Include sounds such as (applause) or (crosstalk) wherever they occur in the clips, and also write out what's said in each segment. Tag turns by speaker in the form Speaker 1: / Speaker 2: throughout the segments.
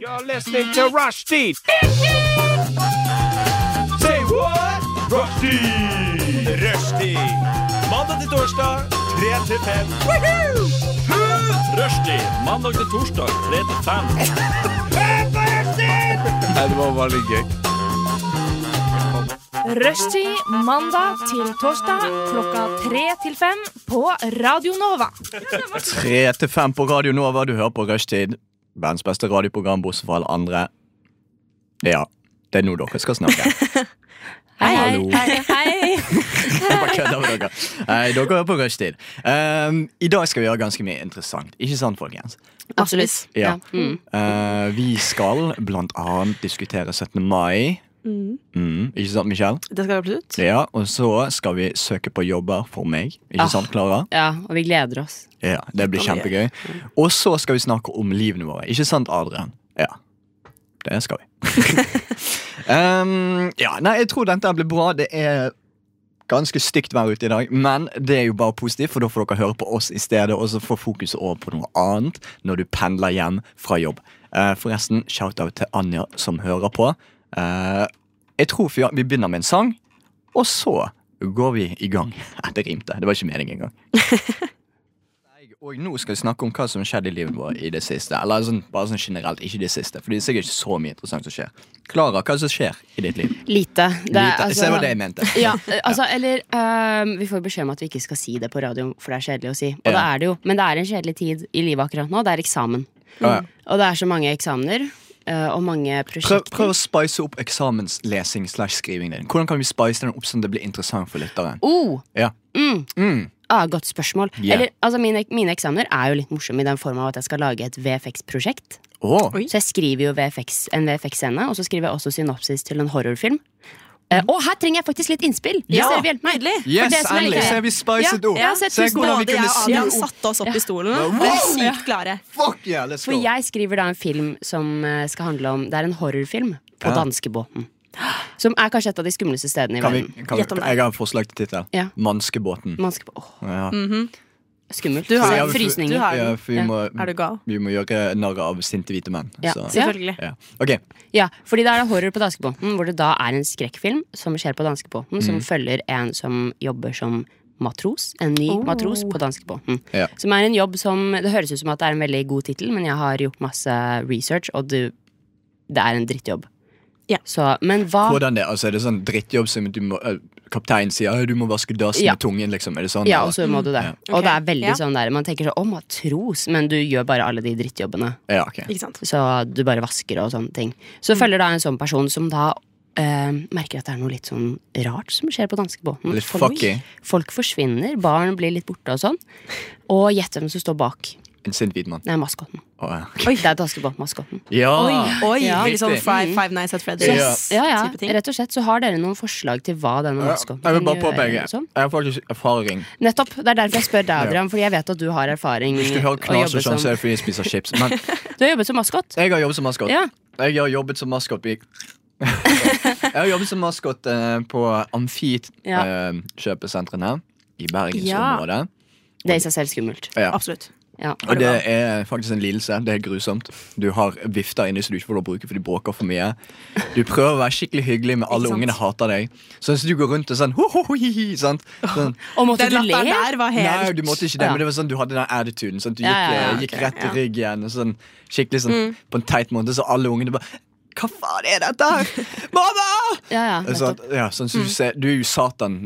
Speaker 1: You're listening to Rushdie. Say what? Rushdie. Rushdie. Mandag til torsdag, 3 til 5. Rushdie. Mandag til torsdag, 3 til 5. Nei, det var veldig gøy.
Speaker 2: Rushtid mandag til torsdag klokka tre til fem på Radio Nova.
Speaker 3: Tre til fem på Radio Nova. Du hører på Rushtid. Verdens beste radioprogram, bortsett fra alle andre. Ja, det er nå dere skal snakke.
Speaker 4: (laughs) Hei,
Speaker 3: Hallo.
Speaker 4: hei, hei.
Speaker 3: Jeg bare kødder med dere. Nei, dere hører på Rushtid. Um, I dag skal vi gjøre ganske mye interessant. Ikke sant, folkens?
Speaker 4: Absolutt.
Speaker 3: Ja.
Speaker 4: Mm.
Speaker 3: Eh, vi skal blant annet diskutere 17. mai. Mm, ikke sant, Michelle?
Speaker 4: Det skal vi absolutt.
Speaker 3: Ja, og så skal vi søke på jobber for meg.
Speaker 4: Ah.
Speaker 3: Ikke sant, Klara?
Speaker 4: Ja, og vi gleder oss.
Speaker 3: Ja, det blir kjempegøy. Og så skal vi snakke om livene våre. Ikke sant, Adrian? Ja. Det skal vi. um, ja, nei, jeg tror dette blir bra. Det er ganske stygt vær ute i dag, men det er jo bare positivt, for da får dere høre på oss i stedet, og så får fokuset over på noe annet når du pendler hjem fra jobb. Eh, forresten, shout-out til Anja som hører på. Eh, jeg tror vi vi begynner med en sang, og så går vi i gang. (laughs) Det rimte. Det var ikke meningen engang. Nei, Og nå skal vi snakke om hva som skjedde i livet vårt i det siste. Eller sånn, bare sånn generelt, ikke det siste. For det er sikkert ikke så mye interessant som skjer. Klara, hva er det som skjer i ditt liv?
Speaker 4: Lite. Det,
Speaker 3: Lite.
Speaker 4: er, altså-
Speaker 3: Så det var det jeg mente.
Speaker 4: Ja, eh, altså, eller ehm, Vi får beskjed om at vi ikke skal si det på radioen, for det er kjedelig å si. Og
Speaker 3: Ja.
Speaker 4: det er det jo, men det er en kjedelig tid i livet akkurat nå. Det er eksamen.
Speaker 3: Ja, ja.
Speaker 4: Og det er så mange eksamener eh, og mange prosjekter.
Speaker 3: Prøv, prøv å spice opp eksamenslesing slash skriving din. Hvordan kan vi spice den opp sånn at det blir interessant for lytteren?
Speaker 4: Oh,
Speaker 3: Ja.
Speaker 4: mm.
Speaker 3: Mm.
Speaker 4: Ah, godt spørsmål.
Speaker 3: Ja.
Speaker 4: Eller, altså, mine, mine eksamener er jo litt morsomme i den form av at jeg skal lage et VFX-prosjekt.
Speaker 3: Åh.
Speaker 4: Så jeg skriver jo VFX, en VFX-scene, og så skriver jeg også synopsis til en horrorfilm. Eh, og her trenger jeg faktisk litt innspill!
Speaker 3: Ja.
Speaker 4: Hvis dere vil hjelpe meg. For
Speaker 3: Yes,
Speaker 4: det som er litt
Speaker 3: endelig!
Speaker 4: gøy.
Speaker 3: Så er vi spicet opp.
Speaker 4: ja, så jeg
Speaker 3: Se
Speaker 4: tusen
Speaker 3: hvordan vi
Speaker 5: Både jeg og
Speaker 3: kunne snu
Speaker 5: Adrian
Speaker 3: opp.
Speaker 5: (laughs) satte oss opp i stolen.
Speaker 3: Wow!
Speaker 5: Vi er sykt klare.
Speaker 3: Fuck yeah, let's
Speaker 4: For
Speaker 3: go!
Speaker 4: jeg skriver da en film som eh, skal handle om Det er en horrorfilm på
Speaker 3: Ja.
Speaker 4: danskebåten. Som er kanskje et av de skumleste stedene i
Speaker 3: Kan vi,
Speaker 4: verden.
Speaker 3: kan vi,
Speaker 5: Gjett om det.
Speaker 3: jeg har et forslag til tittel.
Speaker 4: Ja. Mm.
Speaker 3: Manskebåten.
Speaker 4: Man skal, åh,
Speaker 3: Ja.
Speaker 4: skummelt.
Speaker 5: Du har-
Speaker 4: Så jeg
Speaker 3: du-
Speaker 4: frysninger.
Speaker 5: du har-
Speaker 3: Ja, for vi
Speaker 4: Ja.
Speaker 3: må,
Speaker 5: Er du gal?
Speaker 3: vi må gjøre narr av sinte hvite menn.
Speaker 4: Ja.
Speaker 3: så-
Speaker 5: Selvfølgelig.
Speaker 3: Ja. Ok,
Speaker 4: Ja, fordi det er horror på danskebåten, hvor det da er en skrekkfilm som skjer på danskebåten, som følger en som jobber som matros. En ny
Speaker 5: Oh.
Speaker 4: matros på danskebåten.
Speaker 3: Ja.
Speaker 4: Som er en jobb som Det høres ut som at det er en veldig god tittel, men jeg har gjort masse research, og du, det er en drittjobb.
Speaker 5: Ja.
Speaker 4: Så, men hva
Speaker 3: hvordan det? Altså, er det sånn drittjobb som du må, eh, kapteinen sier «Øy, du må vaske dassen
Speaker 4: Ja.
Speaker 3: med tungen? liksom? Er det sånn?
Speaker 4: Ja, altså-
Speaker 3: eller?
Speaker 4: og så må du det.
Speaker 3: Ja.
Speaker 4: Og det
Speaker 5: Ok,
Speaker 4: er veldig
Speaker 5: ja.
Speaker 4: sånn der Man tenker sånn å, matros, men du gjør bare alle de drittjobbene.
Speaker 3: ja, ok.
Speaker 5: Ikke sant?
Speaker 4: Så du bare vasker og sånne ting. Så
Speaker 5: Mm.
Speaker 4: følger da en sånn person som da eh, merker at det er noe litt sånn rart som skjer på danskebåten.
Speaker 3: Litt
Speaker 4: Folk-
Speaker 3: fucky.
Speaker 4: Folk forsvinner, barn blir litt borte og sånn. Og gjett hvem som står bak.
Speaker 3: En sint hvit mann.
Speaker 4: Det er maskotten.
Speaker 3: Å, ja.
Speaker 4: Det er danskebåtmaskotten.
Speaker 3: Ja!
Speaker 5: Oi,
Speaker 4: Ja.
Speaker 5: Litt sånn
Speaker 3: Riktig.
Speaker 5: Five, five Nights at Freddy's.
Speaker 3: Ja.
Speaker 4: Ja, ja,
Speaker 5: type ting.
Speaker 4: rett og slett så har dere noen forslag til hva denne
Speaker 3: Ja,
Speaker 4: maskotten
Speaker 3: Jeg vil bare
Speaker 4: gjøre
Speaker 3: påpeke,
Speaker 4: og sånn?
Speaker 3: jeg har faktisk erfaring.
Speaker 4: Nettopp. Det er derfor jeg spør deg, Adrian, fordi jeg vet at du har erfaring.
Speaker 3: Hvis du
Speaker 4: i å
Speaker 3: hører knas
Speaker 4: jobbe
Speaker 3: og sånn,
Speaker 4: som-
Speaker 3: så er det fordi jeg spiser chips. Men
Speaker 4: Du har jobbet som maskot.
Speaker 3: jeg har jobbet som maskot.
Speaker 4: Ja.
Speaker 3: Jeg har jobbet som maskot i Jeg har jobbet som maskot eh, på Amfit
Speaker 4: Ja.
Speaker 3: eh, kjøpesentrene i bergensområdet.
Speaker 4: Det er i seg selv skummelt.
Speaker 3: Ja.
Speaker 5: Absolutt.
Speaker 4: Ja.
Speaker 3: Og det er faktisk en lidelse. Det er grusomt. Du har vifter inni som du ikke får lov å bruke, for de bråker for mye. Du prøver å være skikkelig hyggelig, men alle
Speaker 5: Ikke sant?
Speaker 3: ungene hater deg. Sånn at du går rundt og sånn, ho, ho, ho, hi, hi, sant? sånn
Speaker 4: Og måtte
Speaker 5: Den
Speaker 4: du le?
Speaker 5: latteren der var
Speaker 3: Nei,
Speaker 5: helt
Speaker 3: du måtte ikke
Speaker 4: Å,
Speaker 3: det,
Speaker 4: ja.
Speaker 3: men det var sånn du hadde den attituden. Sånn, at du gikk,
Speaker 4: Ja, ja, ja,
Speaker 3: eh, gikk
Speaker 5: ok,
Speaker 3: rett i
Speaker 5: ja. Mm.
Speaker 3: ryggen og sånn, skikkelig sånn på en teit måte, så alle ungene bare Hva faen er dette her? Mamma!
Speaker 4: Ja, ja,
Speaker 3: Sånn,
Speaker 4: nettopp.
Speaker 3: ja,
Speaker 5: Mm.
Speaker 3: sånn, så du, ser, du er jo Satan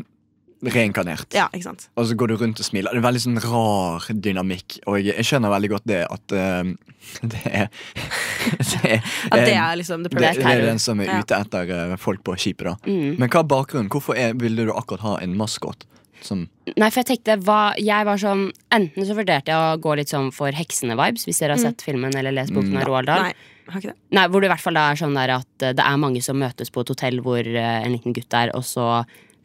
Speaker 3: reinkarnert.
Speaker 5: Ja, ikke sant?
Speaker 3: Og så går du rundt og smiler. Det er veldig sånn rar dynamikk. Og jeg, jeg skjønner veldig godt det at ehm, (laughs) det er (laughs) det er,
Speaker 5: At det er liksom the
Speaker 3: det, det
Speaker 5: perfect
Speaker 3: er
Speaker 5: terror.
Speaker 3: den som er
Speaker 5: Ja. Mm.
Speaker 3: ute etter eh, folk på skipet, da. Men hva er bakgrunnen? Hvorfor er, ville du akkurat ha en maskot? Som
Speaker 4: Nei, for jeg tenkte hva, Jeg var sånn Enten så vurderte jeg å gå litt sånn for heksene-vibes, hvis dere har sett filmen eller lest boken av Roald Dahl.
Speaker 5: Nei, har ikke det.
Speaker 4: Nei, hvor det i hvert fall er sånn der at eh, det er mange som møtes på et hotell hvor eh, en liten gutt er, og så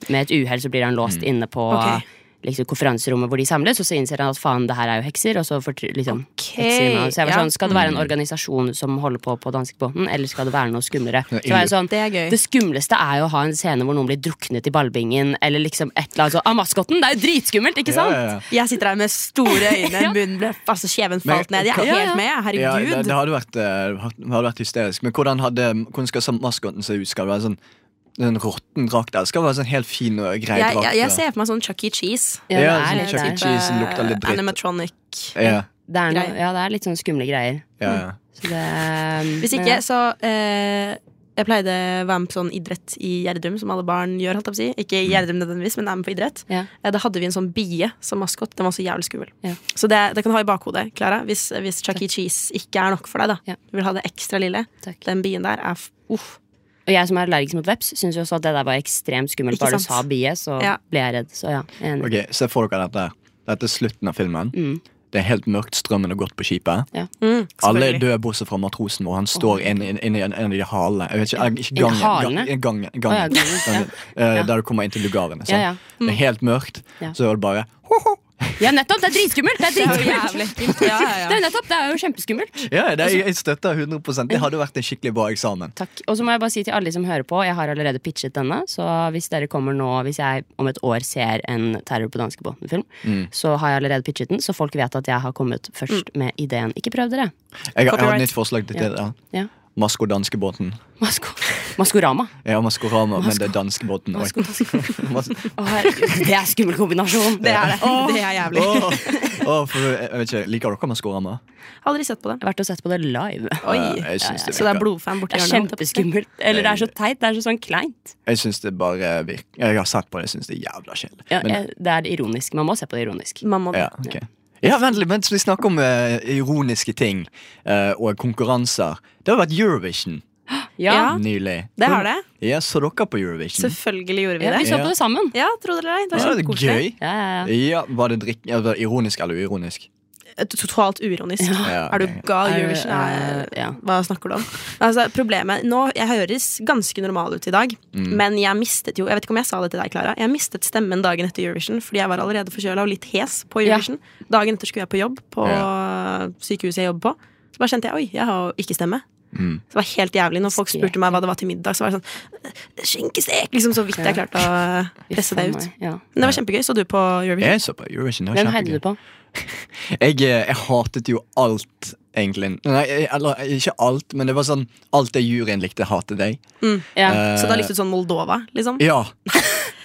Speaker 4: med et uhell så blir han låst inne på
Speaker 5: Mm. Ok.
Speaker 4: liksom, konferanserommet hvor de samles, og så innser han at faen, det her er jo hekser. Og så fort- liksom,
Speaker 5: Ok,
Speaker 4: hekser inn, og- så jeg var
Speaker 5: ja. Mm.
Speaker 4: sånn, Skal det være en organisasjon som holder på på danskebåten, eller skal det være noe skumlere? Så var jeg sånn,
Speaker 5: Det er gøy.
Speaker 4: det skumleste er jo å ha en scene hvor noen blir druknet i ballbingen, eller liksom et eller annet sånn. Ah, maskotten! Det er jo dritskummelt, ikke sant?
Speaker 3: Ja, ja, ja.
Speaker 5: Jeg sitter her med store øyne,
Speaker 4: Ja.
Speaker 5: munnen ble altså kjeven
Speaker 3: Men-
Speaker 5: falt ned. Jeg er
Speaker 4: Ja, ja.
Speaker 5: helt med, jeg.
Speaker 3: Ja,
Speaker 5: herregud.
Speaker 3: det, det hadde vært, eh, had- hadde vært hysterisk. Men hvordan, hadde, hvordan skal sånn maskoten se ut? Skal det være sånn en råtten drakt? Eller skal det være sånn helt fin og grei
Speaker 5: jeg,
Speaker 3: drakt?
Speaker 5: jeg, jeg
Speaker 3: da?
Speaker 5: ser for meg sånn Chuck E. Cheese. Eh,
Speaker 4: Ja, det
Speaker 3: Ja,
Speaker 4: er
Speaker 3: sånn
Speaker 4: litt
Speaker 3: Chuck E.
Speaker 4: der.
Speaker 3: Cheese som lukter litt dritt.
Speaker 5: Animatronic.
Speaker 3: Ja,
Speaker 4: Det er, noe,
Speaker 5: Greier.
Speaker 4: ja, det er litt sånn skumle greier.
Speaker 3: ja, ja.
Speaker 4: Så det,
Speaker 5: Hvis ikke, så eh, Jeg pleide å være med på sånn idrett i Gjerdrum, som alle barn gjør. Holdt jeg på å si. Ikke i Gjerdrum nødvendigvis, men er med på idrett.
Speaker 4: Ja.
Speaker 5: Eh, Da hadde vi en sånn bie som maskot. Den var så jævlig skummel.
Speaker 4: Ja.
Speaker 5: Så det, det kan du ha i bakhodet, Klara, hvis, hvis Chuck E. Cheese ikke er nok for deg. da
Speaker 4: Ja.
Speaker 5: Du vil ha det ekstra lille.
Speaker 4: Takk.
Speaker 5: Den bien der er f- uff.
Speaker 4: Og jeg som er allergisk mot veps, syns jo også at det der var ekstremt skummelt.
Speaker 5: Ikke
Speaker 4: Bare du
Speaker 5: sant?
Speaker 4: sa bie, så
Speaker 5: Ja.
Speaker 4: ble jeg redd. Så ja,
Speaker 5: Mm.
Speaker 4: enig.
Speaker 3: Ok, Se for dere dette. her. Dette er slutten av filmen. Det er helt mørkt. Strømmen har gått på skipet.
Speaker 4: Ja.
Speaker 5: Mm,
Speaker 3: Alle er
Speaker 5: selvfølgelig.
Speaker 3: døde bortsett fra matrosen vår. Han står inne inn, inn, i en- en av de halene. Jeg vet ikke, eh, ikke gangen,
Speaker 4: halene?
Speaker 3: ga- gangen, gangen,
Speaker 4: Å ja, gangen,
Speaker 3: (laughs) gangen, eh, Der du kommer inn til lugarene. sant?
Speaker 4: Ja, ja.
Speaker 3: Det er helt mørkt.
Speaker 4: Ja.
Speaker 3: Så er det bare ho, ho.
Speaker 4: Ja, nettopp! Det er dritskummelt! Det er
Speaker 5: Det er jo
Speaker 4: dritskummelt!
Speaker 5: jævlig ekkelt. Ja, ja,
Speaker 4: Det
Speaker 5: ja.
Speaker 4: er jo nettopp, det er jo kjempeskummelt.
Speaker 3: Ja, det, jeg, jeg støtter 100 Det hadde vært en skikkelig bra eksamen.
Speaker 4: Takk. Og så må jeg bare si til alle de som hører på, jeg har allerede pitchet denne, så hvis dere kommer nå, hvis jeg om et år ser en Terror på danskebåten-film, så har jeg allerede pitchet den, så folk vet at jeg har kommet
Speaker 5: Mm.
Speaker 4: først med ideen. Ikke prøv dere.
Speaker 3: Jeg, har- jeg har
Speaker 5: Copyright.
Speaker 3: et nytt forslag til det. der.
Speaker 4: Ja.
Speaker 3: Masko danskebåten.
Speaker 4: Masko. Maskorama.
Speaker 3: Jeg har Maskorama, men det er danskebåten. Oi.
Speaker 4: Masko,
Speaker 3: (laughs) Mas-
Speaker 4: Å, herregud, det er skummel kombinasjon.
Speaker 5: Det er det.
Speaker 4: Åh.
Speaker 5: Det er jævlig.
Speaker 3: Åh, åh, for, jeg vet ikke, Liker dere Maskorama?
Speaker 5: (laughs) Aldri sett på det.
Speaker 4: Jeg har vært og sett på det live.
Speaker 5: Oi.
Speaker 3: Eh, Jeg syns det,
Speaker 5: Så det er
Speaker 3: virker-
Speaker 5: blodfan borti
Speaker 4: Det er
Speaker 5: hjørnet.
Speaker 4: kjempeskummelt. Eller det er så teit. Det er så sånn kleint.
Speaker 3: jeg syns det bare virker Jeg har sett på det, jeg syns det er jævla kjedelig.
Speaker 4: Ja,
Speaker 3: Men-
Speaker 4: jeg, det er ironisk. Man må se på det ironisk.
Speaker 5: Mamma,
Speaker 3: Ja, ok ja, vent litt, mens vi snakker om eh, ironiske ting eh, og konkurranser. Det har vært Eurovision
Speaker 5: Ja.
Speaker 3: nylig.
Speaker 5: det har det.
Speaker 3: Ja, Så dere på Eurovision?
Speaker 5: Selvfølgelig gjorde vi
Speaker 4: Ja,
Speaker 5: det.
Speaker 4: vi så på det sammen.
Speaker 5: Ja, tro det eller ei. Det var
Speaker 3: Ja, det
Speaker 5: kjempekoselig.
Speaker 3: gøy.
Speaker 4: Ja, ja, ja.
Speaker 3: Ja, var det drikk, ja, var det ironisk eller uironisk?
Speaker 5: Eh, Totalt uironisk.
Speaker 3: Ja, ok.
Speaker 5: Er du gal?
Speaker 4: Er du-
Speaker 5: Eurovision er
Speaker 4: eh, ja.
Speaker 5: Hva snakker du om? Altså, problemet Nå, Jeg høres ganske normal ut i dag,
Speaker 3: Mm.
Speaker 5: men jeg mistet jo Jeg vet ikke om jeg sa det til deg, Klara. Jeg mistet stemmen dagen etter Eurovision fordi jeg var allerede forkjøla og litt hes på Eurovision. Dagen etter skulle jeg på jobb på sykehuset jeg jobber på. Så bare kjente jeg oi, jeg har jo ikke stemme.
Speaker 3: Mm.
Speaker 5: Så det var helt jævlig Når folk
Speaker 4: Skrek.
Speaker 5: spurte meg hå det var til middag, så var det sånn Skinkestek! Liksom så vidt jeg
Speaker 4: Ja.
Speaker 5: klarte å presse det ut.
Speaker 4: Ja.
Speaker 5: Men det var kjempegøy. Så du på Eurovision?
Speaker 3: Jeg så på Eurovision. det var
Speaker 4: Hvem heide
Speaker 3: kjempegøy.
Speaker 4: du på?
Speaker 3: Jeg, eh, jeg hatet jo alt, egentlig. Nei, jeg- eller ikke alt, men det var sånn Alt det juryen likte, hatet jeg.
Speaker 4: Ja.
Speaker 3: Eh,
Speaker 5: Så da likte du sånn Moldova, liksom? (laughs)
Speaker 3: Ja.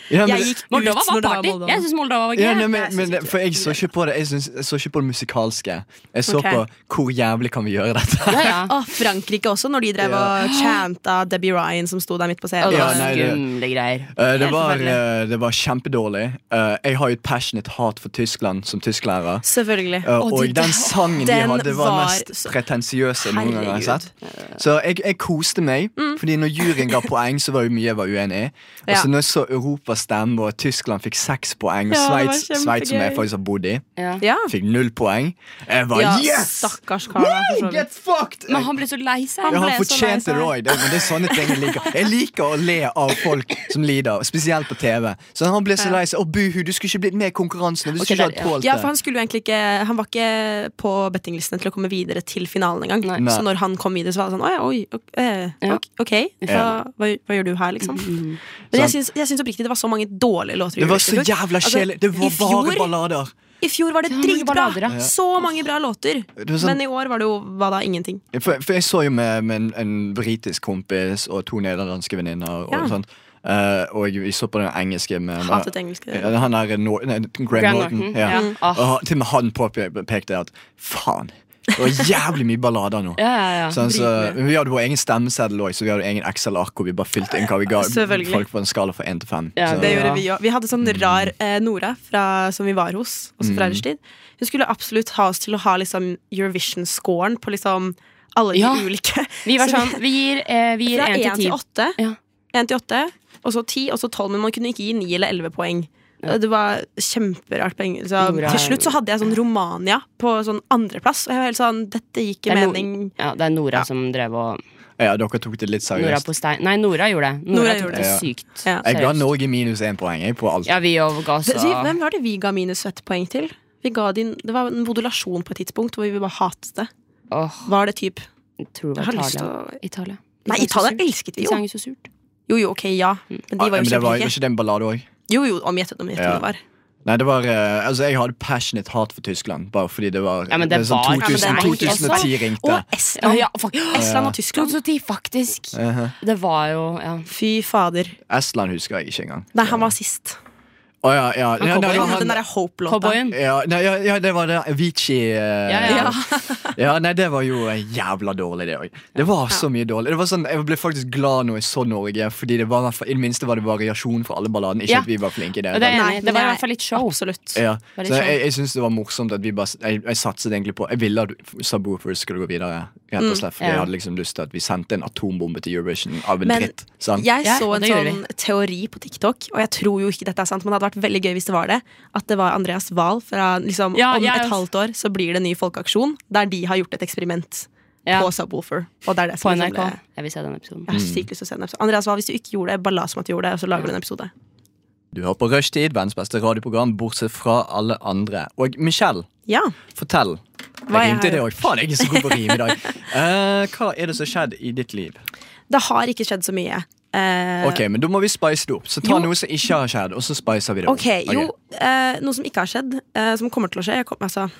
Speaker 3: ja men,
Speaker 5: Jeg gikk ut
Speaker 4: Moldova
Speaker 5: når
Speaker 4: var
Speaker 5: det var
Speaker 4: party!
Speaker 5: Moldova.
Speaker 4: Jeg syns Moldova var gøy.
Speaker 3: ja, nei, men,
Speaker 5: jeg synes
Speaker 3: men,
Speaker 5: ikke-
Speaker 3: for jeg så ikke på det Jeg, syns- jeg så ikke på det musikalske. Jeg så
Speaker 5: Ok.
Speaker 3: på hvor jævlig kan vi gjøre dette.
Speaker 4: Ja, ja.
Speaker 5: Og Frankrike også, når de drev
Speaker 3: Ja.
Speaker 5: og chanta Debbie Ryan som sto der midt på
Speaker 4: Å,
Speaker 5: scenen.
Speaker 4: det
Speaker 3: (laughs) Ja,
Speaker 4: var
Speaker 3: nei, det-
Speaker 4: skumle greier.
Speaker 3: Eh, det,
Speaker 5: Helt
Speaker 3: var,
Speaker 5: forferdelig.
Speaker 3: eh, det var kjempedårlig. Eh, jeg har jo et passionate hat for Tyskland som tysklærer.
Speaker 5: Selvfølgelig.
Speaker 3: Eh,
Speaker 4: Å,
Speaker 3: og
Speaker 4: det-
Speaker 3: den sangen de
Speaker 5: den
Speaker 3: hadde, var den
Speaker 5: var
Speaker 3: mest
Speaker 5: så-
Speaker 3: pretensiøse noen gang jeg har
Speaker 5: Herregud. Mm.
Speaker 3: sett. Så jeg, jeg koste meg, Fordi når juryen ga poeng, så var det mye jeg var uenig i. Og
Speaker 5: Ja.
Speaker 3: så når jeg så Europa stemme, og Tyskland fikk seks poeng, og
Speaker 5: Ja, det var
Speaker 3: Sveits, Sveits som jeg
Speaker 5: kjempegøy.
Speaker 3: faktisk har bodd i,
Speaker 4: Ja.
Speaker 5: Ja.
Speaker 3: fikk null poeng. Jeg var
Speaker 5: ja
Speaker 3: yes!
Speaker 5: Stakkars kar. da, for så
Speaker 3: Woo,
Speaker 5: vidt.
Speaker 3: Get fucked!
Speaker 4: Men han ble så lei seg.
Speaker 3: Ja,
Speaker 5: ble
Speaker 3: han
Speaker 5: så lei seg.
Speaker 3: fortjente det òg. Det, men det er sånne ting jeg liker. Jeg liker å le av folk som lider, spesielt på TV. Så han ble så lei seg. Å, buhu, du skulle ikke blitt med i konkurransen. Hvis
Speaker 4: Ok,
Speaker 3: du ikke
Speaker 4: der,
Speaker 3: hadde tålt det.
Speaker 5: Ja, for Han skulle jo egentlig ikke Han var ikke på bettinglistene til å komme videre til finalen engang.
Speaker 4: Nei.
Speaker 5: Så når han kom videre, så var det sånn Å ja, oi, ok, eh,
Speaker 4: Ja.
Speaker 5: ok, ok, hva, hva, hva gjør du her, liksom?
Speaker 3: Mm,
Speaker 5: Men jeg syns, jeg syns oppriktig det var så mange dårlige låter. i
Speaker 3: Det var
Speaker 5: Eurovision
Speaker 3: så
Speaker 5: i fjor.
Speaker 3: jævla
Speaker 5: Altså,
Speaker 3: kjedelig. Det
Speaker 5: i
Speaker 3: var bare
Speaker 5: fjor-
Speaker 3: ballader.
Speaker 5: I fjor var det
Speaker 4: Ja, mange
Speaker 5: dritbra!
Speaker 4: ballader, ja.
Speaker 5: Så mange bra låter.
Speaker 3: Det var sånn-
Speaker 5: Men i år var det jo hva da? Ingenting.
Speaker 3: For, for jeg så jo med, med en, en britisk kompis og to nederlandske venninner. Og,
Speaker 5: Ja.
Speaker 3: sånt. Eh, og vi så på den engelske med, med
Speaker 5: Hatet engelske.
Speaker 3: Ja, Han er Nor nei, Graham,
Speaker 4: Graham
Speaker 3: Norton.
Speaker 4: Norton,
Speaker 3: Ja.
Speaker 4: ja. Mm. Ah.
Speaker 3: Og han- til og med han påpekte at faen, det var jævlig mye ballader nå.
Speaker 4: Ja, ja, ja.
Speaker 3: Sånn, så, men vi hadde vår egen stemmeseddel òg, så vi hadde egen Excel-ark hvor vi bare fylte inn hva vi ga
Speaker 4: (laughs)
Speaker 5: Selvfølgelig.
Speaker 3: folk på en skala fra 1 til 5.
Speaker 4: Ja,
Speaker 3: så,
Speaker 5: Det
Speaker 4: Ja.
Speaker 5: gjorde vi òg. Vi hadde sånn rar eh, Nora fra, som vi var hos, også fra Rushtid. Hun skulle absolutt ha oss til å ha liksom Eurovision-scoren på liksom alle de
Speaker 4: Ja.
Speaker 5: ulike.
Speaker 4: Vi var
Speaker 5: Så
Speaker 4: sånn, vi gir, eh, vi gir
Speaker 5: Fra
Speaker 4: 1
Speaker 5: én til
Speaker 4: til 10.
Speaker 5: åtte.
Speaker 4: Ja.
Speaker 5: Én til åtte, og så ti, og så tolv. Men man kunne ikke gi ni eller elleve poeng. Det var kjemperart. på engelsk. Så
Speaker 4: Nora-
Speaker 5: til slutt så hadde jeg sånn Romania på sånn andreplass, og jeg var helt sånn Dette gir
Speaker 4: Det
Speaker 5: ikke
Speaker 4: er Nor-
Speaker 5: mening.
Speaker 4: Ja, det er Nora som drev og
Speaker 3: Ja, dere tok det litt
Speaker 4: Nora
Speaker 3: seriøst.
Speaker 4: på stein Nei, Nora gjorde det. Nora,
Speaker 5: Nora
Speaker 4: tok
Speaker 5: gjorde
Speaker 4: det
Speaker 3: det.
Speaker 4: sykt
Speaker 5: Ja.
Speaker 3: Jeg ga
Speaker 4: seriøst.
Speaker 3: Norge minus én poeng jeg, på alt.
Speaker 4: Ja, vi overga
Speaker 5: Så,
Speaker 4: så
Speaker 5: hvem var det vi ga minus ett poeng til? Vi ga din, det var en modulasjon på et tidspunkt hvor vi bare hatet det.
Speaker 4: Åh,
Speaker 5: Var det typ
Speaker 4: jeg tror det var
Speaker 5: Jeg har lyst til
Speaker 4: Italia.
Speaker 5: å
Speaker 4: Italia. De
Speaker 5: Nei,
Speaker 4: sang så Mm.
Speaker 5: Italia
Speaker 4: surt.
Speaker 5: elsket vi
Speaker 4: De
Speaker 5: jo.
Speaker 4: sang jo så surt.
Speaker 5: Jo, jo, ok, ja. Men de
Speaker 3: Ja,
Speaker 5: var
Speaker 3: men
Speaker 5: jo
Speaker 3: det var
Speaker 5: kjempeflinke.
Speaker 3: ikke det en ballade òg?
Speaker 5: Jo, jo, om gjett om gjett hvem
Speaker 3: Ja.
Speaker 5: det var.
Speaker 3: Nei, det var, eh, altså jeg hadde passionate hat for Tyskland. Bare fordi det var
Speaker 4: Ja, men det
Speaker 3: er sånn
Speaker 4: var- Ja, men det
Speaker 3: 2000,
Speaker 4: er ikke-
Speaker 3: 2010 ringte.
Speaker 5: Og Estland.
Speaker 4: Ja, fuck.
Speaker 5: Estland og Tyskland.
Speaker 4: 2010, faktisk.
Speaker 3: Eh,
Speaker 4: Det var jo ja.
Speaker 5: Fy fader.
Speaker 3: Estland husker jeg ikke engang.
Speaker 5: Nei, han var sist.
Speaker 3: Å ja, ja. ja, nei, det var
Speaker 5: Den
Speaker 3: han,
Speaker 5: derre Hope-låta.
Speaker 4: Cowboyen.
Speaker 3: ja, nei, ja, ja, det var det Avicii eh,
Speaker 4: Ja, ja.
Speaker 5: Ja.
Speaker 3: Ja, nei, det var jo eh, jævla dårlig, det òg. Det var så mye dårlig. Det var sånn, Jeg ble faktisk glad når jeg så Norge, Fordi det var, i det minste var det variasjon for alle balladene. Ikke
Speaker 4: Ja.
Speaker 3: at vi var flinke i det.
Speaker 4: Og det, er jeg
Speaker 5: Nei,
Speaker 4: enig i.
Speaker 5: men
Speaker 4: det var i
Speaker 5: jeg-
Speaker 4: hvert fall litt show.
Speaker 5: Absolutt.
Speaker 3: ja.
Speaker 4: Var det
Speaker 3: Så jeg,
Speaker 4: sånn?
Speaker 3: jeg, synes det var morsomt at vi bare Jeg, jeg satset egentlig på Jeg ville at Subwoofers skulle gå videre. Rett og slett Fordi jeg
Speaker 4: Mm, ja.
Speaker 3: hadde liksom lyst til at vi sendte en atombombe til Eurovision av en
Speaker 5: Men
Speaker 3: dritt. Sant?
Speaker 5: Jeg
Speaker 4: Ja,
Speaker 5: så
Speaker 4: og
Speaker 5: en
Speaker 4: det gjorde
Speaker 5: sånn teori på TikTok, og jeg tror jo ikke dette er sant, men det hadde vært veldig gøy hvis det var det. At det var Andreas Wahl fra liksom,
Speaker 4: Ja,
Speaker 5: Om
Speaker 4: jeg
Speaker 5: et
Speaker 4: også.
Speaker 5: halvt år så blir det en ny folkeaksjon der de har gjort et eksperiment
Speaker 4: Ja,
Speaker 5: på Subwoofer. Og det er det
Speaker 4: på
Speaker 5: som liksom
Speaker 4: NRK.
Speaker 5: ble-
Speaker 4: Jeg vil se den episoden.
Speaker 5: Jeg har
Speaker 3: Mm.
Speaker 5: sykt lyst til å se den episoden. Andreas Wahl, hvis du ikke gjorde det, bare la som at du gjorde det, og så lager du en episode.
Speaker 3: Du hører på Rushtid, verdens beste radioprogram, bortsett fra alle andre. Og Michelle,
Speaker 5: Ja.
Speaker 3: fortell.
Speaker 5: Hva
Speaker 3: Jeg
Speaker 5: jeg
Speaker 3: rimte
Speaker 5: har
Speaker 3: det òg. Faen, jeg er så god på å rime
Speaker 5: (laughs)
Speaker 3: i dag. Eh, hva er det som har skjedd i ditt liv?
Speaker 5: Det har ikke skjedd så mye. Eh,
Speaker 3: Ok, men Da må vi spice det opp. Så ta
Speaker 5: Jo.
Speaker 3: noe som ikke har skjedd, og så spicer vi det opp.
Speaker 5: Ok, jo, eh, noe som ikke har skjedd, eh, som kommer til å skje jeg kom, altså,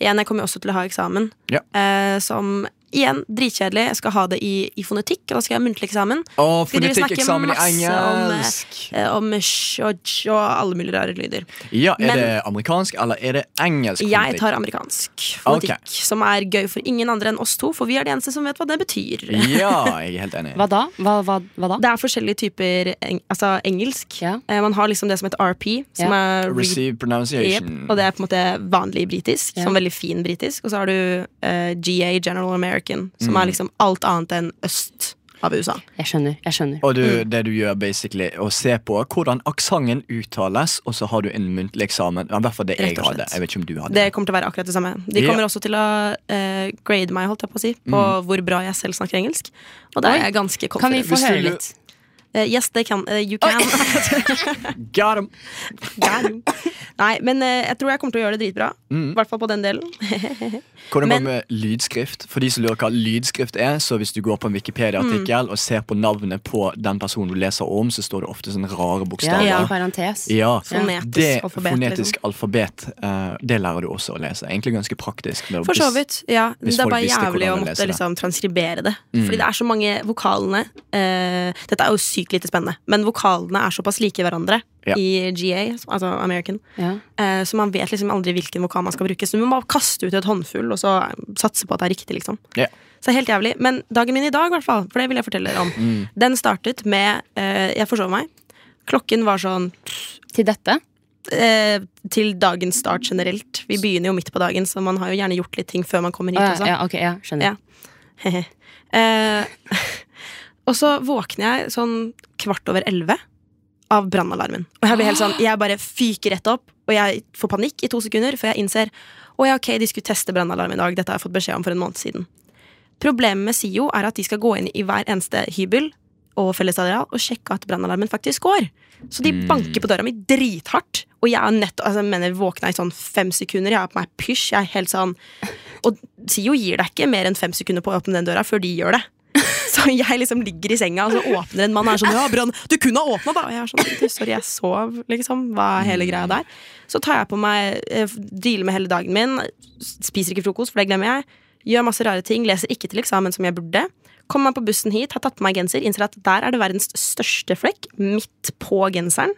Speaker 5: Igjen, jeg kommer jo også til å ha eksamen.
Speaker 3: Mm. Ja.
Speaker 5: Eh, som igjen, dritkjedelig. Jeg skal ha det i, i fonetikk, og da skal jeg ha muntlig eksamen.
Speaker 3: Å,
Speaker 5: Skal dere snakke
Speaker 3: fonetikkeksamen i
Speaker 5: masse om, eh,
Speaker 3: engelsk.
Speaker 5: Eh, om sj og j og alle mulige rare lyder.
Speaker 3: Ja, Er
Speaker 5: men-
Speaker 3: det amerikansk, eller er det engelsk?
Speaker 5: Jeg
Speaker 3: politikk?
Speaker 5: tar amerikansk fonetikk,
Speaker 3: Ok.
Speaker 5: som er gøy for ingen andre enn oss to, for vi er de eneste som vet hva det betyr.
Speaker 3: Ja, jeg er
Speaker 5: (laughs)
Speaker 3: helt enig.
Speaker 4: Hva da? Hva, hva, hva da?
Speaker 5: Det er forskjellige typer eng altså engelsk.
Speaker 4: Ja.
Speaker 5: Eh, man har liksom det som heter RP, som er read
Speaker 3: Receive
Speaker 5: Yep,
Speaker 3: pronunciation.
Speaker 5: og det er på en måte vanlig britisk,
Speaker 4: Ja.
Speaker 5: sånn veldig fin britisk. Og så har du eh, GA, General American, som er liksom alt annet enn øst av USA.
Speaker 4: Jeg skjønner. jeg skjønner
Speaker 3: Og du,
Speaker 5: Mm.
Speaker 3: det du gjør, basically, å se på hvordan aksenten uttales, og så har du en muntlig eksamen. Ja, I hvert fall det jeg
Speaker 5: Rett og
Speaker 3: hadde.
Speaker 5: slett.
Speaker 3: Jeg vet ikke om du hadde
Speaker 5: Det kommer til å være akkurat det samme. De
Speaker 3: Ja.
Speaker 5: kommer også til å eh, grade meg, holdt jeg på å si, på hvor bra jeg selv snakker engelsk. Og da er jeg ganske
Speaker 4: Kan vi
Speaker 5: confident.
Speaker 4: få
Speaker 3: Hvis du-
Speaker 4: høre litt?
Speaker 5: Eh, yes, they can. eh, you can. (laughs)
Speaker 3: Got him.
Speaker 5: Nei, men eh, jeg tror jeg kommer til å gjøre det dritbra. I hvert fall på den delen.
Speaker 3: Hvordan går
Speaker 5: Men-
Speaker 3: det med lydskrift? For de som lurer hva lydskrift er, så hvis du går på en
Speaker 5: Mm.
Speaker 3: Wikipedia-artikkel og ser på navnet på den personen du leser om, så står det ofte sånne rare
Speaker 4: Ja,
Speaker 3: bokstaver.
Speaker 4: i
Speaker 5: Ja.
Speaker 4: parentes.
Speaker 3: Ja,
Speaker 5: Fonetisk alfabet,
Speaker 3: det
Speaker 5: liksom.
Speaker 3: fonetisk alfabet eh, Det lærer du også å lese. Egentlig ganske praktisk. men
Speaker 5: For så
Speaker 3: hvis-
Speaker 5: vidt, ja.
Speaker 3: hvis
Speaker 5: det er
Speaker 3: folk
Speaker 5: bare
Speaker 3: visste
Speaker 5: jævlig
Speaker 3: hvordan
Speaker 5: å
Speaker 3: man leser
Speaker 5: måtte
Speaker 3: det. Mm.
Speaker 5: liksom transkribere det. Fordi det er så mange vokalene eh, Dette er jo sykt lite spennende, men vokalene er såpass like hverandre
Speaker 3: Ja.
Speaker 5: i GA, altså American,
Speaker 4: Ja.
Speaker 5: eh, så man vet liksom aldri hvilken vokal man skal bruke. Så du må bare kaste ut et håndfull og så satse på at det er riktig, liksom.
Speaker 3: Ja.
Speaker 5: Så helt jævlig. Men dagen min i dag, i hvert fall, for det vil jeg fortelle dere om,
Speaker 3: Mm.
Speaker 5: den startet med eh, Jeg forsov meg. Klokken var sånn
Speaker 4: Til dette?
Speaker 5: eh, til dagens start generelt. Vi begynner jo midt på dagen, så man har jo gjerne gjort litt ting før man kommer hit
Speaker 4: Å, ja,
Speaker 5: også.
Speaker 4: ja, ok, ja, skjønner.
Speaker 5: Ja. (laughs) Eh, (laughs) og så våkner jeg sånn kvart over elleve av brannalarmen. Og jeg blir helt sånn, jeg bare fyker rett opp, og jeg får panikk i to sekunder før jeg innser å ja, ok, de skulle teste brannalarm i dag. Dette har jeg fått beskjed om for en måned siden. Problemet med SIO er at de skal gå inn i hver eneste hybel og fellesareal og sjekke at brannalarmen faktisk går. Så de banker på døra mi drithardt. Og jeg er nett, altså, jeg mener, våkna i sånn fem sekunder. Jeg har på meg pysj. Jeg er helt sånn og Sio gir deg ikke mer enn fem sekunder på å åpne den døra før de gjør det. Så jeg liksom ligger i senga, og så åpner en mann og er sånn Ja, Brann, du kunne ha åpna, da! Og jeg er sånn «Du, Sorry, jeg sov, liksom. Hva er hele greia der? Så tar jeg på meg eh, Dealer med hele dagen min. Spiser ikke frokost, for det glemmer jeg. Gjør masse rare ting. Leser ikke til eksamen som jeg burde. Kommer meg på bussen hit, har tatt på meg genser, innser at der er det verdens største flekk, midt på genseren.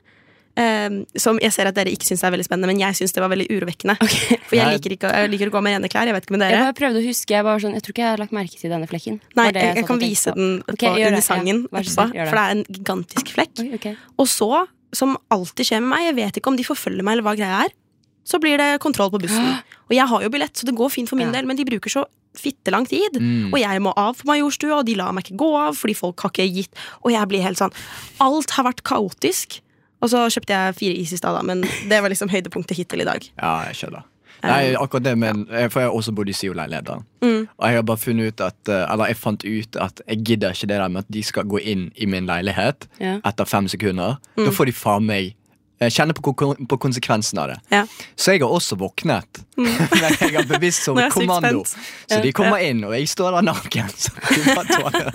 Speaker 5: Eh, som jeg ser at dere ikke syns er veldig spennende, men jeg syns det var veldig urovekkende. For jeg
Speaker 3: Nei.
Speaker 5: liker, ikke, å- jeg liker å gå med rene klær. Jeg vet ikke med
Speaker 4: Jeg
Speaker 5: dere.
Speaker 4: bare prøvde å huske. Jeg, bare sånn, jeg tror ikke jeg har lagt merke til denne flekken.
Speaker 5: Nei,
Speaker 4: Var det
Speaker 5: jeg, jeg
Speaker 4: satt
Speaker 5: kan
Speaker 4: og tenkte
Speaker 5: vise
Speaker 4: på.
Speaker 5: den
Speaker 4: Ok,
Speaker 5: på
Speaker 4: gjør
Speaker 5: under
Speaker 4: det, ja.
Speaker 5: sangen
Speaker 4: Vær så
Speaker 5: etterpå,
Speaker 4: snill, gjør det.
Speaker 5: for det er en gigantisk flekk.
Speaker 4: Oi, ok.
Speaker 5: Og så, som alltid skjer med meg, jeg vet ikke om de forfølger meg eller hva greia er, så blir det kontroll på bussen. Og jeg har jo billett, så det går fint for min
Speaker 4: Ja.
Speaker 5: del, men de bruker så fittelang tid. Og jeg må av på Majorstua, og de lar meg ikke gå av, fordi folk har ikke gitt Og jeg blir helt sånn Alt har vært kaotisk. Og så kjøpte jeg fire is i stad, da, men det var liksom høydepunktet hittil i dag.
Speaker 3: Ja, jeg skjønner. Nei,
Speaker 5: Um,
Speaker 3: akkurat det, men eh, For jeg har også bodd i SIO-leiligheter.
Speaker 5: Mm.
Speaker 3: Og jeg har bare funnet ut at eh, Eller jeg fant ut at jeg gidder ikke det der med at de skal gå inn i min leilighet
Speaker 4: Ja.
Speaker 3: etter fem sekunder. Da
Speaker 5: Mm.
Speaker 3: får de faen meg eh, kjenne på, kon- på konsekvensen av det.
Speaker 5: Ja. Mm.
Speaker 3: Så jeg har også våknet. (laughs) Men jeg har bevisst som
Speaker 5: Nå er jeg sykt
Speaker 3: kommando.
Speaker 5: spent.
Speaker 3: Så de kommer inn, og jeg står der naken. (laughs) Så de, bare tar det.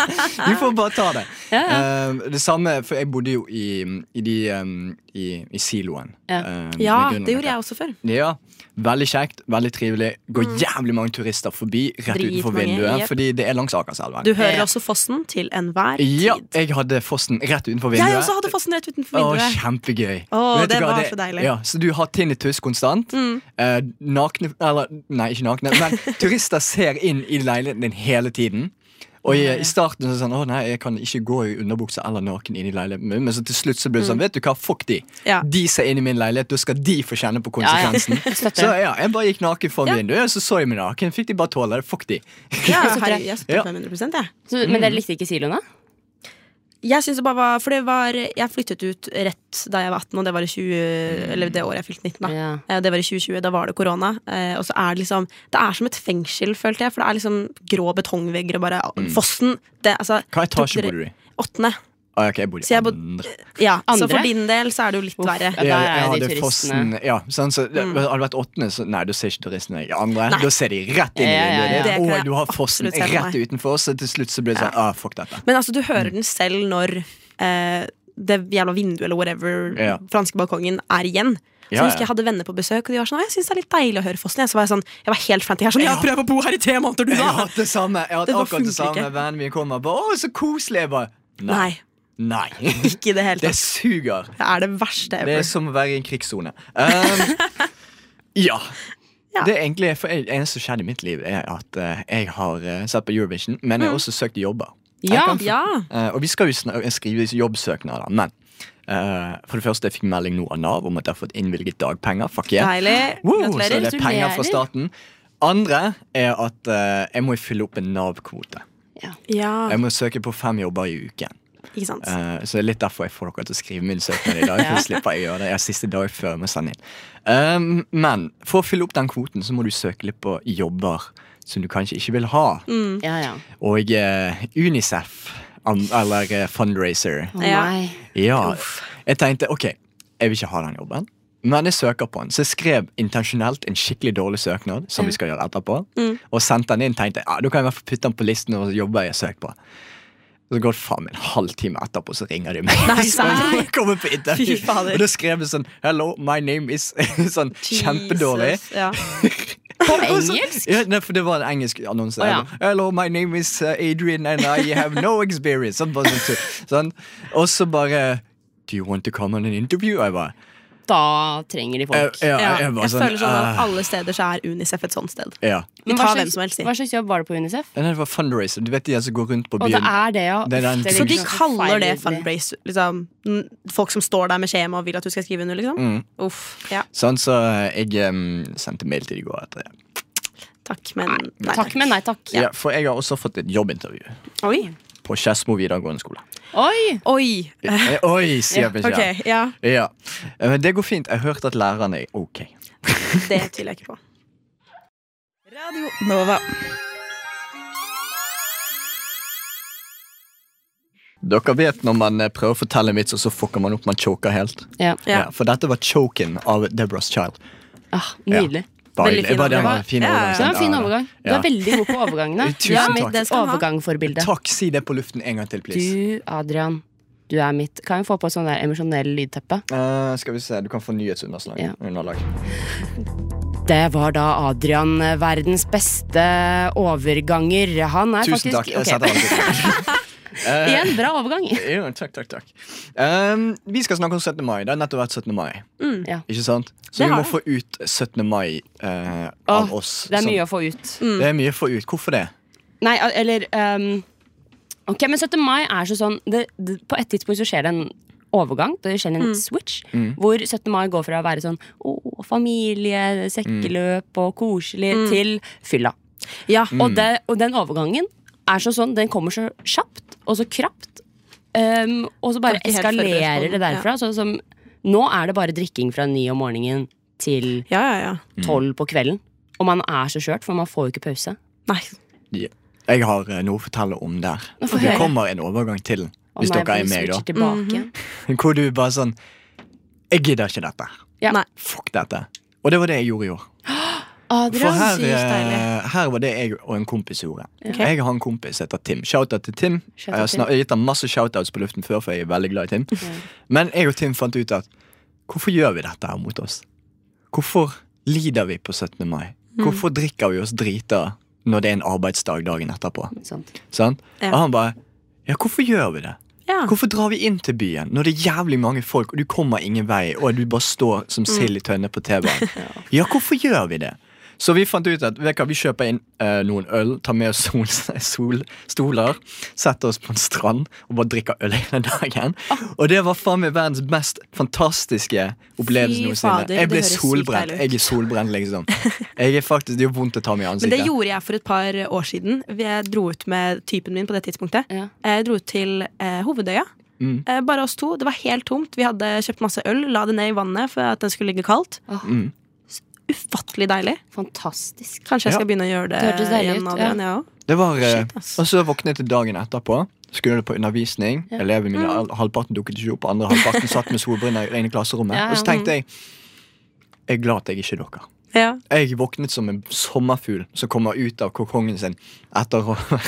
Speaker 3: de får bare ta det. Eh, det samme, for jeg bodde jo i, i, de, um, i, i siloen.
Speaker 4: Ja.
Speaker 3: eh,
Speaker 5: Ja,
Speaker 3: med
Speaker 5: det gjorde
Speaker 3: grunnlaget.
Speaker 5: jeg også før.
Speaker 3: Ja, Veldig kjekt, veldig trivelig. Går jævlig mange turister forbi rett
Speaker 5: Mm. Dritmange,
Speaker 3: utenfor vinduet.
Speaker 5: jepp.
Speaker 3: Fordi det er langs Akerselven.
Speaker 5: Du hører
Speaker 4: Ja.
Speaker 5: også fossen til enhver
Speaker 3: Ja,
Speaker 5: tid.
Speaker 3: jeg hadde fossen rett utenfor vinduet.
Speaker 5: Jeg også hadde fossen rett utenfor
Speaker 3: Å,
Speaker 5: vinduet.
Speaker 3: kjempegøy.
Speaker 5: Å,
Speaker 3: Vet du
Speaker 5: det
Speaker 3: hva,
Speaker 5: var så deilig. Mm.
Speaker 3: Ja, så du har tinnitus konstant. Eh, nakne Eller, nei, ikke nakne, men
Speaker 5: (laughs)
Speaker 3: turister ser inn i leiligheten din hele tiden. Og i, i starten så er det sånn Å nei, jeg kan ikke gå i underbukse eller naken inn i leiligheten min. Men så til slutt så blir det sånn Vet du hva, fuck de.
Speaker 5: Mm. Ja.
Speaker 3: De ser inn i min leilighet, da skal de få kjenne på
Speaker 4: Ja, ja.
Speaker 5: (laughs)
Speaker 3: konsekvensen.
Speaker 4: Støtter.
Speaker 3: Så ja, jeg bare gikk naken foran vinduet, og så så jeg meg naken. Fikk de bare tåle det. Fuck de.
Speaker 5: Ja,
Speaker 4: støtter
Speaker 5: herregud,
Speaker 4: det.
Speaker 5: jeg
Speaker 3: Ja.
Speaker 5: støtter 500 jeg.
Speaker 4: Så, men dere likte ikke siloen, da?
Speaker 5: Jeg synes det bare var, for det var Jeg flyttet ut rett da jeg var 18, og det var i 20, eller det året jeg fylte 19. da
Speaker 4: Ja.
Speaker 5: Eh, Det var i 2020, da var det korona. eh, Og så er det liksom Det er som et fengsel, følte jeg. For det er liksom grå betongvegger og bare
Speaker 3: Mm.
Speaker 5: Fossen! Det, altså,
Speaker 3: Hva
Speaker 5: tok
Speaker 3: etasje
Speaker 5: dere-
Speaker 3: bodde du i?
Speaker 5: Åttende.
Speaker 3: Ah, ok, jeg bodde
Speaker 5: Så
Speaker 3: i
Speaker 5: jeg bodde-
Speaker 3: andre.
Speaker 5: Ja, så
Speaker 4: Andre?
Speaker 5: for din del så er det jo litt
Speaker 4: Uff.
Speaker 5: verre.
Speaker 4: Ja, der
Speaker 3: Ja,
Speaker 4: er de
Speaker 3: jeg hadde
Speaker 4: turistene.
Speaker 3: fossen ja, sånn, så, det- Hadde det vært åttende, så nei, da ser ikke turistene deg. Andre,
Speaker 5: Mm. Nei.
Speaker 3: da ser de rett inn i
Speaker 4: Ja, ja, ja.
Speaker 3: vinduet.
Speaker 5: Det
Speaker 3: ditt.
Speaker 5: kan jeg
Speaker 3: Og du har fossen
Speaker 5: absolutt se for
Speaker 3: rett
Speaker 5: meg.
Speaker 3: utenfor, så til slutt så blir det sånn ah, fuck dette.
Speaker 5: Men altså, du
Speaker 3: Mm.
Speaker 5: hører den selv når eh, det jævla vinduet eller whatever,
Speaker 3: Ja.
Speaker 5: franske balkongen, er igjen. Så
Speaker 3: Ja,
Speaker 5: jeg husker
Speaker 3: ja.
Speaker 5: jeg hadde venner på besøk, og de var sånn «Å, Jeg synes det er litt deilig å høre Fossen. Jeg, så var jeg sånn, jeg var helt fancy. Jeg er sånn, jeg prøver å bo her i tre måneder, du,
Speaker 3: Jeg har
Speaker 5: da!
Speaker 3: hatt det samme. Jeg har hatt
Speaker 5: Det var
Speaker 3: akkurat det
Speaker 5: funker
Speaker 3: samme.
Speaker 5: ikke.
Speaker 3: Vennene mine kommer og bare 'Å, så koselig'. Jeg bare
Speaker 5: Nei,
Speaker 3: Nei. Nei.
Speaker 5: ikke i det hele
Speaker 3: Det
Speaker 5: tatt.
Speaker 3: suger.
Speaker 5: Det er det verste
Speaker 3: Det er
Speaker 5: ever.
Speaker 3: som å være i
Speaker 5: (laughs)
Speaker 3: en krigssone. Um, ja.
Speaker 5: Ja.
Speaker 3: Det er egentlig for jeg, eneste som skjedde i mitt liv, er at eh, jeg har eh, sett på Eurovision, men
Speaker 5: Mm.
Speaker 3: jeg har også søkt jobber. Jeg
Speaker 4: Ja.
Speaker 3: kan få-
Speaker 5: Ja.
Speaker 3: Eh, og vi skal jo sna- skrive jobbsøknader, men eh, for det første, jeg fikk melding nå av Nav om at jeg har fått innvilget dagpenger. Fuck yeah.
Speaker 5: Deilig.
Speaker 3: Woo, så
Speaker 5: Gratulerer.
Speaker 3: det er penger fra
Speaker 4: Gratulerer.
Speaker 3: staten. Andre er at eh, jeg må fylle opp en Nav-kvote.
Speaker 5: Ja,
Speaker 3: Jeg må søke på fem jobber i uken.
Speaker 5: ikke sant.
Speaker 3: Eh, så det er litt derfor jeg får dere til å skrive min søknad i dag. For da slipper jeg å gjøre det. Jeg har siste dag før vi sender inn. Um, men for å fylle opp den kvoten, så må du søke litt på jobber som du kanskje ikke vil ha.
Speaker 5: Mm.
Speaker 4: Ja, ja.
Speaker 3: Og eh, Unicef, an, eller eh, fundraiser.
Speaker 4: Å
Speaker 5: Ja.
Speaker 4: nei.
Speaker 3: Ja, jeg tenkte ok, jeg vil ikke ha den jobben. Men jeg søker på den, så jeg skrev intensjonelt en skikkelig dårlig søknad. Som vi skal gjøre etterpå
Speaker 5: Mm.
Speaker 3: Og sendte den inn tenkte ja, da kan jeg i hvert fall putte den på listen over jobber jeg har søkt på. Så går det faen meg en halvtime etterpå, (laughs) så ringer de meg.
Speaker 5: Nei,
Speaker 3: og spør om
Speaker 5: nei.
Speaker 3: jeg kommer på intervju.
Speaker 5: Fy fader.
Speaker 3: Og da skrev de sånn Hello, my name is (laughs) Sånn kjempedårlig.
Speaker 5: Jesus, Ja.
Speaker 4: På
Speaker 3: (laughs)
Speaker 4: engelsk?
Speaker 3: Ja, nei, for det var en engelsk annonse.
Speaker 4: Å, ja.
Speaker 3: Hello, my name is uh, Adrian and I have no experience. Sånn, bare sånn, tull. sånn. Og så bare Do you want to come on an interview? Jeg bare,
Speaker 4: Da trenger de
Speaker 3: jeg,
Speaker 4: folk.
Speaker 3: ja,
Speaker 5: Ja.
Speaker 3: jeg,
Speaker 5: Jeg
Speaker 3: bare sånn,
Speaker 5: føler sånn at
Speaker 3: «Ah,
Speaker 5: alle steder så er Unicef et sånt sted.
Speaker 3: ja.
Speaker 5: Vi
Speaker 4: Men hva
Speaker 5: tar
Speaker 4: slags-
Speaker 5: hvem som helst, si.
Speaker 4: Hva slags jobb var det på Unicef?
Speaker 3: Nei, Det var fundraiser. Du vet de som går rundt på
Speaker 4: Og det
Speaker 3: byen?
Speaker 4: er det, ja. liksom
Speaker 3: Det er den-
Speaker 4: Uff,
Speaker 5: Så
Speaker 4: virker
Speaker 5: de
Speaker 4: som
Speaker 5: kaller
Speaker 4: feil
Speaker 5: det
Speaker 4: idé.
Speaker 5: fundraise liksom, n- Folk som står der med skjema og vil at du skal skrive under, liksom?
Speaker 3: Mm.
Speaker 5: Uff. Ja,
Speaker 3: Sånn, så jeg em, sendte mail til de i går etter det.
Speaker 5: takk, men nei.
Speaker 4: Takk, men nei takk.
Speaker 3: Ja. for jeg har også fått et jobbintervju
Speaker 5: Oi.
Speaker 3: på Skedsmo videregående skole.
Speaker 4: Oi!
Speaker 5: Oi.
Speaker 3: Eh, Oi, sier beskjeden.
Speaker 5: Ok, ja.
Speaker 3: Ja. Eh, Men det går fint. Jeg hørte at lærerne er ok.
Speaker 5: Det tviler jeg ikke på.
Speaker 6: Radio Nova.
Speaker 3: Dere vet når man eh, prøver å fortelle en vits, og så fucker man opp. Man choker helt.
Speaker 4: Ja.
Speaker 5: Ja.
Speaker 3: Ja, for dette var 'Choken' av Deborah's Child.
Speaker 4: Ah, nydelig.
Speaker 5: Veldig fin
Speaker 3: Bare det var en
Speaker 5: overgang.
Speaker 3: fin
Speaker 5: Ja, ja, ja.
Speaker 3: overgang.
Speaker 4: Det var en fin
Speaker 3: Ja, ja.
Speaker 4: overgang. Du
Speaker 3: Ja.
Speaker 4: er veldig god på overgangene.
Speaker 3: (laughs) Tusen
Speaker 4: Du er
Speaker 3: takk.
Speaker 5: Det
Speaker 4: mitt
Speaker 5: skal han ha.
Speaker 4: overgangforbilde.
Speaker 3: Takk, si det på luften en gang til, please.
Speaker 4: Du, Adrian, du er mitt Kan vi få på sånn der emosjonell lydteppe?
Speaker 3: Eh, skal vi se, Du kan få nyhetsunderlag.
Speaker 4: Ja.
Speaker 3: underlag.
Speaker 4: Det var da Adrian, eh, verdens beste overganger. Han er
Speaker 3: Tusen
Speaker 4: faktisk
Speaker 3: takk. Jeg
Speaker 4: ok. (laughs)
Speaker 3: setter alltid pris
Speaker 4: Igjen, bra overgang.
Speaker 3: Jo, takk, takk, takk. Um, vi skal snakke om 17. mai. Det har nettopp vært 17. mai.
Speaker 4: Mm. Ja.
Speaker 3: Ikke sant? Så
Speaker 5: Det
Speaker 3: vi
Speaker 5: har
Speaker 3: må
Speaker 5: det.
Speaker 3: få ut 17. mai eh,
Speaker 4: Åh,
Speaker 3: av oss.
Speaker 4: Det er
Speaker 3: Sånn.
Speaker 4: mye å mm. få ut.
Speaker 3: Det er mye å få ut. Hvorfor det?
Speaker 4: Nei, al- eller ehm, Ok, men 17. mai er så sånn det, det, På et tidspunkt så skjer det en overgang. Det skjer
Speaker 5: Mm.
Speaker 4: en switch.
Speaker 3: Mm.
Speaker 4: Hvor 17. mai går fra å være sånn å, familie, sekkeløp og koselig, til fylla.
Speaker 5: Mm. Ja.
Speaker 3: Mm.
Speaker 4: Og, det, og den overgangen er så sånn, den kommer så kjapt og så krapt. ehm, og så bare
Speaker 5: Kan ikke helt forberede
Speaker 4: eskalerer
Speaker 5: på den,
Speaker 4: det derfra. Sånn som, nå er det bare drikking fra ni om morgenen til
Speaker 5: Ja, ja, ja.
Speaker 3: Mm.
Speaker 4: tolv på kvelden. Og man er så skjørt, for man får jo ikke pause.
Speaker 5: Nei.
Speaker 3: Jeg har eh, noe å fortelle om der.
Speaker 4: Nå får
Speaker 3: Det
Speaker 4: jeg-
Speaker 3: kommer en overgang til,
Speaker 4: Å
Speaker 3: hvis
Speaker 4: nei,
Speaker 3: dere
Speaker 4: vi
Speaker 3: er meg,
Speaker 4: liksom switcher
Speaker 3: da.
Speaker 4: Tilbake.
Speaker 5: Mhm.
Speaker 3: Hvor du bare sånn Jeg gidder ikke dette.
Speaker 4: Ja.
Speaker 5: Nei.
Speaker 3: Fuck dette. Og det var det jeg gjorde i år. For
Speaker 5: Adrian,
Speaker 3: her,
Speaker 5: sykt deilig.
Speaker 3: eh, her var det jeg og en kompis gjorde.
Speaker 5: Ok.
Speaker 3: Jeg har en kompis som heter Tim. Shoutout til Tim.
Speaker 4: Shoutout
Speaker 3: jeg har snak-
Speaker 4: til.
Speaker 3: gitt ham masse shoutouts på luften før, for jeg er veldig glad i Tim. Men jeg og Tim fant ut at hvorfor gjør vi dette her mot oss? Hvorfor lider vi på 17. mai?
Speaker 4: Mm.
Speaker 3: Hvorfor drikker vi oss drita når det er en arbeidsdag dagen etterpå?
Speaker 4: Sant.
Speaker 3: Sant?
Speaker 5: Ja.
Speaker 3: Og han bare Ja, hvorfor gjør vi det?
Speaker 5: Ja.
Speaker 3: Hvorfor drar vi inn til byen når det er jævlig mange folk, og du kommer ingen vei, og du bare står som
Speaker 5: Mm.
Speaker 3: sild i tønne på
Speaker 5: (laughs)
Speaker 3: T-banen? Ja, hvorfor gjør vi det? Så vi fant ut at vet du hva, vi kjøper inn eh, noen øl, tar med oss sol, (laughs) solstoler, setter oss på en strand og bare drikker øl hele dagen.
Speaker 5: Ah.
Speaker 3: Og det var faen meg verdens mest fantastiske opplevelse
Speaker 5: Fy
Speaker 3: noensinne.
Speaker 5: fader,
Speaker 3: Jeg ble
Speaker 5: det høres sykt
Speaker 3: solbrent.
Speaker 5: deilig ut.
Speaker 3: Jeg er solbrent, liksom. Jeg er faktisk, Det gjør vondt å ta meg i
Speaker 5: Men det
Speaker 3: ansiktet.
Speaker 5: gjorde jeg for et par år siden. Jeg dro ut med typen min på det tidspunktet.
Speaker 4: Ja.
Speaker 5: Jeg dro ut til eh, Hovedøya.
Speaker 3: Mm.
Speaker 5: Eh, bare oss to. Det var helt tomt. Vi hadde kjøpt masse øl, la det ned i vannet for at den skulle ligge kaldt.
Speaker 4: Åh.
Speaker 3: Mm.
Speaker 5: S- Ufattelig deilig.
Speaker 4: Fantastisk.
Speaker 5: Kanskje jeg
Speaker 3: Ja.
Speaker 5: skal begynne å gjøre det,
Speaker 4: Det hørtes deilig
Speaker 5: igjen.
Speaker 4: ut,
Speaker 5: Adrian, jeg også.
Speaker 3: Det var, eh,
Speaker 5: Shit, ass.
Speaker 3: og så våknet jeg dagen etterpå. Skulle på undervisning.
Speaker 4: Ja. Mm.
Speaker 3: Elevene mine, al- Halvparten dukket ikke opp, andre halvparten satt med solbriller inne i klasserommet.
Speaker 4: Ja, ja.
Speaker 3: Og så tenkte jeg jeg er glad at jeg ikke er dere.
Speaker 5: Ja.
Speaker 3: Jeg våknet som en sommerfugl som kommer ut av kokongen sin etter å ha (laughs)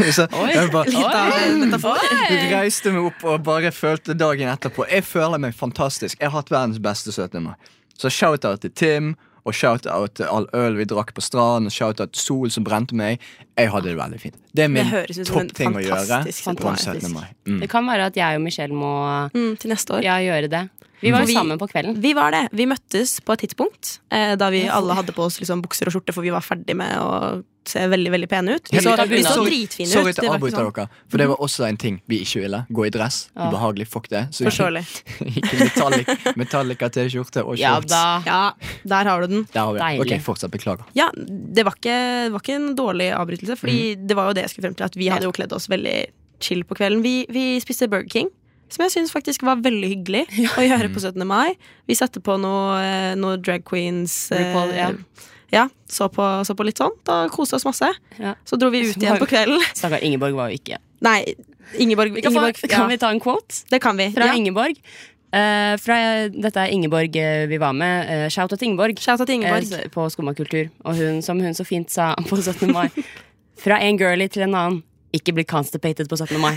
Speaker 3: Så jeg bare
Speaker 5: Litt av en metafor.
Speaker 3: reiste meg opp og bare følte dagen etterpå. Jeg føler meg fantastisk. Jeg har hatt verdens beste 17. mai. Så shout-out til Tim, og shout-out til all øl vi drakk på stranden, og shout-out til sol som brente meg. Jeg hadde det veldig fint. Det er min
Speaker 5: Det høres ut som en
Speaker 3: toppting å gjøre
Speaker 5: fantastisk
Speaker 3: på en 17.
Speaker 5: fantastisk.
Speaker 3: mai. Mm.
Speaker 4: Det kan være at jeg og Michelle må
Speaker 5: Mm, til neste år.
Speaker 4: ja, gjøre det. Vi var
Speaker 5: For vi-
Speaker 4: jo sammen på kvelden.
Speaker 5: Vi var det. Vi møttes på et tidspunkt eh, da vi alle hadde på oss liksom, bukser og skjorte, for vi var ferdig med å se veldig veldig pene ut. Vi
Speaker 4: Helt
Speaker 5: så,
Speaker 4: ut av
Speaker 5: vi så
Speaker 4: bunaden.
Speaker 5: dritfine ut.
Speaker 3: Sorry til
Speaker 5: Det
Speaker 3: å
Speaker 5: var ikke
Speaker 3: avbryte
Speaker 5: sånn-
Speaker 3: dere, for det var også en ting vi ikke ville. Gå i dress.
Speaker 4: Ja.
Speaker 3: Ubehagelig. Fuck det. Så (laughs)
Speaker 5: Forståelig.
Speaker 3: gikk metallic, metallica T-skjorte og
Speaker 4: Ja
Speaker 3: shorts.
Speaker 4: da.
Speaker 5: Ja, der har du den.
Speaker 3: Der har vi. det.
Speaker 4: Deilig.
Speaker 3: Ok, fortsatt. Beklager.
Speaker 5: Ja, det var ikke, det var ikke en dårlig avbrytelse, Fordi
Speaker 4: Mm.
Speaker 5: det var jo det jeg skulle frem til. At vi hadde jo kledd oss veldig chill på kvelden. Vi, vi spiste Burger King, som jeg syns faktisk var veldig hyggelig å gjøre
Speaker 4: Mm.
Speaker 5: på 17. mai. Vi satte på noe, eh, noe drag queens. eh,
Speaker 4: RuPaul, ja.
Speaker 5: ja, så, på, så på litt sånt og koste oss masse.
Speaker 4: Ja.
Speaker 5: Så dro vi ut igjen på kvelden.
Speaker 4: Stakkar Ingeborg var jo ikke
Speaker 5: Nei, Ingeborg,
Speaker 4: Vi kan,
Speaker 5: Ingeborg
Speaker 4: få,
Speaker 5: ja,
Speaker 4: kan vi ta en quote
Speaker 5: Det kan vi.
Speaker 4: fra
Speaker 5: Ja.
Speaker 4: Ingeborg? Eh, fra, dette er Ingeborg eh, vi var med. Uh, shout out til Ingeborg.
Speaker 5: Shout out til Ingeborg.
Speaker 4: eh, på Skummakultur. Og hun, som hun så fint sa på 17. mai Fra en girlie til en annen. Ikke bli constipated på 17. (laughs) mai.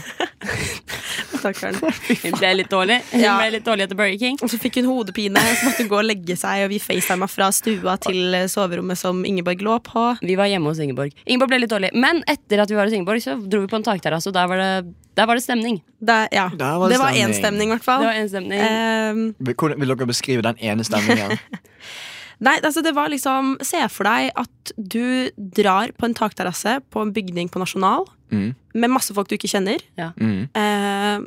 Speaker 5: Takk for den.
Speaker 4: (laughs) Hun ble litt dårlig Hun
Speaker 5: Ja.
Speaker 4: ble litt dårlig etter Burger King.
Speaker 5: Og så fikk hun hodepine, så måtte hun gå og legge seg, og vi facetima fra stua til eh, soverommet som Ingeborg lå på.
Speaker 4: Vi var hjemme hos Ingeborg. Ingeborg ble litt dårlig Men etter at vi var hos Ingeborg, så dro vi på en takterrasse, og der var det, der var det stemning.
Speaker 5: Det, ja.
Speaker 3: Der var det
Speaker 5: det var
Speaker 3: stemning.
Speaker 5: én stemning, i hvert fall.
Speaker 4: Det var en stemning
Speaker 5: Ehm,
Speaker 3: Hvordan vil dere beskrive den ene
Speaker 5: (laughs)
Speaker 3: stemningen?
Speaker 5: nei, altså det var liksom Se for deg at du drar på en takterrasse på en bygning på Nasjonal
Speaker 3: Mm.
Speaker 5: med masse folk du ikke kjenner,
Speaker 3: Mm.
Speaker 5: ehm,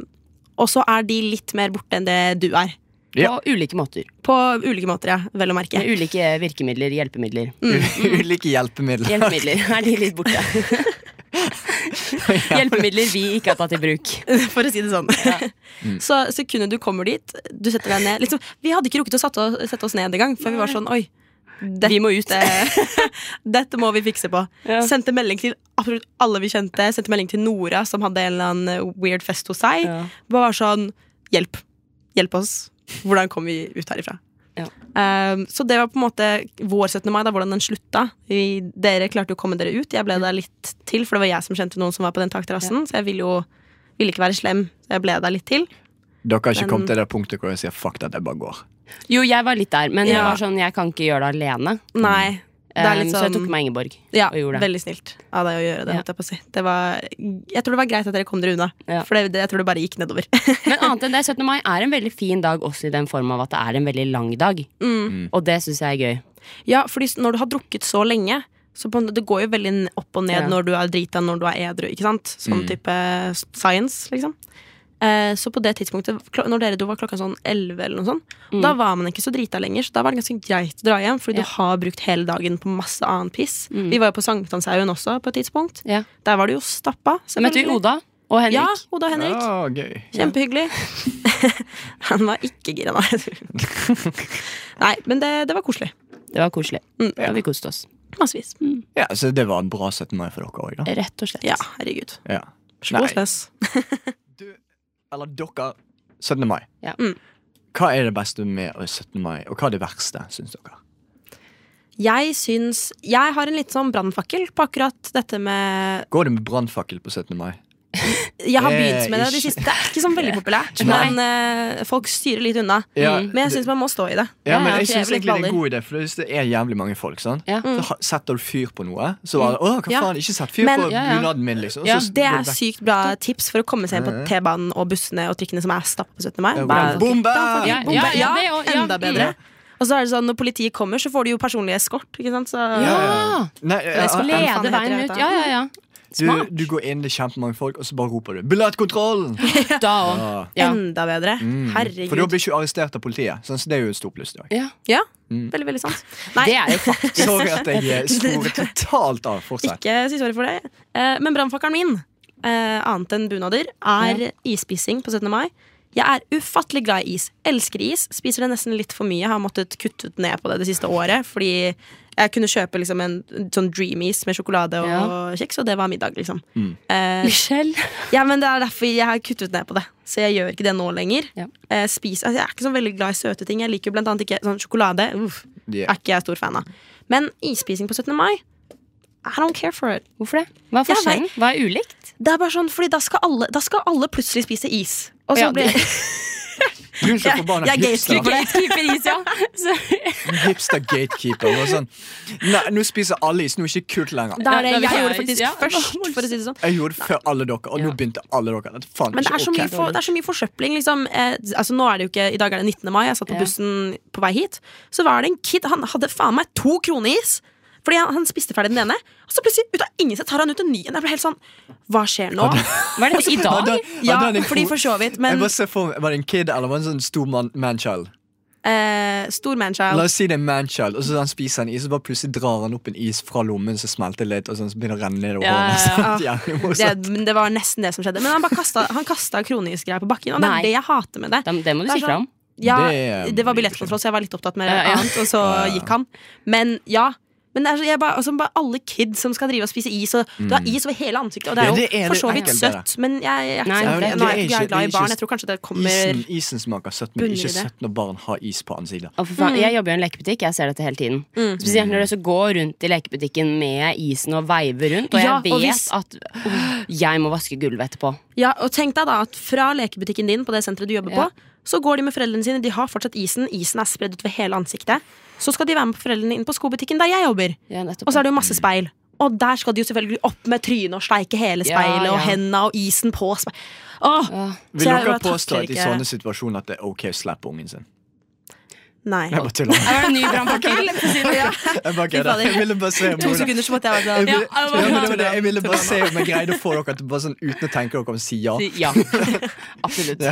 Speaker 5: og så er de litt mer borte enn det du er.
Speaker 3: Ja.
Speaker 4: på ulike måter.
Speaker 5: På ulike måter, ja. Vel å merke.
Speaker 4: Med ulike virkemidler, hjelpemidler.
Speaker 5: Mm.
Speaker 3: (laughs) Ulike hjelpemidler.
Speaker 4: Hjelpemidler er de litt borte. Hjelpemidler vi ikke har tatt i bruk.
Speaker 5: (laughs) For å si det sånn. Så sekundet du kommer dit, du setter deg ned liksom, Vi hadde ikke rukket å sette oss, sette oss ned engang, for vi var sånn Oi. Dette,
Speaker 4: Vi må ut.
Speaker 5: (laughs) dette må vi fikse på.
Speaker 4: Ja.
Speaker 5: Sendte melding til absolutt alle vi kjente. Sendte melding til Nora, som hadde en eller annen eh, weird fest hos seg.
Speaker 4: Ja.
Speaker 5: Bare var sånn Hjelp. Hjelp oss. Hvordan kom vi ut herifra?
Speaker 4: Ja.
Speaker 5: Um, så det var på en måte vår 17. mai, da, hvordan den slutta. Vi, dere klarte jo å komme dere ut. Jeg ble der litt til, for det var jeg som kjente noen som var på den takterrassen. Så jeg ville jo ville ikke være slem, så jeg ble der litt til.
Speaker 3: (laughs) Dere har ikke
Speaker 5: Men-
Speaker 3: kommet til det punktet hvor jeg sier fuck that, jeg bare går.
Speaker 4: Jo, jeg var litt der, men jeg
Speaker 5: Ja.
Speaker 4: var sånn, jeg kan ikke gjøre det alene.
Speaker 5: Nei. Det er litt
Speaker 4: Um, Så jeg
Speaker 5: sånn-
Speaker 4: tok med Ingeborg.
Speaker 5: Ja,
Speaker 4: og gjorde det.
Speaker 5: veldig snilt av deg å gjøre det.
Speaker 4: Ja.
Speaker 5: holdt Jeg, på å si. det var, jeg tror det var greit at dere kom dere unna,
Speaker 4: Ja.
Speaker 5: for det, det, jeg tror det bare gikk nedover. (laughs)
Speaker 4: Men annet enn det, 17. mai er en veldig fin dag også i den form av at det er en veldig lang dag.
Speaker 5: Mm.
Speaker 4: Og det syns jeg er gøy.
Speaker 5: ja, fordi s- når du har drukket så lenge, så på, en- det går jo veldig n- opp og ned
Speaker 4: Ja. Mm.
Speaker 5: når du er drita, når du er edru. ikke sant? Sånn type s- science, liksom. Eh, så på det tidspunktet, klo- når dere dro, var klokka sånn 11 eller noe sånt. Da var man ikke så drita lenger, så da var det ganske greit å dra hjem,
Speaker 4: Mm. Ja. Mm.
Speaker 5: fordi du har brukt hele dagen på masse annen piss. Vi var jo på Sankthanshaugen også på et tidspunkt.
Speaker 4: Ja.
Speaker 5: Der var det jo stappa.
Speaker 4: Da møtte vi
Speaker 5: selvfølgelig.
Speaker 4: Oda. Og Henrik.
Speaker 5: Ja, Oda og Henrik.
Speaker 3: Ja, gøy.
Speaker 5: Kjempehyggelig. (laughs) Han var ikke gira, nei.
Speaker 4: (laughs)
Speaker 5: nei, men det, det var koselig.
Speaker 4: Det var koselig.
Speaker 5: Mm.
Speaker 4: Og vi koste oss.
Speaker 5: Massevis.
Speaker 3: Ja, så det var en bra 17. mai for dere òg, da.
Speaker 4: Rett og slett.
Speaker 5: Ja, herregud.
Speaker 3: Ja.
Speaker 5: God
Speaker 3: Nei,
Speaker 5: stress.
Speaker 3: du, eller dere 17. mai.
Speaker 4: Ja.
Speaker 5: Mm.
Speaker 3: Hva er det beste med 17. mai, og hva er det verste, syns dere?
Speaker 5: Jeg syns Jeg har en litt sånn brannfakkel på akkurat dette med
Speaker 3: Går det med brannfakkel på 17. mai?
Speaker 5: Jeg har
Speaker 3: Det er
Speaker 5: begynt med det de
Speaker 3: Eh, ikke-
Speaker 5: siste. Det er ikke sånn
Speaker 3: (laughs)
Speaker 5: veldig populært,
Speaker 3: Nei.
Speaker 5: men eh, folk styrer litt unna. Mm.
Speaker 3: Ja,
Speaker 5: Men jeg syns man må stå i det.
Speaker 3: Ja,
Speaker 4: Ja,
Speaker 3: men
Speaker 4: ja,
Speaker 3: jeg
Speaker 5: for jeg
Speaker 3: syns
Speaker 5: vil ikke
Speaker 3: egentlig det er en
Speaker 5: baller.
Speaker 3: god idé, for hvis det er jævlig mange folk, sant?
Speaker 4: Ja.
Speaker 3: så ha- setter du fyr på noe, så bare Å, hva
Speaker 5: Ja.
Speaker 3: faen, ikke sett fyr
Speaker 5: Men-
Speaker 3: på
Speaker 4: Ja, ja.
Speaker 3: bunaden min, liksom. og
Speaker 4: Ja,
Speaker 3: så
Speaker 5: Det
Speaker 3: går
Speaker 5: er
Speaker 3: vekk.
Speaker 5: sykt bra tips for å komme seg inn på T-banen og bussene og trikkene som er stappa på 17. mai.
Speaker 3: Ja,
Speaker 5: Bare-
Speaker 3: Bombe!
Speaker 4: Ja,
Speaker 5: Bombe-
Speaker 4: ja, ja, det
Speaker 5: ja,
Speaker 4: også, ja.
Speaker 5: enda bedre. Og så er det sånn, når politiet kommer, så får du jo personlig eskort. Ikke sant? Så,
Speaker 4: Ja!
Speaker 3: Nei,
Speaker 4: Jeg skal
Speaker 5: faen
Speaker 3: ja,
Speaker 4: lede
Speaker 5: heter
Speaker 4: veien
Speaker 5: det,
Speaker 4: ut.
Speaker 5: vet
Speaker 4: Ja, ja, ja.
Speaker 3: ja,
Speaker 4: Smart.
Speaker 3: du, du går inn, det er kjempemange folk, og så bare roper
Speaker 5: (laughs)
Speaker 3: du 'Billettkontrollen!'
Speaker 4: Da òg.
Speaker 3: Ja.
Speaker 4: Ja.
Speaker 5: Enda bedre.
Speaker 3: Mm. For da
Speaker 5: Herregud.
Speaker 3: blir ikke du arrestert av politiet. Sånn, så det er jo en stor pluss. i
Speaker 5: (laughs)
Speaker 3: dag.
Speaker 4: Ja.
Speaker 5: Ja,
Speaker 3: Mm.
Speaker 5: veldig, veldig sant. Nei,
Speaker 4: Det er jo faktisk
Speaker 3: Sorry at jeg eh, sporer totalt av. Fortsett.
Speaker 5: ikke si sorry for det. Eh, Men brannfakkelen min, eh, annet enn bunader, er isspising på 17. mai. Jeg er ufattelig glad i is. Elsker is. Spiser det nesten litt for mye. Jeg har måttet kutte ut ned på det det siste året. Fordi jeg kunne kjøpe liksom en sånn dreamies med sjokolade og
Speaker 4: Ja.
Speaker 5: kjeks, og det var middag, liksom. Eh,
Speaker 4: Michelle.
Speaker 5: ja, men det er derfor jeg har kuttet ned på det. Så jeg gjør ikke det nå lenger.
Speaker 4: Ja.
Speaker 5: Eh, spis, altså, jeg er ikke så veldig glad i søte ting. Jeg liker jo blant annet ikke sånn sjokolade. Uff,
Speaker 3: Ja.
Speaker 5: Er ikke jeg stor fan av. Men isspising på 17. mai I don't care for it.
Speaker 4: Hvorfor det? Hva er forskjellen? Hva er
Speaker 5: (laughs)
Speaker 4: ulikt?
Speaker 5: Det er bare sånn, fordi da skal alle, da skal alle plutselig spise is. Og så
Speaker 4: Ja, (laughs)
Speaker 5: blir
Speaker 3: Du er så
Speaker 5: Jeg-
Speaker 3: forbanna
Speaker 5: jeg
Speaker 3: hipster.
Speaker 5: gatekeeper.
Speaker 4: Gatekeeper is, ja. Så,
Speaker 3: Hipster gatekeeper. Og sånn. Nei, nå spiser alle is. Nå er det ikke kult lenger.
Speaker 5: Da
Speaker 4: Ja, da
Speaker 5: er det,
Speaker 4: vil
Speaker 5: jeg
Speaker 4: jeg
Speaker 5: gjorde
Speaker 4: ha
Speaker 5: det
Speaker 4: is,
Speaker 5: faktisk
Speaker 4: ja. (laughs)
Speaker 5: først, for å si det sånn.
Speaker 3: Jeg gjorde det før alle dere, og nå
Speaker 4: Ja.
Speaker 3: begynte alle dere. Det er faen
Speaker 5: Men det
Speaker 3: ikke
Speaker 5: er så mye,
Speaker 3: ok.
Speaker 5: for, det er så mye forsøpling. Liksom. Eh, altså, nå er det jo ikke, I dag er det 19. mai, jeg satt på
Speaker 4: Ja.
Speaker 5: bussen på vei hit. Så var det en kid, han hadde faen meg to kroner i is. Fordi han, han spiste ferdig den ene, og så plutselig ut av ingen sett tar han ut en ny en. Jeg ble helt sånn, hva skjer nå?
Speaker 4: hva er dette
Speaker 5: (laughs)
Speaker 4: i dag?
Speaker 3: Hadde-
Speaker 5: Ja,
Speaker 3: hadde han en
Speaker 5: fordi
Speaker 3: kro-
Speaker 5: for så vidt,
Speaker 3: Jeg
Speaker 5: men
Speaker 3: bare ser for meg, Var det en kid eller var det en sånn stor man- manchild?
Speaker 5: eh, stor
Speaker 3: La
Speaker 5: manchild.
Speaker 3: oss si det er en manchild, og så han spiser en is, og bare plutselig drar han opp en is fra lommen som smelter litt, og sånn, så begynner det å renne nedover
Speaker 4: Ja,
Speaker 3: hånden. (laughs) Ja,
Speaker 5: Det, men det var nesten det som skjedde. Men han bare kastet, han kasta kroneisgreier på bakken, og det
Speaker 4: Nei.
Speaker 5: er det jeg hater med det.
Speaker 4: Da- Det må du
Speaker 5: Det
Speaker 4: si
Speaker 5: er
Speaker 4: fra om.
Speaker 5: Ja,
Speaker 3: Det er
Speaker 5: det, var
Speaker 3: mye
Speaker 5: billettkontroll, så jeg var litt opptatt med
Speaker 4: Ja, ja.
Speaker 5: annet. Og så
Speaker 3: ja.
Speaker 5: gikk han. Men ja. Men det er så, jeg bare, altså, bare alle kids som skal drive og spise is. Og, Du har is over hele ansiktet, og det er
Speaker 3: Mm. Ja,
Speaker 5: jo
Speaker 3: det er
Speaker 5: for
Speaker 3: litt
Speaker 5: så vidt
Speaker 3: ekkelt, det der.
Speaker 5: søtt. Men jeg, jeg er ikke
Speaker 4: Nei,
Speaker 5: så
Speaker 4: det-
Speaker 5: glad- nå er jeg
Speaker 3: det
Speaker 5: ikke
Speaker 3: er
Speaker 5: jeg glad
Speaker 3: ikke-
Speaker 5: i barn. Jeg tror kanskje det kommer
Speaker 3: Isen, isen smaker søtt, men
Speaker 5: Bunner
Speaker 3: ikke
Speaker 5: i det.
Speaker 3: søtt når barn har is på ansiktet.
Speaker 4: Å, for
Speaker 5: Mm.
Speaker 4: faen. Jeg jobber i en lekebutikk, jeg ser dette hele tiden. Spesielt når du så går rundt i lekebutikken med isen og veiver rundt, og jeg
Speaker 5: Ja, og
Speaker 4: vet
Speaker 5: hvis-
Speaker 4: at øh, jeg må vaske gulvet etterpå.
Speaker 5: Ja, og tenk deg da at fra lekebutikken din på det senteret du jobber
Speaker 4: Ja.
Speaker 5: på, så går de med foreldrene sine, de har fortsatt isen, isen er spredd utover hele ansiktet. Så skal de være med på foreldrene inn på skobutikken der jeg jobber.
Speaker 4: Ja, nettopp.
Speaker 5: Og så er det jo masse speil. Og der skal de jo selvfølgelig opp med trynet og steike hele
Speaker 4: Ja,
Speaker 5: speilet og
Speaker 4: ja.
Speaker 5: henda og isen på speilet. Åh,
Speaker 3: Vil
Speaker 5: Så jeg
Speaker 3: dere
Speaker 5: bare
Speaker 3: påstå
Speaker 5: takler
Speaker 3: at i
Speaker 5: ikke-
Speaker 3: sånne situasjoner at det er ok å slappe ungen sin?
Speaker 5: Nei.
Speaker 3: Jeg
Speaker 5: (laughs)
Speaker 3: bare tuller.
Speaker 4: Her var det en ny brannfakkel.
Speaker 3: Jeg bare kødder. Jeg ville bare se om
Speaker 5: To
Speaker 3: noen-
Speaker 5: sekunder så måtte jeg være
Speaker 3: Jeg
Speaker 5: sånn.
Speaker 3: ville,
Speaker 4: Ja, det var
Speaker 3: ja, men det
Speaker 4: bra.
Speaker 3: var det. jeg ville bare se om jeg greide å få dere til bare sånn uten å tenke dere om å si ja.
Speaker 4: (laughs) Ja, absolutt.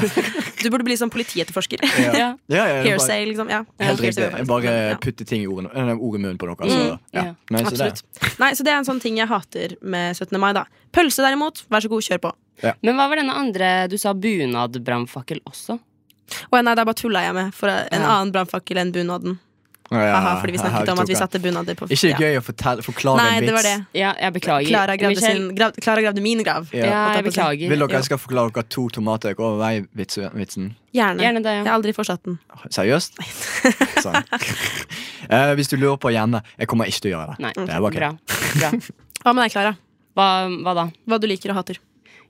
Speaker 5: Du burde bli sånn
Speaker 3: (laughs)
Speaker 5: politietterforsker.
Speaker 4: Ja.
Speaker 3: Ja, ja, det var
Speaker 5: Hearsay, liksom. Ja.
Speaker 3: Helt
Speaker 5: Hearsay,
Speaker 3: riktig.
Speaker 5: faktisk.
Speaker 3: Jeg bare
Speaker 5: Ja.
Speaker 3: putte ting i ordene, eh, ord i munnen på dere. Så, ja.
Speaker 4: Ja.
Speaker 3: Nei,
Speaker 5: Mm,
Speaker 3: så det.
Speaker 5: Absolutt. Nei, så det er en sånn ting jeg hater med 17. mai, da. Pølse, derimot, vær så god, kjør på.
Speaker 4: Men hva var denne andre du sa bunadbrannfakkel også?
Speaker 5: Å nei, der bare tulla jeg med for en
Speaker 4: Ja.
Speaker 5: annen brannfakkel enn bunaden.
Speaker 3: Ja, ja,
Speaker 5: Haha, fordi vi snakket
Speaker 3: haha,
Speaker 5: om at vi
Speaker 3: tok
Speaker 5: satte bunader på
Speaker 3: den. Ikke
Speaker 5: ja.
Speaker 3: gøy å fortelle, forklare
Speaker 5: Nei,
Speaker 3: en
Speaker 5: det var
Speaker 3: vits.
Speaker 5: det.
Speaker 4: Ja, jeg beklager.
Speaker 5: Klara gravde,
Speaker 4: Michelle-
Speaker 5: sin, grav, Klara gravde min grav.
Speaker 3: Ja.
Speaker 4: Ja,
Speaker 5: holdt jeg
Speaker 4: jeg
Speaker 5: på å si.
Speaker 4: beklager.
Speaker 3: Vil dere
Speaker 5: Jo.
Speaker 3: jeg skal forklare dere to tomater går vei-vitsen?
Speaker 5: Gjerne.
Speaker 4: Gjerne det, ja.
Speaker 5: Jeg har aldri forstått den.
Speaker 3: Seriøst? (laughs) Sånn.
Speaker 4: (laughs)
Speaker 3: Eh, hvis du lurer på hjemme, jeg kommer ikke til å gjøre det.
Speaker 4: Nei,
Speaker 3: Det var ok.
Speaker 4: bra. bra.
Speaker 5: Hva med deg, Klara?
Speaker 4: Hva, hva da?
Speaker 5: Hva du liker og hater?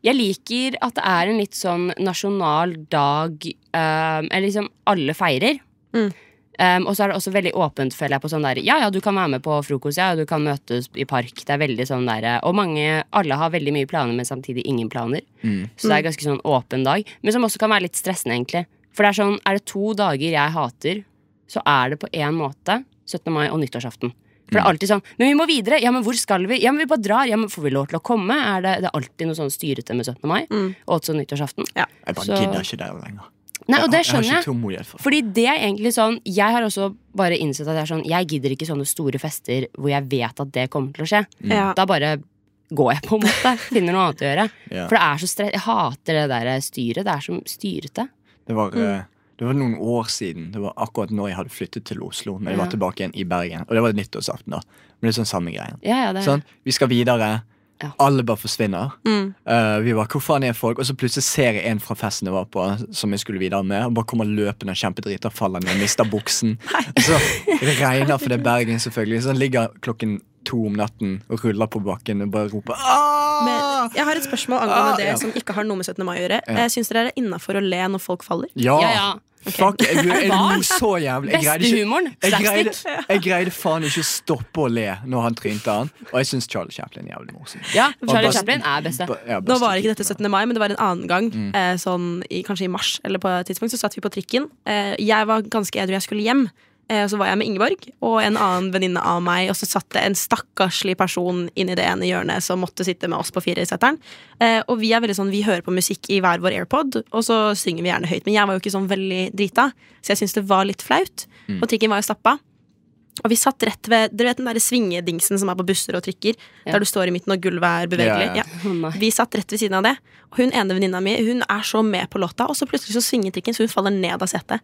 Speaker 4: Jeg liker at det er en litt sånn nasjonal dag eh, Eller liksom alle feirer.
Speaker 5: Mm.
Speaker 4: Um, og så er det også veldig åpent, føler jeg, på sånn der Ja, ja, du kan være med på frokost, ja, og du kan møtes i park. Det er veldig sånn der Og mange, alle har veldig mye planer, men samtidig ingen planer. Så
Speaker 3: Mm.
Speaker 4: det er ganske sånn åpen dag. Men som også kan være litt stressende, egentlig. For det er sånn, er det to dager jeg hater, så er det på én måte 17. mai og nyttårsaften. For det
Speaker 3: Mm.
Speaker 4: er alltid sånn Men vi må videre! Ja, men hvor skal vi? Ja, men vi bare drar! Ja, men får vi lov til å komme? Er det, det er alltid noe sånn styrete med 17. mai.
Speaker 3: Mm.
Speaker 4: Og også nyttårsaften.
Speaker 3: Jeg bare
Speaker 4: Så-
Speaker 3: gidder ikke det lenger.
Speaker 4: Nei, og det
Speaker 3: jeg har
Speaker 4: skjønner jeg.
Speaker 3: ikke tålmodighet for det.
Speaker 4: Fordi det er egentlig sånn Jeg har også bare
Speaker 3: Mm.
Speaker 4: innsett at jeg er sånn Jeg gidder ikke sånne store fester hvor jeg vet at det kommer til å skje.
Speaker 5: Ja.
Speaker 4: Da bare går jeg, på en måte. Finner noe annet å gjøre.
Speaker 3: Ja.
Speaker 4: For det er så stress. Jeg hater det der styret. Det er så styrete.
Speaker 3: Det var,
Speaker 4: Mm.
Speaker 3: eh, det var noen år siden. Det var akkurat når jeg hadde flyttet til Oslo. Når jeg
Speaker 4: Ja.
Speaker 3: var tilbake igjen i Bergen. Og det var nyttårsaften, da. Men det er sånn samme greien.
Speaker 4: Ja, ja, det er.
Speaker 3: Sånn, vi skal videre.
Speaker 4: Ja.
Speaker 3: Alle bare forsvinner.
Speaker 5: Mm.
Speaker 3: Eh, vi bare, hvor faen er folk? Og så plutselig ser jeg en fra festen jeg var på, som jeg skulle videre med. Og bare kommer løpende og kjempedrita, faller ned,
Speaker 4: (laughs)
Speaker 3: mister buksen. så det regner, for det er Bergen, selvfølgelig. Så han ligger klokken to om natten og ruller på bakken og bare roper «Ah!»
Speaker 5: Men jeg har et spørsmål angående
Speaker 3: Ah, ja.
Speaker 5: det som ikke har noe med 17. mai å gjøre.
Speaker 3: Ja.
Speaker 5: Jeg Syns dere er innafor å le når folk faller?
Speaker 3: Ja!
Speaker 4: Ja, ja.
Speaker 3: Fuck, jeg,
Speaker 4: (laughs)
Speaker 3: jeg,
Speaker 4: det
Speaker 3: lo
Speaker 4: barn?
Speaker 3: så jævlig. Jeg greide
Speaker 4: Beste
Speaker 3: ikke-
Speaker 4: humoren.
Speaker 3: Jeg greide,
Speaker 4: Slapstick.
Speaker 3: jeg greide faen ikke å stoppe å le når han trynte han. Og jeg syns Charlie Chaplin er jævlig morsom.
Speaker 4: Ja, Charlie
Speaker 3: Bare-
Speaker 4: Chaplin er beste.
Speaker 3: Ba- ja,
Speaker 5: Nå
Speaker 3: bare
Speaker 5: var ikke
Speaker 3: stikk
Speaker 5: dette
Speaker 3: ut
Speaker 5: 17. mai, men det var en annen gang. Eh, sånn i, kanskje i mars, eller på et tidspunkt, så satt vi på trikken. Eh, jeg var ganske edru, jeg skulle hjem. Eh, og så var jeg med Ingeborg og en annen venninne av meg, og så satt det en stakkarslig person inni det ene hjørnet som måtte sitte med oss på fireseteren. Eh, og vi er veldig sånn, vi hører på musikk i hver vår airpod, og så synger vi gjerne høyt. Men jeg var jo ikke sånn veldig drita, så jeg syns det var litt flaut. Og trikken var jo stappa. Og vi satt rett ved dere vet den der svingedingsen som er på busser og trikker. Der du står i midten og gulvet er bevegelig.
Speaker 3: Ja, ja.
Speaker 4: Å, nei.
Speaker 5: Vi satt rett ved siden av det. Og hun ene venninna mi hun er så med på låta, og så plutselig så svinger trikken, så hun faller ned av setet.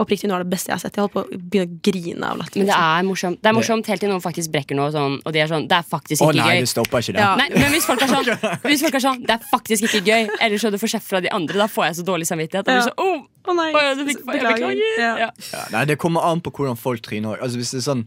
Speaker 5: Oppriktig, nå er det beste jeg har sett. Jeg holdt på å begynne å grine av latter.
Speaker 4: Men det
Speaker 3: Sånn.
Speaker 4: er morsomt Det er morsomt helt til noen faktisk brekker noe, sånn, og de er sånn Det er faktisk
Speaker 3: Å
Speaker 4: ikke
Speaker 3: nei,
Speaker 4: gøy.
Speaker 3: det stopper ikke det.
Speaker 5: Ja.
Speaker 4: Nei, men hvis folk er
Speaker 3: (laughs)
Speaker 4: sånn Hvis folk er sånn Det er faktisk ikke gøy, eller så du får kjeft fra de andre, da får jeg så dårlig samvittighet. Og blir
Speaker 5: Ja.
Speaker 4: sånn, oh,
Speaker 5: Å nei,
Speaker 4: å, ja, du fikk, jeg beklager.
Speaker 5: Ja.
Speaker 4: Ja.
Speaker 3: Ja, nei, det kommer an på hvordan folk tryner. Altså, hvis det er sånn,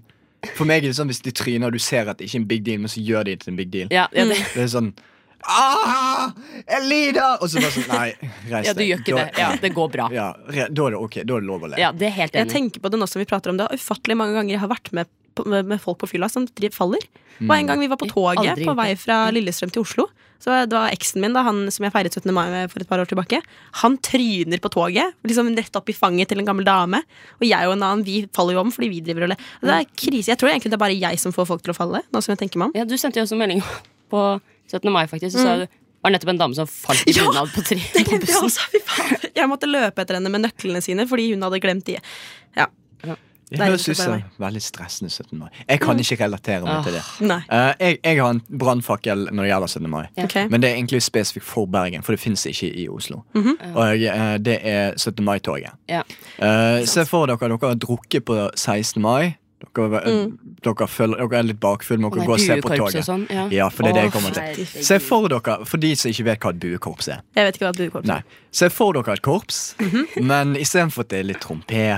Speaker 3: for meg er det sånn hvis de tryner og du ser at det ikke er en big deal, men så gjør de det til en big deal.
Speaker 4: Ja, ja, det,
Speaker 3: Det er sånn «Ah, Jeg lider! Og så bare sånn Nei, reis deg.
Speaker 4: ja, du gjør ikke det.
Speaker 3: Da-
Speaker 4: Ja, det går bra.
Speaker 3: Ja, re, da er det ok. Da er det lov å le.
Speaker 4: Ja, det er helt
Speaker 5: Jeg
Speaker 4: enig.
Speaker 5: tenker på det nå som vi prater om det. og Ufattelig mange ganger jeg har vært med, på, med, med folk på fylla som driv- faller. Det var en gang vi var på
Speaker 4: Mm. Jeg har
Speaker 5: toget
Speaker 4: aldri
Speaker 5: på
Speaker 4: gjort Mm.
Speaker 5: vei fra Lillestrøm til Oslo. Så det var eksen min, da, han som jeg feiret 17. mai med for et par år tilbake. Han tryner på toget, liksom rett opp i fanget til en gammel dame. Og jeg og en annen vi faller jo om fordi vi driver og ler. Det er krise. Jeg tror egentlig det er bare jeg som får folk til å falle. Nå som jeg tenker meg om
Speaker 4: Ja, du sendte jo også melding på 17. mai, faktisk, og så sa du var nettopp en dame som falt i
Speaker 5: Mm. Ja,
Speaker 4: bunad på tre
Speaker 5: Det
Speaker 4: på
Speaker 5: glemte jeg
Speaker 4: bussen.
Speaker 5: også, fy faen. Jeg måtte løpe etter henne med nøklene sine fordi hun hadde glemt de. Ja.
Speaker 3: det
Speaker 5: Nei,
Speaker 3: høres
Speaker 5: det
Speaker 3: ut
Speaker 5: stopper
Speaker 3: som veldig stressende 17. mai. Jeg
Speaker 4: Mm.
Speaker 3: kan ikke relatere meg til det.
Speaker 4: Ah,
Speaker 5: Nei.
Speaker 3: Eh, jeg, jeg har en brannfakkel når det gjelder 17. mai.
Speaker 5: Ok.
Speaker 3: Men det er egentlig spesifikt for Bergen, for det fins ikke i Oslo.
Speaker 4: Mhm.
Speaker 3: Og eh, det er 17. mai-toget.
Speaker 4: Ja.
Speaker 3: Eh, se for dere dere har drukket på 16. mai. Dere, eh, dere, føler, dere er litt bakfulle, men
Speaker 4: Og
Speaker 3: dere
Speaker 4: Mm. nei,
Speaker 3: går og ser på
Speaker 4: duekorps og
Speaker 3: toget.
Speaker 4: sånn. Ja.
Speaker 3: Ja, for det er det jeg
Speaker 5: Å,
Speaker 3: kommer til.
Speaker 4: herregud.
Speaker 3: Se for dere, for de som ikke vet hva et buekorps er.
Speaker 5: Jeg vet ikke hva buekorps
Speaker 3: Nei. Se for dere et korps,
Speaker 4: Mhm.
Speaker 3: men istedenfor at det er litt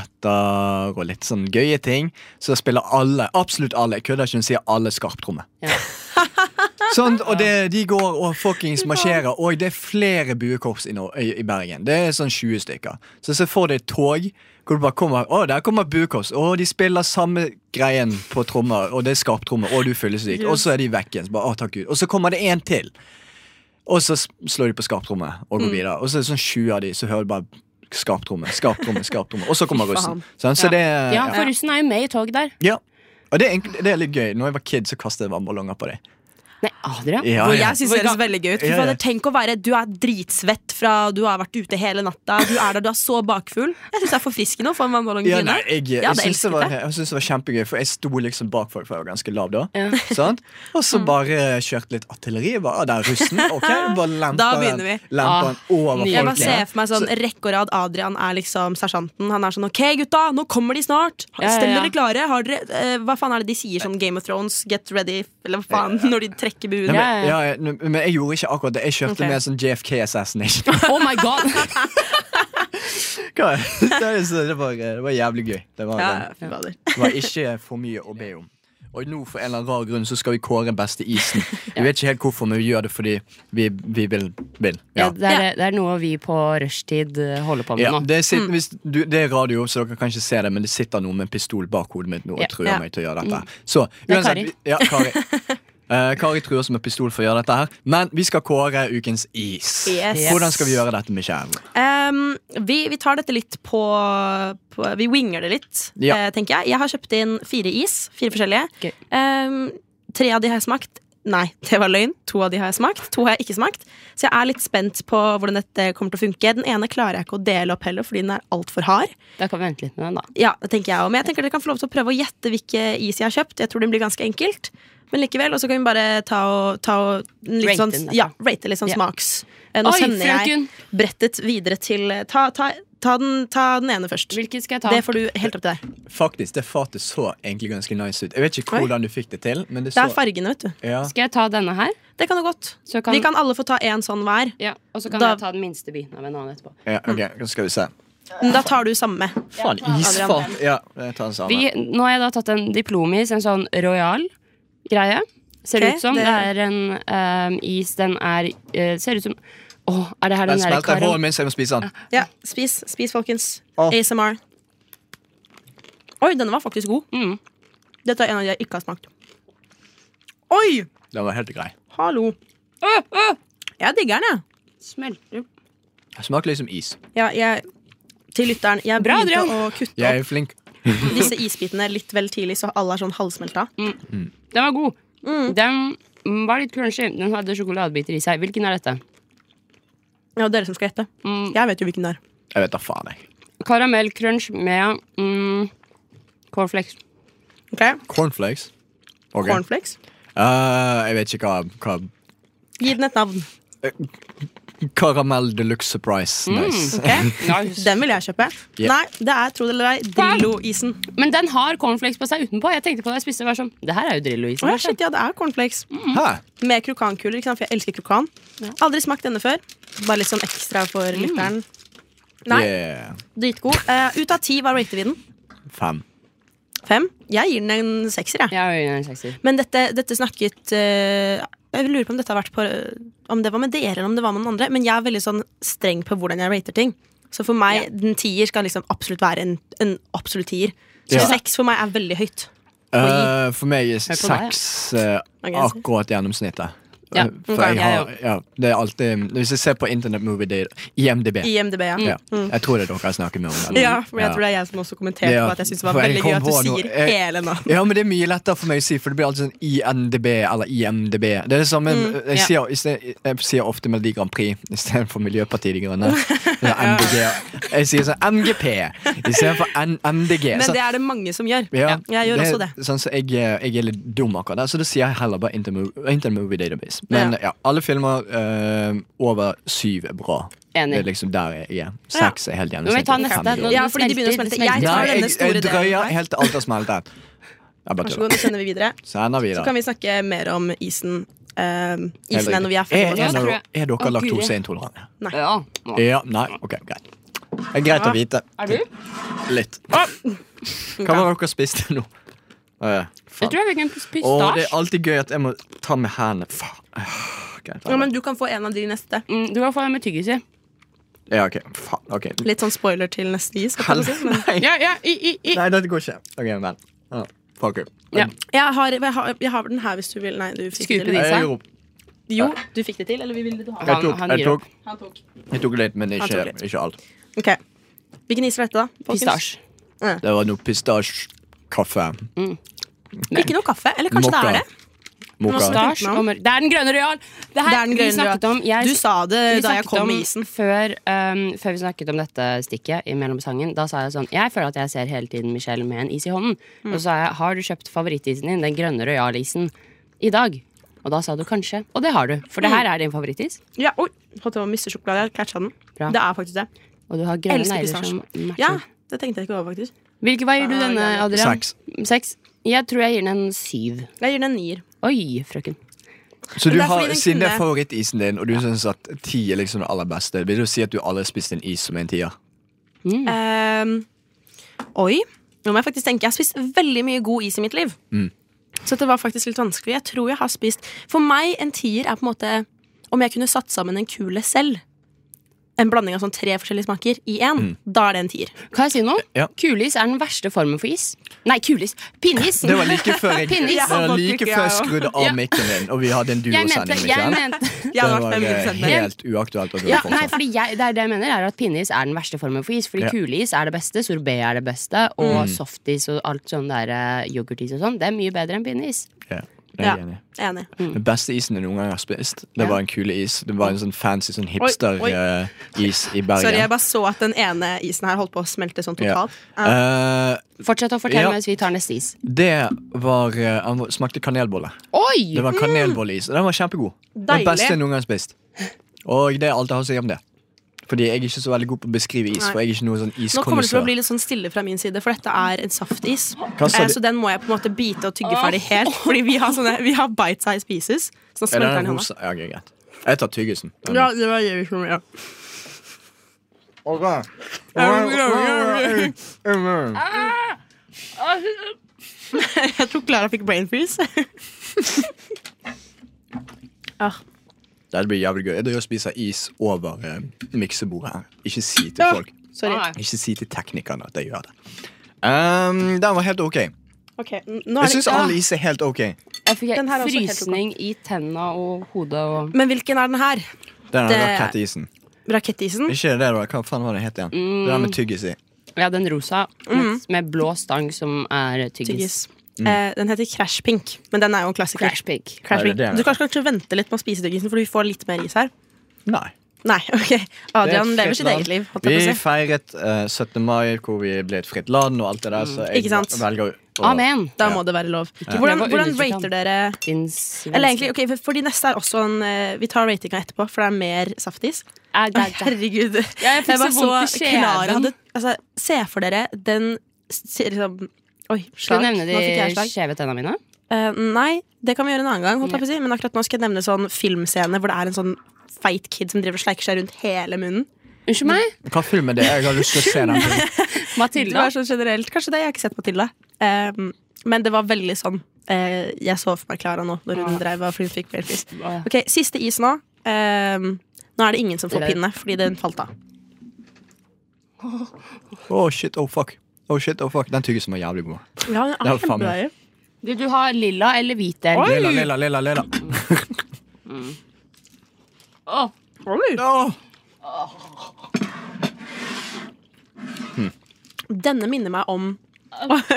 Speaker 3: trompeter og litt sånn gøye ting, så spiller alle, absolutt alle, jeg kødder ikke, hun sier alle skarptromme.
Speaker 4: Ja.
Speaker 3: Sånn, og det, de går og fuckings marsjerer, og det er flere buekorps i, Nor- i, i Bergen. Det er sånn 20 stykker. Så se for deg et tog hvor du bare kommer Å, der kommer buekorps. Å, de spiller samme greien på trommer, og det er skarptromme, og du er fyllesyk. Og så er de vekk igjen. Så bare, å, takk Gud. Og så kommer det en til. Og så s- slår de på skarptrommet og går videre. Og så er det sånn 20 av de, så hører du bare skarptromme, skarptromme, skarptromme. Og så kommer russen. Sånn, så det,
Speaker 4: ja, for russen er jo med i toget der.
Speaker 3: ja. Og det er, egentlig- det er litt gøy. Når jeg var kid, så kastet jeg vannballonger på dem.
Speaker 4: Nei, Adrian.
Speaker 3: Ah, Ja,
Speaker 5: Hvor
Speaker 3: ja.
Speaker 5: jeg synes
Speaker 4: Hvor
Speaker 5: det høres
Speaker 4: ga-
Speaker 5: veldig gøy ut. Fy
Speaker 3: Ja, ja.
Speaker 5: fader, Tenk å være Du er dritsvett fra du har vært ute hele natta. Du er der, du er så bakfull. Jeg syns det er forfriskende å få en vannballong i
Speaker 3: Ja, nei,
Speaker 5: trynet.
Speaker 3: jeg, jeg,
Speaker 5: Ja, det
Speaker 3: syns det
Speaker 5: elsket
Speaker 3: var,
Speaker 5: jeg.
Speaker 3: jeg syns det var kjempegøy, for jeg sto liksom bak folk, for jeg var ganske lav da. Sant? Og så
Speaker 5: Mm.
Speaker 3: bare kjørte litt artilleri. Bare, ah, der er russen. Ok, bare
Speaker 5: (laughs) Da
Speaker 3: lemper
Speaker 5: begynner
Speaker 3: den,
Speaker 5: vi. Ah,
Speaker 3: lemper den over
Speaker 4: nydelig.
Speaker 5: Jeg bare
Speaker 3: folket.
Speaker 5: ser for meg sånn rekke og rad. Adrian er liksom sersjanten. Han er sånn OK, gutta, nå kommer de snart.
Speaker 4: Ja, ja, ja.
Speaker 5: Stell dere klare. Har dere eh, Hva faen er det de sier sånn Game of Thrones, get ready, eller hva faen, når de trekker buen? Ja,
Speaker 3: Nei, men, ja, ja, men jeg gjorde ikke akkurat det. Jeg kjørte
Speaker 5: Ok.
Speaker 3: med sånn JFK Assassination.
Speaker 4: (laughs) Oh my god!
Speaker 3: (laughs) Hva er det? Så det, var, det var jævlig gøy. Det var,
Speaker 5: fy fader.
Speaker 3: det var ikke for mye å be om. Og nå for en eller annen rar grunn så skal vi kåre beste isen. Vi vet ikke helt hvorfor, men vi gjør det fordi vi, vi vil. vil.
Speaker 4: (laughs) Ja, det, er, det er noe vi på rushtid eh, holder på med
Speaker 3: Ja, Mm.
Speaker 4: nå.
Speaker 3: det, sitter, hvis du, det er radio, så dere kan ikke se det, men det sitter noen med en pistol bak hodet mitt nå og
Speaker 4: Ja. Mm.
Speaker 3: truer
Speaker 5: Ja.
Speaker 3: meg til å gjøre dette. Så,
Speaker 4: Det er
Speaker 3: uansett,
Speaker 4: Kari.
Speaker 3: vi- Ja,
Speaker 4: (laughs)
Speaker 3: Kari. Eh, Kari truer oss med pistol for å gjøre dette her, men vi skal kåre ukens is.
Speaker 5: Yes.
Speaker 3: Hvordan skal vi gjøre dette, Michelle?
Speaker 5: Um, vi, vi tar dette litt på, på Vi winger det litt,
Speaker 3: Ja.
Speaker 5: eh, tenker jeg. Jeg har kjøpt inn fire is. Fire forskjellige.
Speaker 4: Gøy.
Speaker 5: Um, tre av de har jeg smakt. Nei, (laughs) det var løgn. To av de har jeg smakt. To har jeg ikke smakt. Så jeg er litt spent på hvordan dette kommer til å funke. Den ene klarer jeg ikke å dele opp heller, fordi den er altfor hard.
Speaker 4: Da kan vi vente litt med den, da.
Speaker 5: Ja, det tenker jeg også. Men jeg tenker dere kan få lov til å prøve å gjette hvilke is jeg har kjøpt. Jeg tror det blir ganske enkelt. Men likevel, og så kan vi bare ta og, ta og en litt
Speaker 4: Rate
Speaker 5: sånn,
Speaker 4: den, da.
Speaker 5: ja, rate litt sånn
Speaker 4: Ja.
Speaker 5: smaks. Eh, Nå
Speaker 4: Oi,
Speaker 5: sender jeg
Speaker 4: frøken!
Speaker 5: brettet videre til eh, Ta, ta, ta, den, ta den ene først.
Speaker 4: Hvilket skal jeg ta?
Speaker 5: Det får du helt opp til deg.
Speaker 3: Faktisk, det fatet så egentlig ganske nice ut. Jeg vet ikke
Speaker 5: Oi.
Speaker 3: hvordan du fikk det til, men det
Speaker 5: Det
Speaker 3: så
Speaker 5: er fargene, vet du.
Speaker 3: ja.
Speaker 4: Skal jeg ta denne her?
Speaker 5: Det kan du godt.
Speaker 4: Så kan-
Speaker 5: Vi kan alle få ta én sånn hver.
Speaker 4: Ja, Og så kan
Speaker 5: Da-
Speaker 4: jeg ta den minste biten av en annen etterpå.
Speaker 3: ja,
Speaker 4: Mm.
Speaker 3: ok, nå skal vi se.
Speaker 5: Men Da tar du samme.
Speaker 3: Faen, isfat! Ja, jeg tar den
Speaker 4: Vi,
Speaker 3: samme.
Speaker 4: nå har jeg da tatt en diplomis, en sånn royal greie. Ser
Speaker 5: Ok,
Speaker 4: det ut som.
Speaker 5: det-
Speaker 4: Det, er en ehm, is. Den er eh, Ser ut som Å, er det her Ah. den,
Speaker 3: Den
Speaker 4: der
Speaker 3: smelter i
Speaker 4: karam-
Speaker 3: hånden min, så jeg må spise den.
Speaker 5: Ja, Spis, spis folkens.
Speaker 3: Å.
Speaker 5: ASMR. Oi, denne var faktisk god.
Speaker 4: Mm.
Speaker 5: Dette er en av de jeg ikke har smakt. Oi!
Speaker 3: Den var helt grei.
Speaker 5: Hallo. Jeg digger den, jeg.
Speaker 4: Smelter.
Speaker 3: Smaker liksom is.
Speaker 5: Ja, jeg til lytteren, jeg
Speaker 4: Bra,
Speaker 5: begynte
Speaker 4: Adrian.
Speaker 5: å kutte
Speaker 3: Jeg er flink.
Speaker 5: opp disse isbitene litt vel tidlig, så alle er sånn halvsmelta.
Speaker 4: Den var god.
Speaker 5: Mm.
Speaker 4: Den var litt crunchy. Den hadde sjokoladebiter i seg. Hvilken er dette?
Speaker 5: Ja, dere som skal gjette.
Speaker 4: Mm.
Speaker 5: Jeg vet jo hvilken det er.
Speaker 3: Jeg vet da faen, jeg.
Speaker 4: Karamellcrunch med mm, cornflakes.
Speaker 5: Ok,
Speaker 3: Cornflakes. Ok.
Speaker 5: Cornflakes.
Speaker 3: Eh, jeg vet ikke hva,
Speaker 5: Gi den et navn.
Speaker 3: hva Karamell deluxe surprise. (laughs) Nice.
Speaker 5: ok?
Speaker 4: Nice.
Speaker 5: Den vil jeg kjøpe.
Speaker 3: Ja.
Speaker 5: Nei, det er tro det eller ei, Drillo-isen.
Speaker 4: Men den har cornflakes på seg utenpå. Jeg tenkte på det, jeg spiste det var sånn Det her er jo Drillo-is.
Speaker 5: Å ja, shit, ja, det er cornflakes.
Speaker 3: Hæ?
Speaker 5: Med krokankuler, ikke sant? for jeg elsker krokan. Aldri smakt denne før. Bare litt sånn ekstra for lytteren. Nei,
Speaker 3: Yeah.
Speaker 5: dritgod. Eh, ut av ti, hva rater vi den?
Speaker 3: Fem.
Speaker 5: Fem? Jeg gir den en sekser, jeg.
Speaker 4: Ja, ja, ja, en sekser.
Speaker 5: Men dette, dette snakket eh, Jeg lurer på om dette har vært på Om det var med dere eller om det var med noen andre. Men jeg er veldig sånn streng på hvordan jeg rater ting. Så for meg, den tier skal liksom absolutt være en, en absolutt tier. Så
Speaker 3: Ja.
Speaker 5: seks for meg er veldig høyt.
Speaker 3: Eh, for meg er
Speaker 4: på meg, ja.
Speaker 3: seks eh,
Speaker 5: Ok, så-
Speaker 3: akkurat gjennomsnittet.
Speaker 4: Ja,
Speaker 3: Eh, for
Speaker 4: ok,
Speaker 3: jeg har, ja, det er alltid Hvis jeg ser på Internet Movie Day, IMDb
Speaker 5: I MDB, ja.
Speaker 3: ja. Jeg tror det er dere jeg snakker med om det.
Speaker 5: Mm. Ja, for jeg tror det er jeg som også kommenterte
Speaker 3: Ja,
Speaker 5: på at jeg syntes det var
Speaker 3: for jeg
Speaker 5: veldig
Speaker 3: kom
Speaker 5: gøy at du
Speaker 3: på noe-
Speaker 5: sier
Speaker 3: jeg-
Speaker 5: hele navn.
Speaker 3: Ja, men det er mye lettere for meg å si, for det blir alltid sånn INDB eller IMDb. Det er det samme
Speaker 5: Mm,
Speaker 3: jeg,
Speaker 4: ja.
Speaker 3: sier, i sted- jeg sier ofte Melodi Grand Prix istedenfor Miljøpartiet De
Speaker 5: (laughs)
Speaker 3: Grønne. Eller MDG. Jeg sier sånn MGP istedenfor MDG.
Speaker 5: Men
Speaker 3: Så-
Speaker 5: det er det mange som gjør.
Speaker 3: ja,
Speaker 5: Jeg gjør også det.
Speaker 3: Sånn, så jeg, jeg er litt dum akkurat der, så da sier jeg heller bare Intermo- Intermovie Database. Men ja, alle filmer eh, over syv er bra.
Speaker 4: Enig.
Speaker 3: Det er liksom der jeg er. Seks er helt
Speaker 4: Nå må vi ta
Speaker 3: gjennomsnittlig.
Speaker 4: neste.
Speaker 3: Fem
Speaker 4: Nå-
Speaker 3: er bra.
Speaker 5: Ja,
Speaker 4: det
Speaker 5: fordi de begynner å
Speaker 4: smelter,
Speaker 5: smelte.
Speaker 4: det
Speaker 5: Jeg
Speaker 3: Nei,
Speaker 5: tar
Speaker 3: jeg,
Speaker 5: denne store
Speaker 3: jeg drøyer
Speaker 5: delen.
Speaker 3: helt til alt har smeltet.
Speaker 5: Vær så
Speaker 3: Jeg bare tuller.
Speaker 5: god, nå sender vi videre.
Speaker 3: Sender vi,
Speaker 5: Så
Speaker 3: da.
Speaker 5: kan vi snakke mer om isen. eh,
Speaker 3: Heller
Speaker 5: isen enn når vi er
Speaker 3: ikke.
Speaker 5: ferdige.
Speaker 3: Er,
Speaker 5: med
Speaker 3: en
Speaker 5: oss.
Speaker 3: av
Speaker 4: tror
Speaker 3: dere-
Speaker 4: jeg.
Speaker 3: er
Speaker 4: Å,
Speaker 3: dere
Speaker 4: Gud, jeg-
Speaker 3: laktoseintolerante?
Speaker 4: Ja. Nå.
Speaker 3: Ja, nei, ok, greit. Det er greit å vite.
Speaker 4: Er du?
Speaker 3: Litt.
Speaker 4: (laughs)
Speaker 3: Hva var det dere spiste nå? Uh,
Speaker 4: Jeg tror jeg fikk en pis-
Speaker 3: Og
Speaker 4: pistasje.
Speaker 3: det er alltid gøy at jeg må ta med hendene. Faen. Åh, greit,
Speaker 5: Ja, men du kan få en av de neste.
Speaker 4: Mm, Du kan få den med tyggis i.
Speaker 3: Ja, ok. Faen, ok.
Speaker 5: Litt sånn spoiler til neste is. kan man si, men-
Speaker 3: Nei,
Speaker 4: Ja, ja, i, i, i.
Speaker 3: nei, dette går ikke. Ok, men. Ja, fuck it.
Speaker 4: Ja.
Speaker 5: Jeg har, jeg, har, jeg har den her hvis du vil. Nei, du fikk
Speaker 4: Skupe
Speaker 5: det til.
Speaker 4: de.
Speaker 3: Jeg, gjorde-
Speaker 5: Jo, du fikk det til, eller ville du ha
Speaker 3: jeg,
Speaker 4: Han-
Speaker 3: tok,
Speaker 4: han
Speaker 3: jeg,
Speaker 4: gir
Speaker 3: tok,
Speaker 5: Han tok.
Speaker 3: jeg tok litt, men
Speaker 5: Han
Speaker 3: ikke,
Speaker 5: tok litt.
Speaker 3: ikke alt.
Speaker 5: Ok, Hvilken is var dette, da? folkens?
Speaker 4: Pistasje.
Speaker 3: Det var noe pistasje, kaffe,
Speaker 5: Ikke noe kaffe? Eller kanskje
Speaker 3: mokka.
Speaker 5: det er det?
Speaker 3: Mokka.
Speaker 5: Mokka.
Speaker 4: Pistasje og mør- Det er den grønne real! Det her
Speaker 5: Det er den grønne
Speaker 4: vi snakket om. Jeg,
Speaker 5: Du sa
Speaker 4: vi
Speaker 5: det Eh, da jeg
Speaker 4: snakket
Speaker 5: kom
Speaker 4: om
Speaker 5: med isen.
Speaker 4: Før, ehm, før vi snakket om dette stikket i mellom sangen, da sa jeg sånn Jeg føler at jeg ser hele tiden Michelle med en is i hånden.
Speaker 5: Mm.
Speaker 4: Og så sa jeg Har du kjøpt favorittisen din, den grønne royal-isen, i dag? Og da sa du kanskje. Og det har du. For
Speaker 5: Mm.
Speaker 4: det her er din favorittis.
Speaker 5: Ja, oi, holdt på å miste sjokolade. Jeg catcha den.
Speaker 4: Bra.
Speaker 5: Det er faktisk det.
Speaker 4: Og du har
Speaker 5: Jeg
Speaker 4: grønne
Speaker 5: elsker
Speaker 4: negler som
Speaker 5: pistasje.
Speaker 4: matcher.
Speaker 5: Ja, Ah, det tenkte jeg ikke over, faktisk.
Speaker 4: Hvilke veier du denne, Adrian?
Speaker 3: Seks.
Speaker 4: Seks. Jeg tror jeg gir den en syv.
Speaker 5: Jeg gir den en nier.
Speaker 4: Oi, frøken.
Speaker 5: Men
Speaker 3: Så du
Speaker 5: det er
Speaker 3: har,
Speaker 5: fordi den
Speaker 3: siden det er
Speaker 5: kunne-
Speaker 3: favorittisen din, og du synes at ti er liksom det aller beste, vil du si at du aldri har spist en is som en tier?
Speaker 5: Ehm, oi. Nå må jeg faktisk tenke. Jeg har spist veldig mye god is i mitt liv.
Speaker 3: Mm.
Speaker 5: Så det var faktisk litt vanskelig. Jeg tror jeg har spist For meg, en tier er på en måte Om jeg kunne satt sammen en kule selv. En blanding av sånn tre forskjellige smaker i én.
Speaker 3: Mm.
Speaker 5: Da er det en tier.
Speaker 4: Kan jeg si noe?
Speaker 3: Ja.
Speaker 4: Kuleis er den verste formen for is. Nei, kuleis. Pinneis.
Speaker 3: Det var like før jeg,
Speaker 4: Pinneis.
Speaker 3: det var like
Speaker 5: Ja,
Speaker 3: før jeg
Speaker 5: faktisk,
Speaker 3: skrudde av mikken din, og vi hadde en
Speaker 4: Jeg mente,
Speaker 3: duosending.
Speaker 4: jeg
Speaker 3: ikke sant?
Speaker 4: mente
Speaker 5: Jeg
Speaker 3: Det
Speaker 5: hadde
Speaker 3: var
Speaker 5: vært
Speaker 3: eh,
Speaker 5: 500 med.
Speaker 3: helt uaktuelt at du
Speaker 4: ja,
Speaker 3: hadde
Speaker 4: Nei,
Speaker 3: fortsatt.
Speaker 4: fordi jeg, det er det jeg mener, er at pinneis er den verste formen for is. Fordi
Speaker 3: Ja. Mm.
Speaker 4: kuleis er det beste, sorbet er det beste, og softis og alt sånn der eh, yoghurtis og sånn, det er mye bedre enn pinneis.
Speaker 3: Ja, jeg
Speaker 5: Ja.
Speaker 3: er enig.
Speaker 5: Enig.
Speaker 3: Den beste isen jeg noen gang har spist, det
Speaker 4: Ja.
Speaker 3: var en kule is. Det var en sånn fancy sånn
Speaker 5: oi.
Speaker 3: hipster-is i Bergen.
Speaker 5: Sorry, jeg bare så at den ene isen her holdt på å smelte sånn
Speaker 3: Ja.
Speaker 5: totalt. Ja.
Speaker 3: Eh,
Speaker 4: Fortsett å fortelle
Speaker 3: Ja.
Speaker 4: mens vi tar neste is.
Speaker 3: Det var eh, Han var- smakte kanelbolle.
Speaker 4: Oi!
Speaker 3: Det var kanelbolleis. og Den var kjempegod.
Speaker 5: Deilig.
Speaker 3: Den beste jeg noen gang har spist. Og det er alt jeg har å si om det. Fordi jeg er ikke så veldig god på å beskrive is.
Speaker 5: Nei.
Speaker 3: For jeg er ikke noe sånn
Speaker 5: Nå kommer det til å
Speaker 3: iskondisør.
Speaker 5: bli litt sånn stille fra min side, for dette er en saftis.
Speaker 3: Hva sa
Speaker 5: Eh,
Speaker 3: du?
Speaker 5: så den må jeg på en måte bite og tygge ferdig helt. Fordi vi har, sånne, vi har bite-size pieces. Så nå
Speaker 3: Er det
Speaker 5: smelter
Speaker 3: den
Speaker 5: den i hånda.
Speaker 3: rosa? Ja, ok, greit. Jeg tar tyggisen.
Speaker 5: Ja, det var jeg som ja. (laughs) Jeg tror Klara fikk brain freeze. (laughs) ah,
Speaker 3: Dette blir jævlig gøy. Jeg driver og spiser is over eh, miksebordet her. Ikke si til folk.
Speaker 5: sorry.
Speaker 3: Ikke si til teknikerne at jeg gjør det. Um, den var helt ok.
Speaker 5: Ok, n- nå er
Speaker 3: Jeg
Speaker 5: det
Speaker 3: syns all is er helt ok.
Speaker 4: Jeg fikk
Speaker 5: Den her er også helt
Speaker 4: frysning i tenna og hodet og
Speaker 5: Ah, Men hvilken er den her?
Speaker 3: Den
Speaker 5: Det-
Speaker 3: der rakettisen.
Speaker 5: Rakettisen?
Speaker 3: Ikke det, da. Hva faen var det het igjen? Det der med tyggis i.
Speaker 4: Ja, den rosa med, med blå stang som er tyggis.
Speaker 5: Mm. Tyggis.
Speaker 3: Mm.
Speaker 5: Eh, den heter Crash Pink, men den er jo en klassiker.
Speaker 4: Crash pig.
Speaker 5: Crash
Speaker 3: Er det
Speaker 5: Pink.
Speaker 3: det?
Speaker 5: Du kan kanskje vente litt med å spise tyggisen, for vi får litt mer is her.
Speaker 3: Nei.
Speaker 5: Nei, (laughs) ok.
Speaker 3: Det er et
Speaker 5: Adrian
Speaker 3: fritt
Speaker 5: lever sitt
Speaker 3: land.
Speaker 5: eget liv. holdt jeg på å
Speaker 3: Vi
Speaker 5: si.
Speaker 3: feiret eh, 17. mai, hvor vi ble et fritt land og alt det der. Så jeg
Speaker 5: Ikke sant?
Speaker 3: velger å
Speaker 4: Amen.
Speaker 5: Da må det være lov. Hvordan,
Speaker 4: prøv å
Speaker 5: hvordan
Speaker 4: undertrykke
Speaker 5: rater dere
Speaker 4: Din svenske-
Speaker 5: Eller egentlig, ok, for, for de neste er også en eh, Vi tar ratinga etterpå, for det er mer saftis.
Speaker 4: Ah, Ja, det
Speaker 5: Å,
Speaker 4: er det.
Speaker 5: Herregud.
Speaker 4: Ja, jeg fikk så vondt i
Speaker 5: Clara
Speaker 4: kjeven.
Speaker 5: hadde altså, Se for dere den s- liksom, Oi,
Speaker 4: Skal
Speaker 5: slag.
Speaker 4: du nevne
Speaker 5: Nå fikk
Speaker 4: de
Speaker 5: jeg slag.
Speaker 4: skjeve tenna mine?
Speaker 5: Eh, nei, det kan vi gjøre en annen gang. Holdt jeg på å si. Men akkurat nå skal jeg nevne sånn filmscene hvor det er en sånn feit kid som driver og sleiker seg rundt hele munnen.
Speaker 4: Unnskyld meg?
Speaker 3: Hva film er det? Jeg har lyst til å se den.
Speaker 5: (laughs)
Speaker 3: filmen.
Speaker 5: Det
Speaker 4: Matilda?
Speaker 5: var sånn generelt, Kanskje det. Jeg har ikke sett Matilda. Eh, men det var veldig sånn eh, jeg så for meg Klara nå, når hun dreiv og fordi hun fikk flere
Speaker 4: (laughs)
Speaker 5: fisk.
Speaker 4: Å, Ah. ja.
Speaker 5: Ok, Siste is nå. Eh, nå er det ingen som får
Speaker 4: Eller-
Speaker 5: pinne, fordi den falt av.
Speaker 3: Å, shit, oh fuck. Oh, shit, oh fuck. Den tyggisen var jævlig god.
Speaker 5: Ja, den
Speaker 3: Det er faen meg.
Speaker 4: Vil du ha lilla eller hvit del?
Speaker 3: Lilla, lilla, lilla, lilla.
Speaker 4: Åh.
Speaker 3: Åh.
Speaker 5: Denne minner meg om (laughs)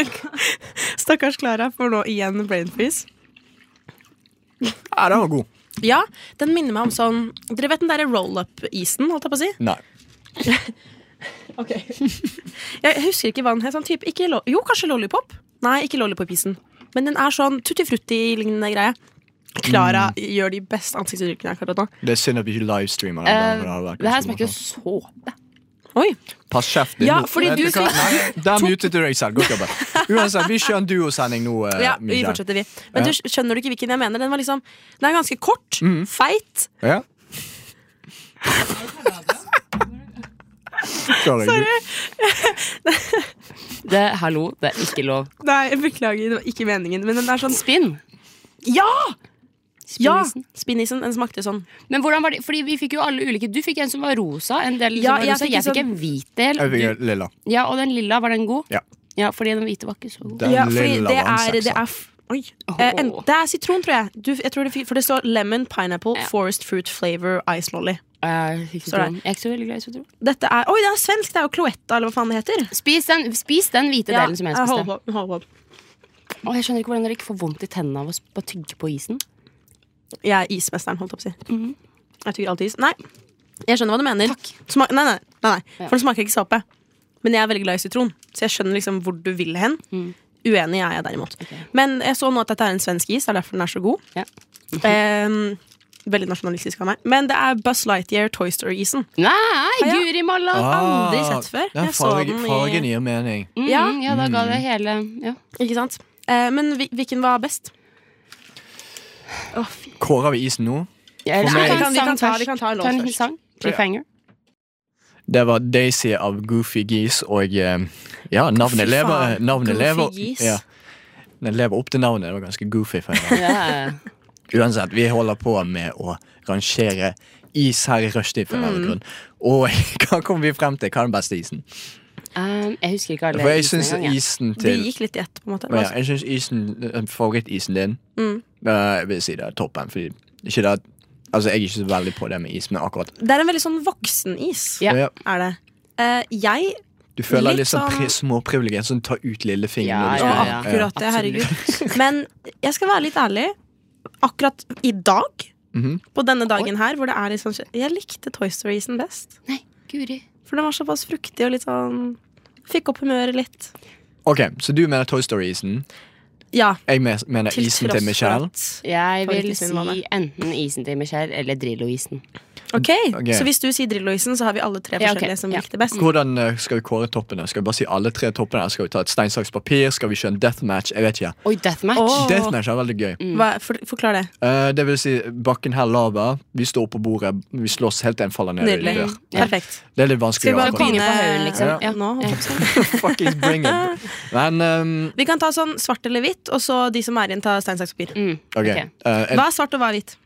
Speaker 5: Stakkars Klara får nå igjen brain freeze.
Speaker 3: Ja, den var god.
Speaker 5: Ja, den minner meg om sånn Dere vet den derre roll up-isen, holdt jeg på å si?
Speaker 3: Nei.
Speaker 5: (laughs) Jeg husker ikke hva den het. Sånn type, ikke lo jo, kanskje lollipop? Nei, ikke lollipop-isen. Men den er sånn tutti frutti-lignende greie. Klara gjør de beste ansiktsuttrykkene akkurat nå.
Speaker 3: Det er synd at vi ikke livestreamer den.
Speaker 4: Eh,
Speaker 3: da, for det hadde vært
Speaker 4: det her
Speaker 3: ganske
Speaker 4: smaker jo
Speaker 3: morsomt.
Speaker 4: såpe.
Speaker 5: Oi,
Speaker 3: Pass kjeft. din
Speaker 5: Ja,
Speaker 3: nå.
Speaker 5: fordi
Speaker 3: Vet
Speaker 5: du
Speaker 3: hva? Nei, Der mutet du deg selv. Godt jobba. Uansett, vi kjører en duosending nå. eh,
Speaker 5: ja, Vi
Speaker 3: Mikael.
Speaker 5: fortsetter, vi. Men du skjønner du ikke hvilken jeg mener? Den var liksom Den er ganske kort, feit. (laughs)
Speaker 3: Ja. Sorry. Sorry.
Speaker 4: Det, hallo, det er ikke lov.
Speaker 5: Nei, beklager, det var ikke meningen. Men den er sånn
Speaker 4: Spinn.
Speaker 5: Ja! (laughs) Ja!
Speaker 4: Spinnisen.
Speaker 5: Spinnisen. Den smakte sånn.
Speaker 4: Men hvordan var det? Fordi vi fikk jo alle ulike. Du fikk en som var rosa. En del som
Speaker 5: Ja,
Speaker 4: var
Speaker 5: jeg
Speaker 4: rosa.
Speaker 5: fikk
Speaker 4: Jeg
Speaker 5: en
Speaker 4: fikk en hvit del.
Speaker 3: Jeg
Speaker 4: Du-
Speaker 3: fikk lilla.
Speaker 4: Ja, og den lilla, var den god?
Speaker 3: Ja.
Speaker 4: Ja, fordi den hvite var ikke så god.
Speaker 3: Den
Speaker 5: ja, fordi
Speaker 3: lilla
Speaker 5: det
Speaker 3: var en
Speaker 5: er, det
Speaker 3: sekser.
Speaker 5: er f- Oi. Eh, en, det er sitron, tror jeg. Du, jeg tror det, fikk- for det står lemon, pineapple,
Speaker 4: Ja.
Speaker 5: forest fruit flavor, ice lolly.
Speaker 4: Eh, Jeg fikk
Speaker 5: Så
Speaker 4: sitron. Jeg er ikke så veldig glad i sitron.
Speaker 5: Dette er, oi, det er svensk! Det er jo Cloetta, eller hva faen det heter.
Speaker 4: Spis den, spis den hvite delen som jeg
Speaker 5: jeg holder
Speaker 4: spiste.
Speaker 5: på, jeg holder på.
Speaker 4: Å, jeg skjønner ikke hvordan dere ikke får vondt i tennene av å sp- å tygge på isen.
Speaker 5: Jeg er ismesteren, holdt jeg på å si.
Speaker 4: Mhm.
Speaker 5: Jeg tygger alltid is. Nei, jeg skjønner hva du mener. Sma nei, nei, nei, nei,
Speaker 4: Ja.
Speaker 5: for det smaker ikke såpe. Men jeg er veldig glad i sitron, så jeg skjønner liksom hvor du vil hen.
Speaker 4: Mm.
Speaker 5: Uenig er jeg derimot. Men jeg så nå at dette er en svensk is, det er derfor den er så god.
Speaker 4: Ja.
Speaker 5: Ehm, veldig nasjonalistisk av meg. Men det er Buzz Lightyear Toy Story-isen.
Speaker 4: Nei,
Speaker 5: ja.
Speaker 4: Guri malla!
Speaker 3: Ah,
Speaker 5: aldri sett før.
Speaker 3: Den
Speaker 5: Jeg så
Speaker 3: farge-
Speaker 5: den i-
Speaker 3: fargen gir mening.
Speaker 4: Mm, ja.
Speaker 5: Ja.
Speaker 4: da ga det hele ja.
Speaker 5: Ikke sant? Eh, men hvil- hvilken var best?
Speaker 3: Kårer vi isen nå?
Speaker 4: Ja, eller
Speaker 3: For meg-
Speaker 4: skal
Speaker 5: Vi kan- vi
Speaker 4: sang
Speaker 5: kan ta- vi
Speaker 4: først?
Speaker 5: kan ta en låt
Speaker 4: ta en
Speaker 5: først.
Speaker 4: sang. Cliffhanger.
Speaker 3: Det var Daisy av Goofy Geese, og eh, ja,
Speaker 5: Fy
Speaker 3: navnet lever.
Speaker 5: faen,
Speaker 3: Navnet
Speaker 5: Goofy
Speaker 3: lever
Speaker 5: Geese.
Speaker 3: ja. Den lever opp til navnet. Det var ganske goofy. for en gang.
Speaker 4: Ja.
Speaker 5: (laughs)
Speaker 3: Uansett, vi holder på med å rangere is her i rushtid. for en
Speaker 5: Mm.
Speaker 3: eller annen grunn. Og (laughs) hva kom vi frem til? Hva er den beste isen?
Speaker 4: Um, jeg husker ikke alle
Speaker 3: For jeg
Speaker 4: isene
Speaker 3: syns
Speaker 4: engang, jeg.
Speaker 3: isen
Speaker 5: Vi
Speaker 3: til
Speaker 5: gikk litt Mm. i ett, på en måte.
Speaker 3: Men ja, jeg synes isen, eh, favorittisen din eh, Jeg vil si det er toppen fordi, ikke det, at- Altså jeg er ikke så veldig på det med is Men akkurat
Speaker 5: Det er en veldig sånn voksenis,
Speaker 4: Ja.
Speaker 3: Ja,
Speaker 5: er det. Eh, jeg
Speaker 3: Du føler
Speaker 5: Litt
Speaker 3: litt sånn
Speaker 5: sånn-
Speaker 3: pri- småprivilegier Sånn ta ut lille
Speaker 4: Ja,
Speaker 3: fingeren
Speaker 5: Å,
Speaker 4: ja, ja.
Speaker 5: akkurat det, herregud. Men jeg skal være litt ærlig. Akkurat i dag,
Speaker 3: Mhm.
Speaker 5: på denne dagen her, hvor det er litt sånn Jeg likte Toy Story-isen best.
Speaker 4: Nei, Guri.
Speaker 5: For den var såpass fruktig og litt sånn Fikk opp humøret litt.
Speaker 3: Ok, Så du mener Toy Story-isen?
Speaker 5: Ja,
Speaker 3: Jeg mes- mener
Speaker 5: til
Speaker 3: isen
Speaker 5: tross
Speaker 3: til
Speaker 5: for
Speaker 3: Michelle.
Speaker 5: at-
Speaker 4: Jeg vil
Speaker 5: Favoritten min var
Speaker 4: si enten isen til Michelle eller Drillo-isen.
Speaker 5: Ok,
Speaker 3: Ok.
Speaker 5: Så hvis du sier Drillo-isen, så har vi alle tre
Speaker 4: Ja, ok.
Speaker 5: forskjellige som
Speaker 4: Ja.
Speaker 5: likte best.
Speaker 3: Hvordan eh, skal vi kåre toppene? Skal vi bare si alle tre toppene? eller Skal vi ta et stein, saks, papir? Skal vi kjøre en deathmatch? Jeg vet ikke.
Speaker 4: Oi, Deathmatch!
Speaker 5: Åh.
Speaker 3: Deathmatch er veldig gøy.
Speaker 4: Mm.
Speaker 5: Hva, for, forklar det.
Speaker 3: Eh, det vil si, bakken her lava. Vi står på bordet, vi slåss helt til en faller ned. i
Speaker 5: Nydelig.
Speaker 3: dør. Ja.
Speaker 5: Perfekt.
Speaker 3: Det er litt vanskelig.
Speaker 5: Skal vi
Speaker 3: å
Speaker 5: bare
Speaker 3: akkurat-
Speaker 4: Konge
Speaker 5: begynne
Speaker 4: på haugen, liksom.
Speaker 5: Ja.
Speaker 4: Ja.
Speaker 5: nå? holdt jeg på å si.
Speaker 3: (laughs) Fucking bring it. Men ehm,
Speaker 5: Vi kan ta sånn svart eller hvitt, og så de som er igjen, tar stein, saks, papir.
Speaker 4: Mm.
Speaker 3: OK.
Speaker 4: Ok.
Speaker 3: Eh, en
Speaker 5: Hva er svart, og hva er hvitt?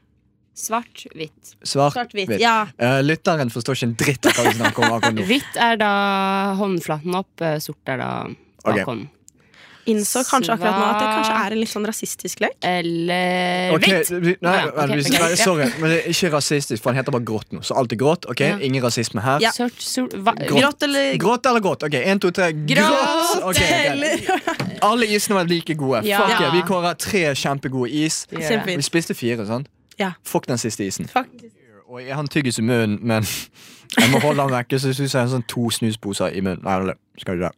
Speaker 4: Svart, hvitt.
Speaker 3: svart,
Speaker 5: Svart-hvitt.
Speaker 3: hvitt.
Speaker 5: Ja.
Speaker 3: Eh, lytteren forstår ikke en dritt av hva vi snakker om akkurat nå.
Speaker 4: Hvitt er da håndflaten opp, eh, sort er da
Speaker 3: Ok.
Speaker 4: bakhånden.
Speaker 5: Innså kanskje akkurat nå at det kanskje er en litt sånn rasistisk lek.
Speaker 4: Eller
Speaker 3: Ok,
Speaker 4: hvitt!
Speaker 3: vi- nei,
Speaker 4: Ja, ok,
Speaker 3: vel, vi-
Speaker 4: ok.
Speaker 3: nei, sorry, men det er ikke rasistisk, for han heter bare grått nå. Så alt er grått. ok?
Speaker 4: Ja.
Speaker 3: Ingen rasisme her.
Speaker 5: Ja.
Speaker 4: Sort, sort, hva,
Speaker 3: Grått.
Speaker 5: Grått eller
Speaker 3: Grått eller grått? Ok, Én, to, tre. Grått! Ok, ok. Alle isene var like gode.
Speaker 4: Ja.
Speaker 3: Fuck it, Vi kårer tre kjempegode is.
Speaker 4: Gjør det.
Speaker 5: Kjempefint.
Speaker 3: Vi spiste fire, sant?
Speaker 5: Ja.
Speaker 3: Fuck den siste isen.
Speaker 5: Fuck.
Speaker 3: Og jeg har en tyggis i munnen, men (laughs) jeg må holde den vekke. Så jeg synes jeg har sånn to snusposer i munnen. Nei, eller, skal ikke det.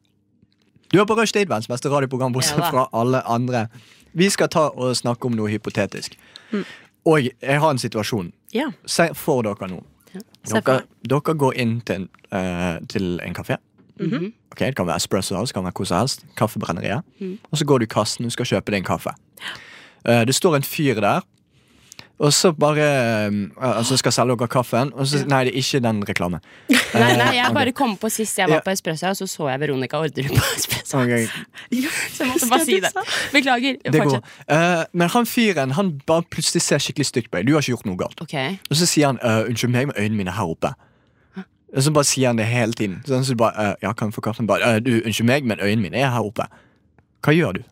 Speaker 3: Du er på Rushtid, verdens beste radioprogram, bortsett
Speaker 4: Ja da.
Speaker 3: fra alle andre. Vi skal ta og snakke om noe hypotetisk.
Speaker 4: Mm.
Speaker 3: Og jeg har en situasjon.
Speaker 5: Ja.
Speaker 3: Se for dere nå.
Speaker 5: Se for
Speaker 3: Dere,
Speaker 5: meg.
Speaker 3: dere går inn til en, eh, til en kafé.
Speaker 4: Mhm.
Speaker 3: Ok, Det kan være espresso house, det kan være hvor som helst. Kaffebrenneriet.
Speaker 4: Mhm.
Speaker 3: Og så går du i kassen, du skal kjøpe deg en kaffe. Eh, det står en fyr der, og så bare eh, Altså skal selge dere kaffen, og så Nei, det er ikke den reklamen.
Speaker 4: (laughs) Nei, nei,
Speaker 3: Eh,
Speaker 4: jeg
Speaker 3: ok.
Speaker 4: bare kom på sist jeg var
Speaker 3: Ja.
Speaker 4: på Espresso, og så så jeg Veronica Orderud på Espresso.
Speaker 3: Ok,
Speaker 5: (laughs)
Speaker 4: Så jeg måtte bare si det. Beklager.
Speaker 3: Det går.
Speaker 4: Fortsett.
Speaker 3: Eh, men han fyren han bare plutselig ser skikkelig stygt på deg. Du har ikke gjort noe galt.
Speaker 4: Ok. Eh,
Speaker 3: Og så sier han «Øh, 'unnskyld meg med øynene mine her oppe'. Og så bare sier han det hele tiden. Sånn, så du bare, «Øh, ja, kan jeg få kaffen? Bare, «Øh, du, 'Unnskyld meg, men øynene mine er her oppe'. Hva gjør du?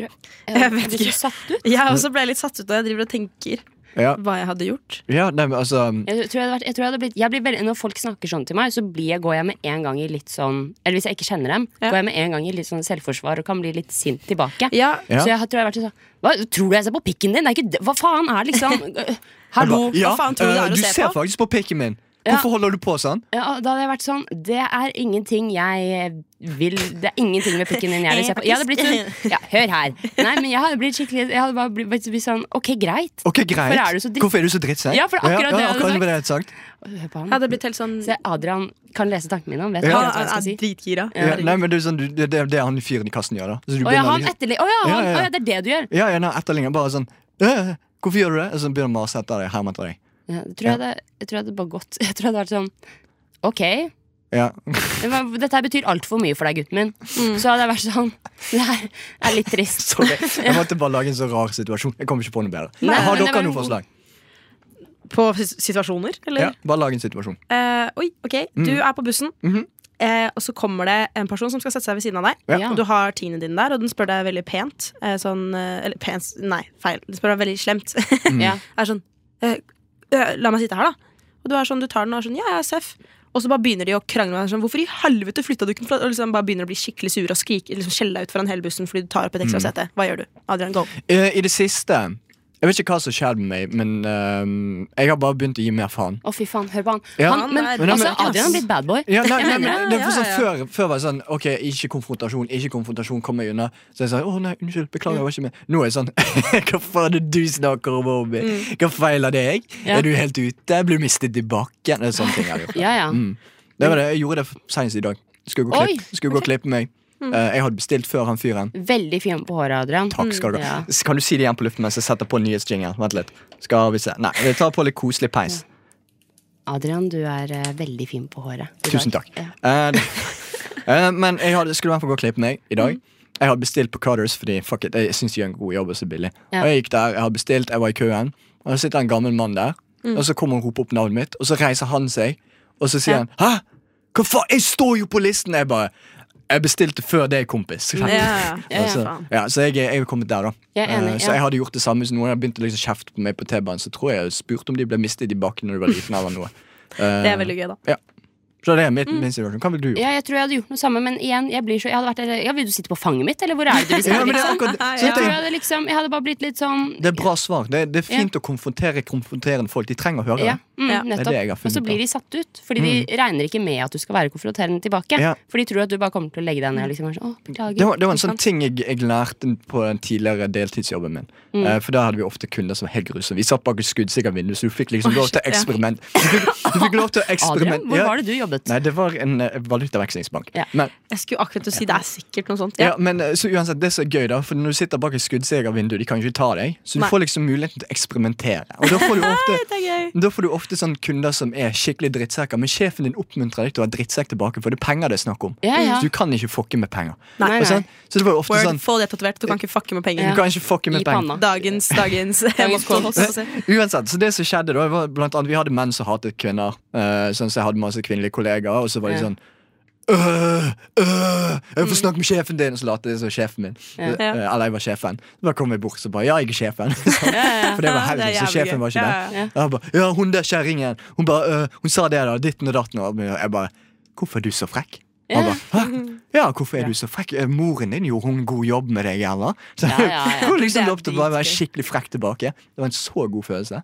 Speaker 5: Jeg vet
Speaker 4: Du
Speaker 5: ikke.
Speaker 4: så satt ut.
Speaker 5: Jeg også ble litt satt ut da jeg driver og tenker
Speaker 3: Ja,
Speaker 5: hva jeg hadde gjort.
Speaker 3: ja nei, men altså
Speaker 4: Jeg tror jeg hadde vært, jeg tror jeg hadde blitt, jeg blir veldig, når folk snakker sånn til meg, så blir jeg, går jeg med en gang i litt sånn Eller hvis jeg ikke kjenner dem,
Speaker 5: Ja.
Speaker 4: går jeg med en gang i litt sånn selvforsvar og kan bli litt sint tilbake.
Speaker 5: Ja,
Speaker 3: Ja.
Speaker 4: Så jeg har- tror jeg har vært sånn Hva tror du jeg ser på pikken din? Det er ikke, det- hva faen er
Speaker 3: (laughs)
Speaker 4: liksom Hallo?
Speaker 3: Ba, ja,
Speaker 5: hva faen tror du det er
Speaker 3: «Øh,
Speaker 5: å
Speaker 3: du
Speaker 5: se
Speaker 3: ser
Speaker 5: på?»
Speaker 3: faktisk på pikken min. Hvorfor holder du på sånn?
Speaker 4: Ja, da hadde jeg vært sånn Det er ingenting jeg vil Det er ingenting med pikken din jeg vil se på. Jeg hadde blitt sånn Ja, hør her. Nei, men jeg hadde blitt skikkelig Jeg hadde bare blitt, blitt, blitt sånn Ok, greit.
Speaker 3: Ok, greit.
Speaker 4: Hvorfor er du så dritt-
Speaker 3: Hvorfor er du så drittsekk?
Speaker 4: Ja, for det er akkurat det jeg hadde
Speaker 3: akkurat
Speaker 4: sagt.
Speaker 3: det jeg hadde sagt.
Speaker 4: Hør på
Speaker 5: Jeg
Speaker 4: han.
Speaker 5: hadde blitt helt sånn
Speaker 4: Se, Adrian kan lese tankene mine. Han vet
Speaker 3: Ja.
Speaker 4: akkurat
Speaker 5: Han
Speaker 4: hva jeg
Speaker 5: er,
Speaker 4: skal si.
Speaker 5: dritgira.
Speaker 3: Ja, nei, men det er sånn, du- det, det er det han fyren i kassen gjør, da. Så du
Speaker 4: Å ja,
Speaker 3: begynner å
Speaker 4: han
Speaker 3: liksom-
Speaker 4: etterlig... Å ja, han,
Speaker 3: Ja, ja, ja.
Speaker 4: Å, ja, det er det du gjør.
Speaker 3: Ja, ja, nei, etterligner bare sånn «Øh, Hvorfor gjør du det? Og så begynner han å mase etter deg. Herme etter deg.
Speaker 4: Ja, jeg, tror jeg, hadde, jeg tror jeg hadde bare gått (laughs) Jeg tror jeg hadde vært sånn Ok,
Speaker 3: Ja.
Speaker 4: men dette her betyr altfor mye for deg, gutten min. Så hadde jeg vært sånn (laughs) Det her er litt trist.
Speaker 3: Mm. (laughs) Sorry. Jeg måtte bare lage en så rar situasjon. Jeg kommer ikke på noe bedre.
Speaker 4: Nei,
Speaker 3: har
Speaker 4: men det
Speaker 3: dere
Speaker 4: var
Speaker 3: noe
Speaker 4: en god-
Speaker 3: forslag?
Speaker 5: På s- situasjoner, eller?
Speaker 3: Ja, bare lag en situasjon.
Speaker 5: Eh, oi, ok. Du
Speaker 3: Mm.
Speaker 5: er på bussen,
Speaker 3: Mhm.
Speaker 5: eh, og så kommer det en person som skal sette seg ved siden av deg.
Speaker 4: Ja.
Speaker 5: Og du har tingene dine der, og den spør deg veldig pent. Eh, sånn, eh, eller pent, nei, feil. Den spør deg veldig slemt. (laughs)
Speaker 4: Ja.
Speaker 5: er sånn eh, eh, La meg sitte her, da. Og du er sånn, du tar den og er sånn, ja, ja, seff. Og så bare begynner de å krangle. med deg, Sånn, Hvorfor i helvete flytta du ikke fra Og liksom bare begynner å bli skikkelig sur og skrike liksom skjelle deg ut foran hele bussen fordi du tar opp et ekstra
Speaker 3: Mm.
Speaker 5: sete. Hva gjør du? Adrian, go.
Speaker 3: Eh, I det siste Jeg vet ikke hva som skjedde med meg, men ehm, jeg har bare begynt å gi mer faen.
Speaker 4: Å, fy faen. Hør på han.
Speaker 3: Ja.
Speaker 4: han men,
Speaker 5: Han er
Speaker 3: Men-
Speaker 4: altså,
Speaker 3: men-
Speaker 4: Adrian har blitt bad boy. (laughs)
Speaker 3: Ja, nei, nei, men,
Speaker 4: mener
Speaker 3: det er for sånn,
Speaker 5: ja,
Speaker 3: Før, før var det sånn OK, ikke konfrontasjon, ikke konfrontasjon, kom meg unna. Så jeg sa å nei, unnskyld, beklager, jeg var ikke med. Nå er jeg sånn (laughs) Hva faen er det du snakker om, Bobby? Hva feiler deg?
Speaker 4: Mm. Ja.
Speaker 3: Er du helt ute? Blir du mistet i bakken? Det er sånne ting jeg har gjort.
Speaker 4: Ja, ja.
Speaker 3: Mm. Det var det, Jeg gjorde det senest i dag. Skulle gå og
Speaker 4: Oi, Mm.
Speaker 3: klippe, skulle gå og klippe meg. Eh, jeg hadde bestilt før han fyren.
Speaker 4: Veldig fin på håret, Adrian.
Speaker 3: Takk skal du ha.
Speaker 4: Mm, Ja.
Speaker 3: S- Kan du si det igjen på luften mens jeg setter på nyhetsjingeren? Vent litt. Skal vi se. Nei, vi tar på litt koselig peis.
Speaker 4: Adrian, du er eh, veldig fin på håret. i dag.
Speaker 3: Tusen takk.
Speaker 4: Ja.
Speaker 3: Eh, det- eh, men jeg hadde, skulle i hvert fall gå og klippe meg i
Speaker 4: Mm.
Speaker 3: dag. Jeg hadde bestilt på Cutters fordi fuck it, jeg syns de gjør en god jobb og så billig.
Speaker 4: Ja.
Speaker 3: Og jeg gikk der, jeg hadde bestilt, jeg var i køen, og så sitter en gammel mann der. Og så kommer han og roper opp navnet mitt, og så reiser han seg, og så sier
Speaker 4: Mm. Ja.
Speaker 3: han Hæ? Hva faen? Jeg står jo på listen! Jeg bare Jeg bestilte før deg, kompis.
Speaker 5: Ja,
Speaker 4: ja, ja,
Speaker 3: (laughs) Altså,
Speaker 5: faen.
Speaker 3: ja, så jeg, jeg er kommet der, da.
Speaker 4: Jeg er enig,
Speaker 3: Eh, så
Speaker 4: ja.
Speaker 3: jeg hadde gjort det samme som noen hadde begynt å liksom kjefte på meg på T-banen. Så tror jeg jeg spurte om de ble mistet i bakken når du var liten. eller noe Eh,
Speaker 5: Det er veldig gøy, da.
Speaker 3: Så det er
Speaker 4: Mm.
Speaker 3: mitt, min situasjon. Hva ville du gjort?
Speaker 4: Ja, jeg tror jeg hadde gjort noe samme, men igjen, jeg blir så Jeg hadde vært eller- ja, Vil du sitte på fanget mitt, eller hvor er det du vil
Speaker 3: Ja,
Speaker 4: sitte?
Speaker 3: men det, er
Speaker 4: liksom?
Speaker 3: akkurat, så
Speaker 4: Jeg tror jeg
Speaker 3: jeg tenker,
Speaker 4: hadde liksom Jeg hadde bare blitt litt sånn
Speaker 3: det er bra svar. Det, er- det er fint å konfrontere konfronterende folk. De trenger å høre det.
Speaker 4: Ja. Mm,
Speaker 5: Ja.
Speaker 3: Det er det jeg har
Speaker 4: nettopp. Og så
Speaker 3: funnet Mm.
Speaker 4: blir de satt ut, fordi de regner ikke med at du skal være konfronterende tilbake.
Speaker 3: Ja.
Speaker 4: For de tror at du bare kommer til å legge deg ned og liksom kanskje, å, beklager.
Speaker 3: Det var, det var en sånn
Speaker 4: ikke sant?»
Speaker 3: ting jeg, jeg lærte på den tidligere deltidsjobben min.
Speaker 4: Mm.
Speaker 3: Eh, for der hadde vi ofte kunder som var helt grusomme. Vi satt bak et skuddsikkert vindu, så du fikk liksom lov til å
Speaker 5: shit, ja.
Speaker 3: eksperiment. Du fikk, du fikk lov til å
Speaker 4: Adrian,
Speaker 3: eksperiment.
Speaker 4: hvor
Speaker 3: Ja.
Speaker 4: var det du jobbet?
Speaker 3: Nei, det var en eh, valutavekslingsbank.
Speaker 4: Ja.
Speaker 3: Men,
Speaker 5: Jeg skulle akkurat til å si det er sikkert noe sånt.
Speaker 3: ja.
Speaker 5: Ja.
Speaker 3: men eh, så uansett, det som er gøy, da, for når du sitter bak et skuddsikkert vindu, de kan ikke ta deg, så du
Speaker 5: Nei.
Speaker 3: får liksom muligheten til å eksperimentere. Og da får du ofte
Speaker 5: Det er gøy.
Speaker 3: da får du ofte sånn kunder som er skikkelig drittsekker, men sjefen din oppmuntrer deg til å være drittsekk tilbake, for det er penger det er snakk om.
Speaker 4: Ja, ja.
Speaker 3: Så du kan ikke fucke med penger.
Speaker 4: Nei,
Speaker 3: Og sånn, Så det var jo ofte
Speaker 5: Word,
Speaker 3: sånn
Speaker 5: Få det tatovert. Du kan ikke fucke med penger.
Speaker 3: Du kan ikke fucke med
Speaker 4: I
Speaker 3: penger.
Speaker 4: panna.
Speaker 5: Dagens, dagens,
Speaker 4: (laughs) Dagens
Speaker 5: motto, holdt jeg på å si.
Speaker 3: Uansett, så det som skjedde da var blant annet, Vi hadde menn som hatet kvinner. eh, sånn så Jeg hadde masse kvinnelige kollegaer, og så var de
Speaker 4: Ja.
Speaker 3: sånn Øh, øh, jeg
Speaker 5: Mm.
Speaker 3: får snakke med sjefen din! Og så lot jeg som sjefen min.
Speaker 4: Ja.
Speaker 3: Eh, Eller jeg var sjefen. Da kom jeg bort så bare Ja, jeg er sjefen. (laughs) For det var
Speaker 5: Ja, det er
Speaker 3: helgen, så
Speaker 5: jævlig
Speaker 3: sjefen
Speaker 5: gøy.
Speaker 3: var ikke
Speaker 5: Ja,
Speaker 3: der.
Speaker 5: ja,
Speaker 4: ja.
Speaker 3: Jeg bare, ja, hun der kjerringen. Hun bare øh, Hun sa det, da. Ditten og datten. Og jeg bare Hvorfor er du så frekk? Han
Speaker 4: Ja.
Speaker 3: bare, Hæ? Ja, hvorfor er du så frekk? Eh, Moren din gjorde hun en god jobb med deg, eller? Så
Speaker 4: Ja, ja, ja.
Speaker 3: (laughs) hun liksom
Speaker 5: Det er
Speaker 3: lov til å bare være
Speaker 5: dritgøy.
Speaker 3: skikkelig frekk tilbake. Det var en så god følelse.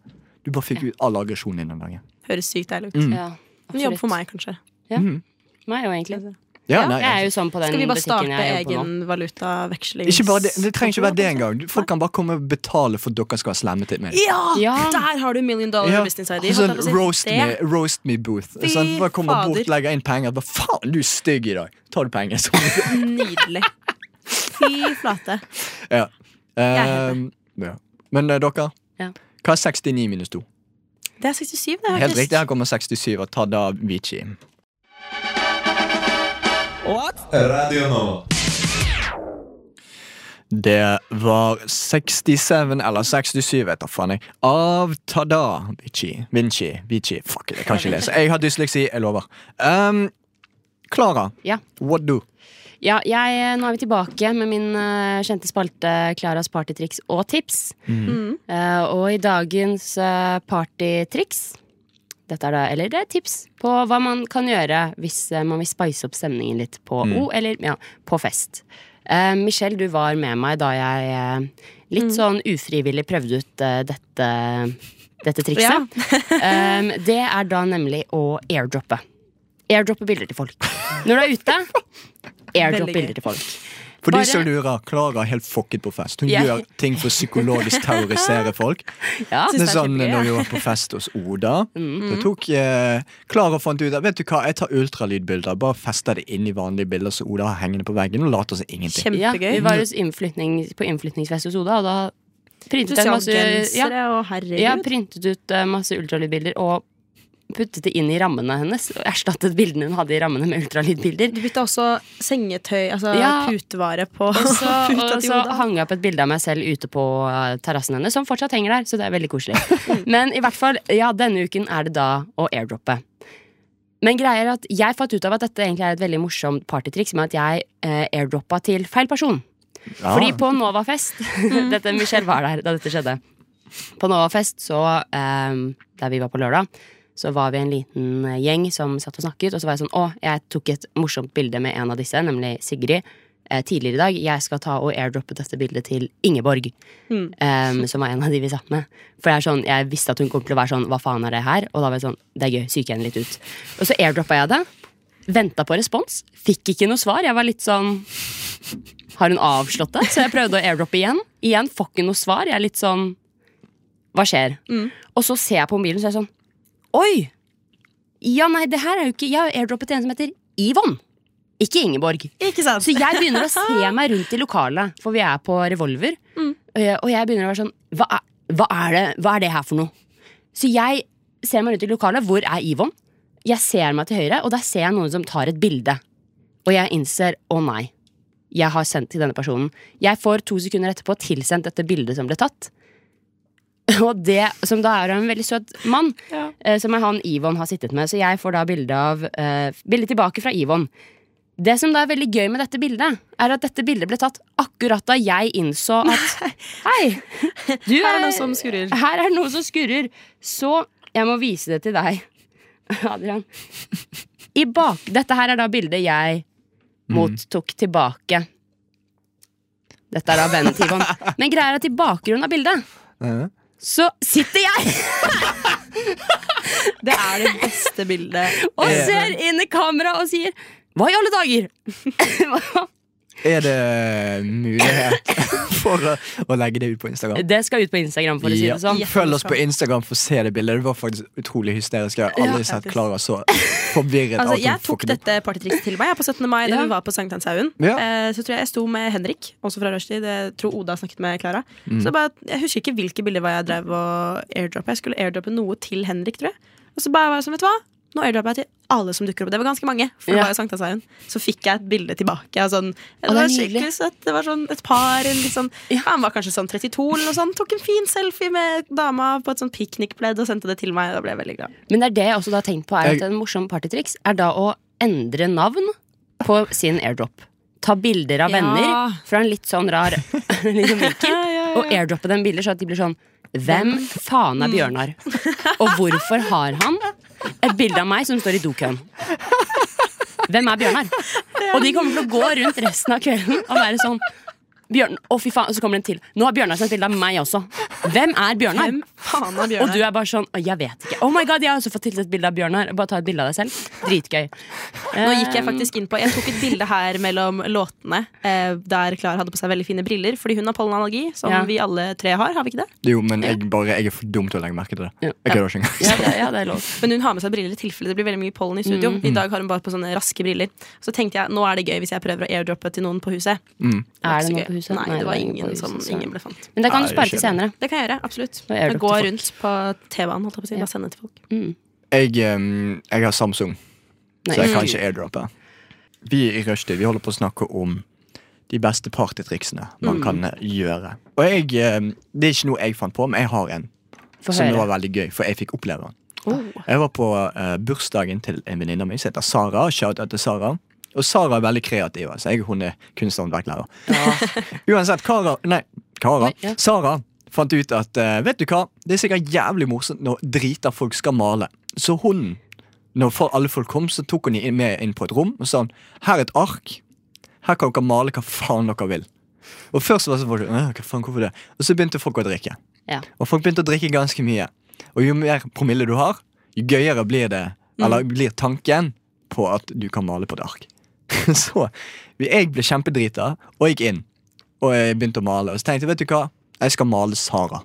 Speaker 3: Du bare fikk ut all aggresjonen din den dagen.
Speaker 5: Høres sykt deilig ut.
Speaker 3: Mm.
Speaker 4: Ja,
Speaker 5: En jobb
Speaker 4: absolutt.
Speaker 5: for meg, kanskje.
Speaker 4: Meg jo egentlig.
Speaker 3: Ja,
Speaker 4: Ja,
Speaker 3: nei,
Speaker 4: jeg er
Speaker 3: altså.
Speaker 4: jo sånn på den
Speaker 5: Skal vi bare
Speaker 4: butikken
Speaker 5: starte
Speaker 4: jeg jobber på nå.
Speaker 5: egen valutaveksling?
Speaker 3: ikke bare det, det trenger ikke være det engang. Folk kan bare komme og betale for at dere skal ha slammet til meg.
Speaker 5: Ja!
Speaker 4: Ja.
Speaker 5: Der har du million dollar
Speaker 3: Ja,
Speaker 5: business
Speaker 3: og
Speaker 5: idea.
Speaker 3: sånn
Speaker 5: holdt jeg på å si.
Speaker 3: roast
Speaker 5: Det-
Speaker 3: me, roast me booth.
Speaker 5: Fy
Speaker 3: Sånn, bare kommer
Speaker 5: fader.
Speaker 3: bort, legger inn penger. Bare, faen, du er stygg i dag. Tar du penger? Så.
Speaker 5: Nydelig. Fy flate.
Speaker 3: Ja.
Speaker 5: er
Speaker 3: Ehm, ja. Men eh, dere,
Speaker 4: Ja.
Speaker 3: hva er 69 minus 2?
Speaker 5: Det er 67, det.
Speaker 3: Helt riktig, her kommer 67 og ta da Vici.
Speaker 1: Radio Nova.
Speaker 3: Det var 67, eller 67, vet jeg faen jeg, av Tada Vici. Vinci. Vici. Fuck, jeg kan ikke lese. Jeg har dysleksi, jeg lover. Um, Klara,
Speaker 4: Ja.
Speaker 3: what do?
Speaker 4: Ja, jeg, eh, nå er vi tilbake med min eh, kjente spalte Klaras partytriks og tips. Eh, og i dagens eh, partytriks dette er da, eller det er tips på hva man kan gjøre hvis eh, man vil spice opp stemningen litt på O, eller ja, på fest. Eh, Michelle, du var med meg da jeg eh, litt sånn ufrivillig prøvde ut eh, dette, dette (laughs)
Speaker 5: Ja.
Speaker 4: trikset. Em, det er da nemlig å airdroppe. Airdroppe bilder til folk. Når du er
Speaker 5: (laughs)
Speaker 4: ute, airdrop
Speaker 5: Veldig gøy.
Speaker 4: bilder til folk.
Speaker 3: For
Speaker 4: Bare-
Speaker 3: de som lurer, Klara er helt fucket på fest. Hun
Speaker 4: Ja.
Speaker 3: gjør ting for å psykologisk terrorisere folk.
Speaker 4: Ja. Mm.
Speaker 3: Det er
Speaker 5: det er
Speaker 3: sånn
Speaker 5: kjempegøy,
Speaker 3: når vi var på fest hos
Speaker 4: (laughs)
Speaker 3: Oda. Da tok eh, Klara fant ut at vet du hva, jeg tar ultralydbilder. Bare fester det inn i vanlige bilder som Oda har hengende på veggen, og later som ingenting.
Speaker 4: ja,
Speaker 5: Kjempegøy.
Speaker 4: vi var hos innflytning, på innflytningsfest hos Oda, og da
Speaker 5: Du
Speaker 4: printet jeg
Speaker 5: sa
Speaker 4: masse ja,
Speaker 5: gensere og herregud.
Speaker 4: ja, printet ut eh, masse ultralydbilder og puttet det inn i rammene hennes. Og erstattet bildene hun hadde i rammene med ultralydbilder.
Speaker 5: Du bytta også sengetøy, altså
Speaker 4: Ja.
Speaker 5: putevare, på (laughs)
Speaker 4: Og så,
Speaker 5: puta
Speaker 4: og
Speaker 5: til
Speaker 4: så
Speaker 5: Oda.
Speaker 4: hang jeg opp et bilde av meg selv ute på eh, terrassen hennes, som fortsatt henger der. Så det er veldig koselig. Men i hvert fall, ja, denne uken er det da å airdroppe. Men greia er at jeg fant ut av at dette egentlig er et veldig morsomt partytriks, med at jeg eh, airdroppa til feil person.
Speaker 3: Ja.
Speaker 4: Fordi på Novafest (laughs) Dette Michelle var der da dette skjedde. På Novafest, så eh, der vi var på lørdag, så var vi en liten gjeng som satt og snakket. Og så var jeg sånn Å, jeg tok et morsomt bilde med en av disse, nemlig Sigrid. eh, Tidligere i dag Jeg skal ta og airdroppe dette bildet til Ingeborg. eh, som var en av de vi satt med. For jeg, er sånn, jeg visste at hun kom til å være sånn Hva faen er det her? Og da var jeg sånn Det er gøy, psyke henne litt ut. Og så airdroppa jeg det. Venta på respons. Fikk ikke noe svar. Jeg var litt sånn har hun avslått det? Så jeg prøvde å airdroppe igjen. Igjen får ikke noe svar. Jeg er litt sånn Hva skjer? Og så ser jeg på mobilen, så er jeg sånn Oi! Ja, nei, det her er jo ikke Jeg har airdroppet en som heter Yvonne. Ikke Ingeborg.
Speaker 5: Ikke sant?
Speaker 4: Så jeg begynner å
Speaker 5: (laughs)
Speaker 4: se meg rundt i lokalet, for vi er på Revolver.
Speaker 5: Mm.
Speaker 4: Eh, Og jeg begynner å være sånn hva er, hva, er det, hva er det her for noe? Så jeg ser meg rundt i lokalet. Hvor er Yvonne? Jeg ser meg til høyre, og der ser jeg noen som tar et bilde. Og jeg innser å nei, jeg har sendt til denne personen. Jeg får to sekunder etterpå tilsendt dette bildet som ble tatt. (laughs) Og det som da er av en veldig søt mann,
Speaker 5: Ja.
Speaker 4: eh, som er han Yvonne har sittet med. Så jeg får da bilde av eh, Bilde tilbake fra Yvonne. Det som da er veldig gøy med dette bildet, er at dette bildet ble tatt akkurat da jeg innså at Hei! Du
Speaker 5: Her er det noe som skurrer.
Speaker 4: Her er det noe som skurrer. Så jeg må vise det til deg, (laughs) Adrian. I bak, dette her er da bildet jeg mottok tilbake. Dette er da vennen til Yvonne. Men greia er at i bakgrunnen av bildet
Speaker 3: Mhm.
Speaker 4: så sitter jeg
Speaker 5: Det er det beste bildet. Eh,
Speaker 4: og ser inn i kamera og sier Hva i alle dager?
Speaker 3: Er det mulighet (laughs) for å, å legge det ut på Instagram?
Speaker 4: Det skal ut på Instagram, Eh, for å si
Speaker 3: Ja.
Speaker 4: det sånn.
Speaker 3: Følg oss på Instagram for å se det bildet. Det var faktisk utrolig hysterisk. Jeg har aldri sett
Speaker 5: faktisk.
Speaker 3: Klara
Speaker 4: (laughs)
Speaker 3: så forvirret.
Speaker 5: Altså,
Speaker 3: at hun
Speaker 5: jeg tok
Speaker 3: fucket opp.
Speaker 5: dette partytrikset til meg jeg, på 17. mai
Speaker 4: Ja.
Speaker 5: da vi var på Sankthanshaugen.
Speaker 3: Ja.
Speaker 5: Eh, så tror jeg jeg sto med Henrik, også fra Rushdie. Jeg tror Oda snakket med Klara. Så bare, Jeg husker ikke hvilke bilder var jeg drev og airdroppet. Jeg skulle airdroppe noe til Henrik, tror jeg. Og så bare var jeg sånn, vet du hva? Nå airdropper jeg til alle som dukker opp. Det var ganske mange. for
Speaker 4: Ja.
Speaker 5: det var jo Sankthanshaugen. Så fikk jeg et bilde tilbake. av sånn, det,
Speaker 4: det er
Speaker 5: var
Speaker 4: nydelig.
Speaker 5: skikkelig søtt. Det var sånn et par en litt sånn, Han var kanskje sånn 32 eller noe sånt. Tok en fin selfie med dama på et sånn piknikpledd og sendte det til meg. Da ble jeg veldig glad.
Speaker 4: Men det er det jeg også da har tenkt på er
Speaker 3: Jeg-
Speaker 4: at en morsom partytriks er da å endre navn på sin airdrop. Ta bilder av
Speaker 5: Ja.
Speaker 4: venner fra en litt sånn
Speaker 5: (laughs)
Speaker 4: rar (laughs) liksom vinkel, og airdroppe dem bilder så at de blir sånn Hvem faen
Speaker 5: Mm.
Speaker 4: er Bjørnar? Og hvorfor har han et bilde av meg som står i dokøen? Hvem er Bjørnar? Og de kommer til å gå rundt resten av kvelden og være sånn Bjørn, å fy faen, Og så kommer det en til. Nå har Bjørnar sendt bilde av meg også. Hvem er Bjørnar?
Speaker 5: Hvem faen er
Speaker 4: Og
Speaker 5: Bjørnar?
Speaker 4: du er bare sånn «Å, Jeg vet ikke. Oh my god, Jeg har også fått tilsendt bilde av Bjørnar. Bare ta et bilde av deg selv. Dritgøy.
Speaker 5: Nå gikk jeg faktisk inn på Jeg tok et bilde her mellom låtene eh, der Klara hadde på seg veldig fine briller, fordi hun har pollenallergi, som
Speaker 4: Ja.
Speaker 5: vi alle tre har. har vi ikke det?
Speaker 3: Jo, men jeg, bare, jeg er for dum til å legge merke til det.
Speaker 4: Ja.
Speaker 3: Jeg kødder ikke engang.
Speaker 4: Eh, Ja, det, ja, det er lov.
Speaker 5: Men hun har med seg briller i tilfelle det blir veldig mye pollen i studio.
Speaker 4: Mm.
Speaker 5: I dag har hun bare på sånne raske briller. Så tenkte jeg nå er det gøy hvis jeg prøver å airdroppe til noen på huset.
Speaker 3: Mm.
Speaker 4: Er det
Speaker 5: Så
Speaker 4: noe
Speaker 5: gøy.
Speaker 4: på huset?
Speaker 5: Nei, det var
Speaker 4: er ingen på
Speaker 5: ingen
Speaker 4: huset,
Speaker 5: som
Speaker 4: så-
Speaker 5: ingen ble fant.
Speaker 4: Men det kan du
Speaker 3: Nei,
Speaker 4: spare til
Speaker 3: det skjer.
Speaker 4: senere.
Speaker 5: Det kan jeg gjøre, absolutt.
Speaker 4: Da airdropper
Speaker 5: Gå
Speaker 4: folk.
Speaker 5: rundt på TV-en, holdt jeg på å si. Bare sende til folk.
Speaker 3: Jeg, ehm, jeg har Samsung,
Speaker 4: Mm. Nei,
Speaker 3: så jeg kan ikke airdroppe. Vi i Rushdie vi holder på å snakke om de beste partytriksene man kan eh, gjøre. Og jeg, ehm, Det er ikke noe jeg fant på, men jeg har en
Speaker 4: Få
Speaker 3: som
Speaker 4: høre.
Speaker 3: var veldig gøy, for jeg fikk oppleve den.
Speaker 4: Oh.
Speaker 3: Jeg var på eh, bursdagen til en venninne av meg som heter Sara. Shout out til Sara. Og Sara er veldig kreativ. altså. Jeg, hun er kunsthåndverklærer. (laughs) Uansett, Kara Nei, Kara.
Speaker 4: Nei, ja.
Speaker 3: Sara fant ut at eh, vet du hva, det er sikkert jævlig morsomt når drita folk skal male. Så hun, når for alle folk kom, så tok hun de inn- med inn på et rom og sa hun, her er et ark. Her kan dere male hva faen dere vil. Og først var det sånn, folk, «Åh, hva faen, hvorfor det? Og så begynte folk å drikke.
Speaker 4: Ja.
Speaker 3: Og folk begynte å drikke ganske mye. Og jo mer promille du har, jo gøyere blir det, eller blir tanken på at du kan male på et ark. (laughs) så jeg ble kjempedrita og gikk inn. Og jeg begynte å male. Og så tenkte jeg, vet du hva? Jeg skal male Sara.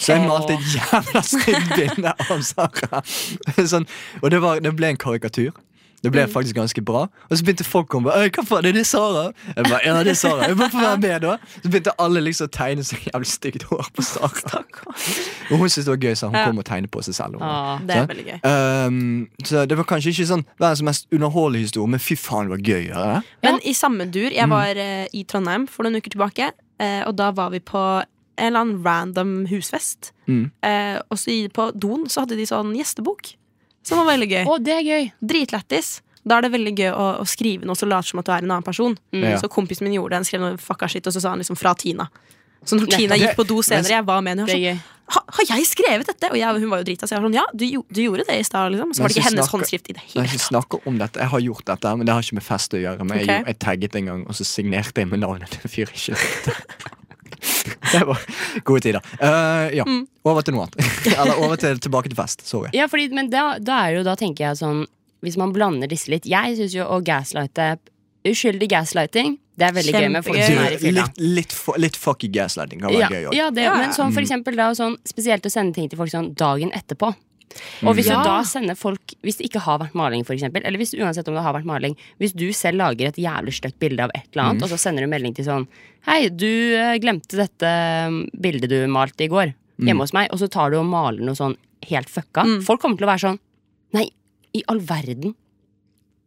Speaker 3: Så jeg malte et jævla stygt bilde av Sara. (laughs) sånn, og det, var, det ble en karikatur. Det
Speaker 5: Mm.
Speaker 3: ble faktisk ganske bra. Og så begynte folk å komme. «Øy, Hva faen, er det Sara? Jeg bare, ja, det er Sara. Jeg bare får være med da. Så begynte alle liksom å tegne så jævlig stygt hår på Sara. Og hun syntes det var gøy, så hun
Speaker 5: Ja.
Speaker 3: kom og tegnet på seg selv. Hun.
Speaker 4: Ah,
Speaker 5: Det
Speaker 3: Ja.
Speaker 5: er veldig gøy.
Speaker 3: Ehm, så det var kanskje ikke sånn verdens mest underholdende historie, men fy faen, det var gøy. å gjøre det.
Speaker 5: Men i samme dur,
Speaker 3: Mm.
Speaker 5: jeg var eh, i Trondheim for noen uker tilbake, eh, og da var vi på en eller annen random husfest.
Speaker 3: Mm.
Speaker 5: Eh, og så i- på doen så hadde de sånn gjestebok, som var veldig gøy.
Speaker 4: Å, det er gøy.
Speaker 5: Dritlættis. Da er det veldig gøy å, å skrive noe som later som at du er en annen person.
Speaker 3: Mm. Ja.
Speaker 5: Så kompisen min gjorde det, han skrev noe fucka shit, og så sa han liksom 'fra Tina'. Så når
Speaker 4: Nettopp.
Speaker 5: Tina gikk på do
Speaker 3: Men-
Speaker 5: senere, jeg var med henne.
Speaker 4: Det er
Speaker 5: jeg var Sånn,
Speaker 4: gøy.
Speaker 5: ha, har jeg skrevet dette? Og jeg, hun var jo drita, så jeg var sånn ja, du, gjo- du gjorde det i stad, liksom. Så
Speaker 3: Men
Speaker 5: var det ikke
Speaker 3: så
Speaker 5: hennes
Speaker 3: snakker-
Speaker 5: håndskrift i det
Speaker 3: Jeg
Speaker 5: hele
Speaker 3: har ikke snakket om dette, jeg har gjort dette, men det har ikke med fest å gjøre. Men jeg,
Speaker 5: Ok.
Speaker 3: jeg tagget en gang, og så signerte jeg med navnet til en fyr jeg ikke likte. Det var gode tider. Eh, ja,
Speaker 5: Mm.
Speaker 3: over til
Speaker 5: (laughs)
Speaker 3: noe annet. Eller over til tilbake til fest. Sorry.
Speaker 4: Ja, fordi, men da, da er jo da tenker jeg sånn Hvis man blander disse litt Jeg syns jo å gaslighte Uskyldig gaslighting, det er veldig gøy med folk som er i
Speaker 3: Du,
Speaker 4: fylla.
Speaker 3: litt, litt, fu- litt fucky gaslighting kan være
Speaker 4: Ja,
Speaker 3: gøy Mm. òg.
Speaker 4: ja, det,
Speaker 5: Ja, ja.
Speaker 4: men sånn for eksempel da, sånn, spesielt å sende ting til folk sånn dagen etterpå. Og hvis
Speaker 2: Ja.
Speaker 4: du da sender folk Hvis det ikke har vært maling, for eksempel, eller hvis, uansett om det har vært maling Hvis du selv lager et jævlig stygt bilde av et eller
Speaker 3: Mm.
Speaker 4: annet, og så sender du melding til sånn Hei, du eh, glemte dette mm, bildet du malte i går
Speaker 3: Mm.
Speaker 4: hjemme hos meg, og så tar du og maler noe sånn helt fucka. Folk kommer til å være sånn Nei, i all verden.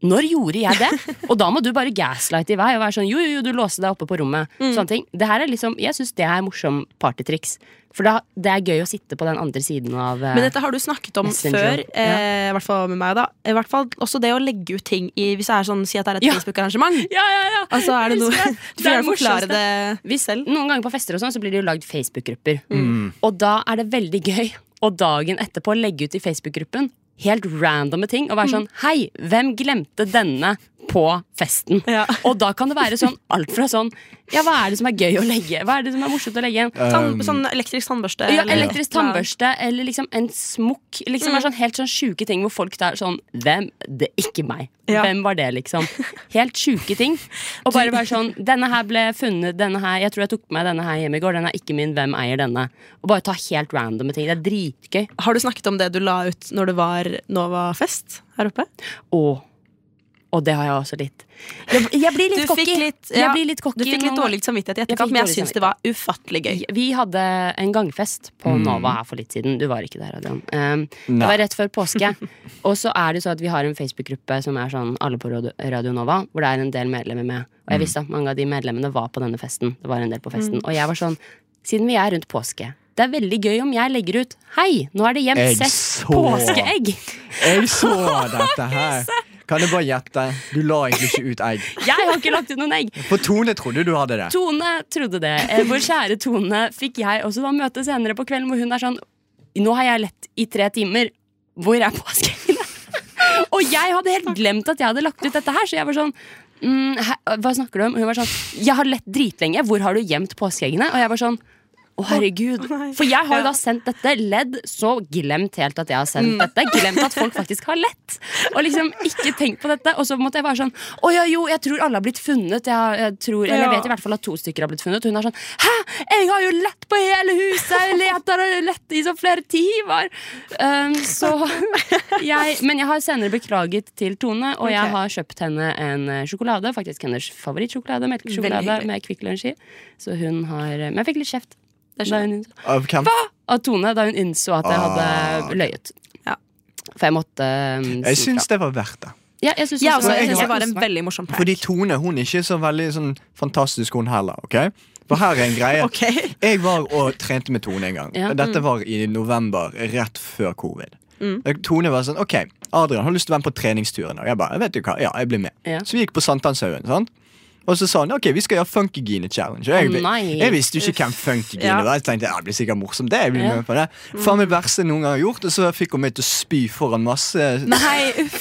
Speaker 4: Når gjorde jeg (laughs) det? Og da må du bare gaslighte i vei og være sånn jo, jo, jo, du låste deg oppe på rommet. Sånne ting. Det her er liksom, jeg syns det er morsom partytriks. For da, det er gøy å sitte på den andre siden av eh,
Speaker 5: Men dette har du snakket om
Speaker 4: Messenger.
Speaker 5: før, eh, i hvert fall med meg, da. I hvert fall også det å legge ut ting i Hvis det er sånn, si at det er et
Speaker 4: Ja.
Speaker 5: Facebook-arrangement.
Speaker 4: Ja, ja, ja.
Speaker 5: Altså, er det noe
Speaker 4: Elsker det.
Speaker 5: (laughs) Du
Speaker 4: Det er det
Speaker 5: får gjerne forklare
Speaker 4: morsomste.
Speaker 5: det
Speaker 4: Hvis, noen ganger på fester og sånn, så blir det jo lagd Facebook-grupper. Og da er det veldig gøy å dagen etterpå Mm. legge ut i Facebook-gruppen helt randomme ting og være sånn Hei, hvem glemte denne på festen.
Speaker 5: Ja.
Speaker 4: Og da kan det være sånn alt fra sånn Ja, hva er det som er gøy å legge? Hva er det som er morsomt å legge igjen?
Speaker 5: Tann, sånn elektrisk tannbørste.
Speaker 4: Ja,
Speaker 5: eller- Mm.
Speaker 4: elektrisk tannbørste eller liksom en smokk. Liksom er sånn Helt sånn sjuke ting hvor folk er sånn Hvem? Det er ikke meg.
Speaker 5: Ja.
Speaker 4: Hvem var det, liksom? Helt sjuke ting. Og bare være sånn Denne her ble funnet, denne her Jeg tror jeg tok med meg denne her hjem i går. Den er ikke min. Hvem eier denne? Og bare ta helt randome ting. Det er dritgøy.
Speaker 5: Har du snakket om det du la ut når det var Nova-fest her oppe?
Speaker 4: Og og det har jeg også litt. Jeg, jeg blir litt
Speaker 5: Du
Speaker 4: cocky.
Speaker 5: fikk litt-
Speaker 4: jeg
Speaker 5: ja,
Speaker 4: blir litt cocky
Speaker 5: Du fikk litt
Speaker 4: nå.
Speaker 5: dårlig samvittighet i
Speaker 4: Jeg fikk
Speaker 5: etterkant, men jeg
Speaker 4: dårlig
Speaker 5: syns det var ufattelig gøy.
Speaker 4: Vi hadde en gangfest på Nova her for litt siden. Du var ikke der, Adrian. Um, det
Speaker 3: Nei.
Speaker 4: var rett før påske. og så er det så at vi har en Facebook-gruppe som er sånn Alle på Radio Radio Nova, hvor det er en del medlemmer med. Og jeg visste at mange av de medlemmene var på denne festen. Det var en del på festen. Og jeg var sånn Siden vi er rundt påske, det er veldig gøy om jeg legger ut Hei, nå er det hjem
Speaker 3: Jeg
Speaker 4: sett
Speaker 3: så-
Speaker 4: påskeegg!
Speaker 3: Jeg
Speaker 4: (laughs)
Speaker 3: så dette her. Kan jeg bare gjette? Du la egentlig ikke ut egg.
Speaker 4: Jeg har ikke lagt ut noen egg!
Speaker 3: For Tone trodde du hadde det.
Speaker 4: Tone trodde det. Eh, Vår kjære Tone fikk jeg også da møte senere på kvelden, hvor hun er sånn Nå har jeg lett i tre timer. Hvor er påskeeggene? (laughs) Og jeg hadde helt glemt at jeg hadde lagt ut dette her, så jeg var sånn mm, hæ- Hva snakker du om? Hun var sånn Jeg har lett dritlenge. Hvor har du gjemt påskeeggene? Og jeg var sånn å, herregud. For jeg har jo da sendt dette ledd, så glemt helt at jeg har sendt dette. Glemt at folk faktisk har lett. Og liksom ikke tenkt på dette. Og så måtte jeg være sånn Å ja, jo, jeg tror alle har blitt funnet. Jeg, har- jeg tror, Eller jeg vet i hvert fall at to stykker har blitt funnet. Hun er sånn Hæ, jeg har jo lett på hele huset! Jeg leter og lett i så flere timer! Um, så jeg Men jeg har senere beklaget til Tone, og jeg har kjøpt henne en eh, sjokolade. Faktisk hennes favorittsjokolade, melkesjokolade
Speaker 5: hyggelig.
Speaker 4: med Kvikk Lunsj i. Så hun har Men jeg fikk litt kjeft. Da hun,
Speaker 3: Av hvem?
Speaker 4: av Tone da hun innså at jeg hadde
Speaker 3: Ah, ok.
Speaker 4: løyet.
Speaker 5: Ja.
Speaker 4: For jeg måtte um,
Speaker 3: Jeg
Speaker 4: si
Speaker 3: syns
Speaker 4: fra.
Speaker 3: det var verdt det.
Speaker 4: Ja, jeg syns
Speaker 5: Jeg
Speaker 4: også det.
Speaker 5: også, altså, jeg
Speaker 4: Jeg
Speaker 5: synes det
Speaker 4: koste
Speaker 5: var en
Speaker 4: meg.
Speaker 5: veldig morsom prank.
Speaker 3: Fordi Tone hun er ikke så veldig sånn fantastisk, hun heller. ok? For her er en
Speaker 4: (laughs)
Speaker 3: greie.
Speaker 5: Ok.
Speaker 3: Jeg var og trente med Tone en gang.
Speaker 4: Ja. Mm.
Speaker 3: Dette var i november, rett før covid. Tone var sånn OK, Adrian har lyst til å være med på treningsturen. Og jeg bare, vet du hva, ja, jeg blir med.
Speaker 4: Ja.
Speaker 3: Så vi gikk på Sankthanshaugen. sant? Og så sa han ok, vi skal gjøre Funkygine Challenge. Og Jeg,
Speaker 4: Å, nei.
Speaker 3: jeg visste jo ikke hvem Funkygine
Speaker 5: Ja.
Speaker 3: var. Jeg tenkte, ja, det blir sikkert morsomt. det, jeg blir
Speaker 4: Ja. Mm.
Speaker 3: med på det. Faen meg verste jeg noen gang har gjort. Og så fikk hun meg til å spy foran masse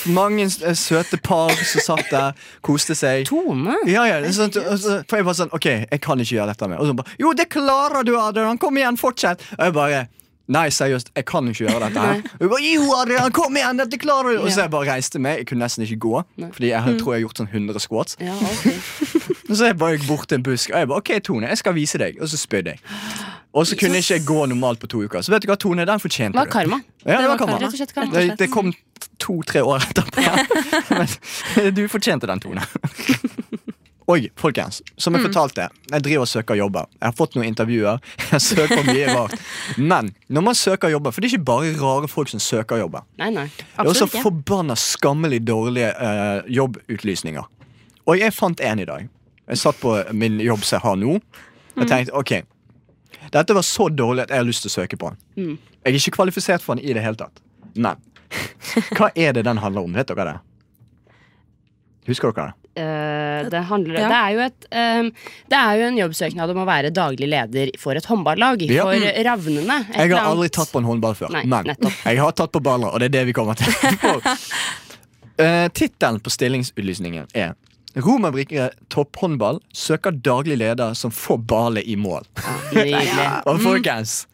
Speaker 3: mange eh, søte par som satt der, koste seg.
Speaker 4: Tone?
Speaker 3: Ja, ja, det er sant, og så- for jeg var sånn, ok, jeg kan ikke gjøre dette mer Og så bare, jo det klarer du Adrian, kom igjen, fortsett Og jeg bare, nei seriøst, jeg kan ikke gjøre dette her Og jeg bare, jo Adrian, kom igjen, dette klarer du Og så jeg bare reiste meg, jeg kunne nesten ikke gå Fordi jeg har- tror jeg har gjort sånn 100 squats
Speaker 4: Mm. Ja, ok.
Speaker 3: Og så jeg bare gikk bort til en busk Og jeg bare, ok Tone, jeg skal vise deg Og så spydde jeg Og så kunne ikke jeg gå normalt på to uker Så vet du hva Tone, den fortjente
Speaker 4: Det var
Speaker 3: du.
Speaker 4: karma.
Speaker 3: Ja, det var karma.
Speaker 4: Rett og slett karma.
Speaker 3: Det, det kom to-tre år etterpå. (laughs) Men eh, du fortjente den
Speaker 4: (laughs)
Speaker 3: tonen. Oi, folkens, som
Speaker 4: Mm.
Speaker 3: jeg fortalte, jeg driver og søker jobber. Jeg har fått noen intervjuer. Jeg søker mye rart. Men når man søker jobber, for det er ikke bare rare folk som søker jobber.
Speaker 4: Nei, nei.
Speaker 3: Det er også
Speaker 5: Absolutt ikke.
Speaker 3: forbanna skammelig dårlige eh, jobbutlysninger. Og jeg fant en i dag. Jeg satt på min jobb som jeg har nå. Jeg tenkte ok, dette var så dårlig at jeg har lyst til å søke på den. Jeg er ikke kvalifisert for den i det hele tatt. Men hva er det den handler om? Vet dere det? Husker dere det?
Speaker 4: Eh, det, handler,
Speaker 5: Ja.
Speaker 4: det, er jo et, ehm, det er jo en jobbsøknad om å være daglig leder for et håndballag.
Speaker 3: Ja.
Speaker 4: For Ravnene. Et
Speaker 3: Jeg
Speaker 4: eller
Speaker 3: har
Speaker 4: annet.
Speaker 3: aldri tatt på en håndball før,
Speaker 4: Nei,
Speaker 3: men
Speaker 4: nettopp.
Speaker 3: jeg har tatt på baller, og det er det vi kommer til. uh, Tittelen på stillingsutlysningen er Romerbrikere topphåndball søker daglig leder som får ballet i mål.
Speaker 4: (laughs) Nydelig.
Speaker 3: Og folkens,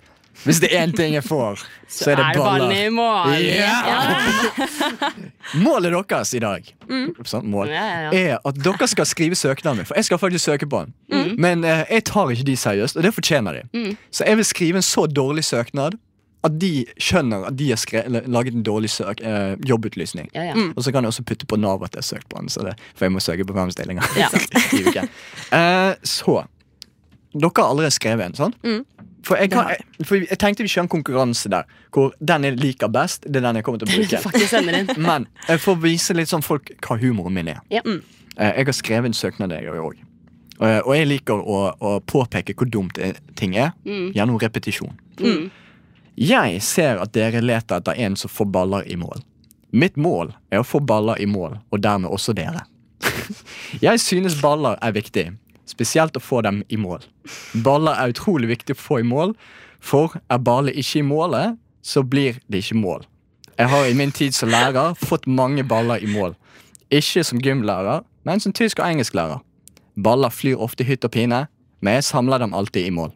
Speaker 3: hvis det er én ting jeg får, så er det
Speaker 4: Mm. ballen i
Speaker 3: baller.
Speaker 4: mål.
Speaker 3: Ja.
Speaker 4: Ja.
Speaker 3: (laughs) Målet deres i dag sånn, mål,
Speaker 4: Mm. Ja, ja,
Speaker 3: er at dere skal skrive søknaden min, for jeg skal faktisk søke på den.
Speaker 4: Mm.
Speaker 3: Men eh, jeg tar ikke de seriøst, og det fortjener de. Så jeg vil skrive en så dårlig søknad at de skjønner at de har skre eller laget en dårlig søk eh, jobbutlysning.
Speaker 4: Ja, ja.
Speaker 3: Og så kan jeg også putte på Nav at jeg har søkt på den, så det, for jeg må søke på fem stillinger.
Speaker 4: Ja.
Speaker 3: (laughs) i uken. Eh, så Dere har allerede skrevet en, sånn? For, jeg kan, jeg, for jeg tenkte vi kjører en konkurranse der hvor den jeg liker best, det er den jeg kommer
Speaker 4: (laughs)
Speaker 3: til å
Speaker 4: Du
Speaker 3: bruke.
Speaker 4: faktisk sender inn.
Speaker 3: Men jeg får vise litt sånn folk hva humoren min er.
Speaker 4: Ja.
Speaker 5: Mm.
Speaker 3: Eh, Jeg har skrevet en søknad, jeg òg. Og jeg liker å, å påpeke hvor dumt eh, ting er, gjennom repetisjon. Jeg ser at dere leter etter en som får baller i mål. Mitt mål er å få baller i mål, og dermed også dere. (laughs) Jeg synes baller er viktig, spesielt å få dem i mål. Baller er utrolig viktig å få i mål, for er ballet ikke i målet, så blir det ikke mål. Jeg har i min tid som lærer fått mange baller i mål. Ikke som gymlærer, men som tysk- og engelsklærer. Baller flyr ofte i hytt og pine, men jeg samler dem alltid i mål.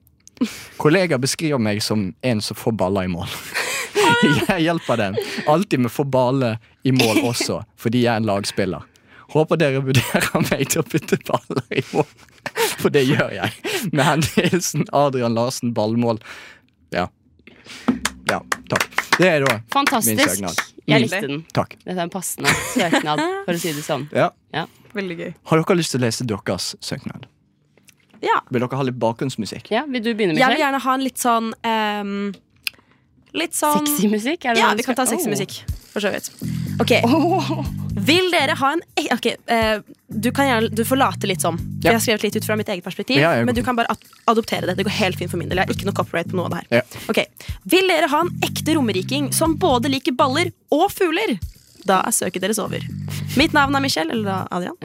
Speaker 3: Kolleger beskriver meg som en som får baller i mål. (laughs) Jeg hjelper dem alltid med å få baller i mål også, fordi jeg er en lagspiller. Håper dere vurderer meg til å putte baller i mål, for det gjør jeg. Med hendelsen Adrian Larsen Ballmål. Ja. Ja, takk. Det er da min
Speaker 4: Fantastisk.
Speaker 3: søknad.
Speaker 4: Jeg likte den.
Speaker 3: Takk.
Speaker 4: Dette er en passende søknad, for å si det sånn.
Speaker 3: Ja.
Speaker 5: Veldig gøy.
Speaker 3: Har dere lyst til å lese deres søknad?
Speaker 5: Ja.
Speaker 3: Vil dere ha litt bakgrunnsmusikk?
Speaker 4: Ja, Vil du begynne,
Speaker 5: Jeg vil
Speaker 4: Michelle?
Speaker 5: gjerne ha en litt sånn ehm, Litt sånn
Speaker 4: Sexy musikk? Er det
Speaker 5: Ja,
Speaker 4: det du
Speaker 5: vi kan ta
Speaker 4: skal-
Speaker 5: sexy
Speaker 4: Oh.
Speaker 5: musikk. For så vidt. Ok.
Speaker 4: (laughs)
Speaker 5: Vil dere ha en e- Ok, eh, du, kan gjerne, du får late litt som. For Jeg
Speaker 3: Ja.
Speaker 5: har skrevet litt ut fra mitt eget perspektiv,
Speaker 3: Ja, ja,
Speaker 5: men du
Speaker 3: godt.
Speaker 5: kan bare ad- adoptere det. Det går helt fint for min del. Jeg har ikke noe copyright på noe av det her.
Speaker 3: Ja.
Speaker 5: Ok, Vil dere ha en ekte rommeriking som både liker baller og fugler? Da er søket deres over. Mitt navn er Michelle, eller da Adrian.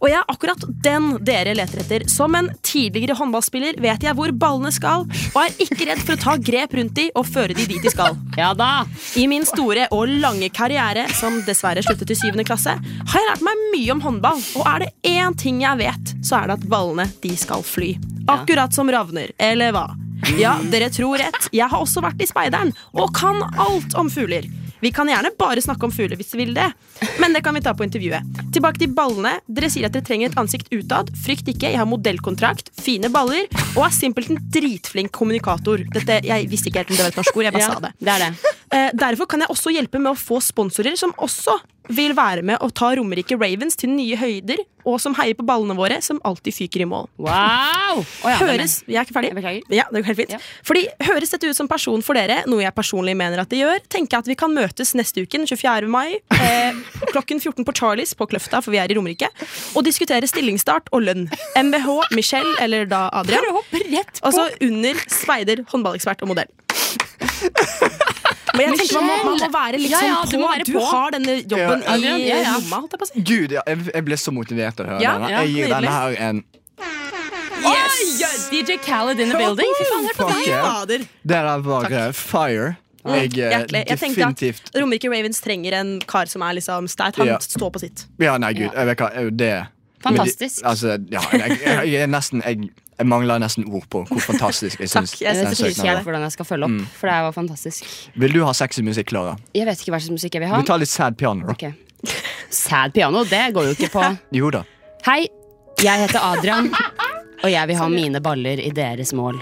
Speaker 5: Og jeg er akkurat den dere leter etter. Som en tidligere håndballspiller vet jeg hvor ballene skal, og er ikke redd for å ta grep rundt de og føre de dit de skal.
Speaker 4: Ja da!
Speaker 5: I min store og lange karriere, som dessverre sluttet i syvende klasse, har jeg lært meg mye om håndball, og er det én ting jeg vet, så er det at ballene, de skal fly. Akkurat som ravner, eller hva? Ja, dere tror rett, jeg har også vært i speideren, og kan alt om fugler. Vi kan gjerne bare snakke om fugler hvis dere vil det, men det kan vi ta på intervjuet. Tilbake til ballene. Dere sier at dere trenger et ansikt utad. Frykt ikke, jeg har modellkontrakt, fine baller, og er simpelthen dritflink kommunikator. Dette, jeg visste ikke helt om det var et norsk ord, jeg bare
Speaker 4: Ja,
Speaker 5: sa det.
Speaker 4: det er det.
Speaker 5: Eh, Derfor kan jeg også hjelpe med å få sponsorer som også vil være med å ta Romerike Ravens til nye høyder, og som heier på ballene våre, som alltid fyker i mål. (laughs)
Speaker 4: Wow! Å ja, det er
Speaker 5: Høres, jeg er ikke ferdig.
Speaker 4: Jeg beklager.
Speaker 5: Ja, det går helt fint.
Speaker 4: Ja.
Speaker 5: Fordi Høres dette ut som person for dere, noe jeg personlig mener at det gjør, tenker jeg at vi kan møtes neste uke, den 24. mai, eh, klokken 14 på Charlies på Kløfta, for vi er i Romerike, og diskutere stillingsstart og lønn. MBH, Michelle eller da Adrian. Altså under speider, håndballekspert og modell. Men jeg tenker man må, man må være litt
Speaker 4: Ja,
Speaker 5: sånn
Speaker 4: ja,
Speaker 5: på.
Speaker 4: du må være
Speaker 5: Du
Speaker 4: på.
Speaker 5: har denne jobben
Speaker 3: Ja,
Speaker 4: Adrian,
Speaker 5: i
Speaker 4: ja, ja.
Speaker 5: lomma, holdt jeg på å si.
Speaker 3: Gud, ja, jeg, jeg ble så motivert av å høre
Speaker 5: Ja,
Speaker 3: denne.
Speaker 5: ja,
Speaker 3: Jeg gir denne her
Speaker 5: nydelig.
Speaker 3: en
Speaker 4: Oi, ja, DJ Khaled in the building. Fy faen, hør på
Speaker 3: Fuck
Speaker 4: deg.
Speaker 3: yeah.
Speaker 5: Fader.
Speaker 3: Det der var eh, fire. Jeg, eh,
Speaker 5: Mm, Hjertelig. Jeg tenkte
Speaker 3: definitivt
Speaker 5: at Romerike Ravens trenger en kar som er liksom sterk. Han
Speaker 3: Ja.
Speaker 5: står på sitt.
Speaker 3: Ja, nei, gud. Jeg vet hva, eh, det
Speaker 4: Fantastisk.
Speaker 3: Men de- altså, ja, jeg, jeg, jeg, er nesten, jeg, jeg mangler nesten ord på hvor fantastisk jeg
Speaker 5: (laughs)
Speaker 3: syns
Speaker 5: Takk, jeg
Speaker 3: den
Speaker 4: Jeg vet ikke
Speaker 3: søknaden
Speaker 4: helt hvordan jeg skal følge opp, for det her var fantastisk.
Speaker 3: var. Vil du ha sexy musikk, Klara?
Speaker 4: Jeg vet ikke hva slags musikk jeg vil ha.
Speaker 3: Vi tar litt sad piano, da.
Speaker 4: Ok. Sad piano, det går jo ikke på.
Speaker 5: (laughs)
Speaker 3: Jo da.
Speaker 4: Hei, jeg heter Adrian, og jeg vil ha mine baller i deres mål.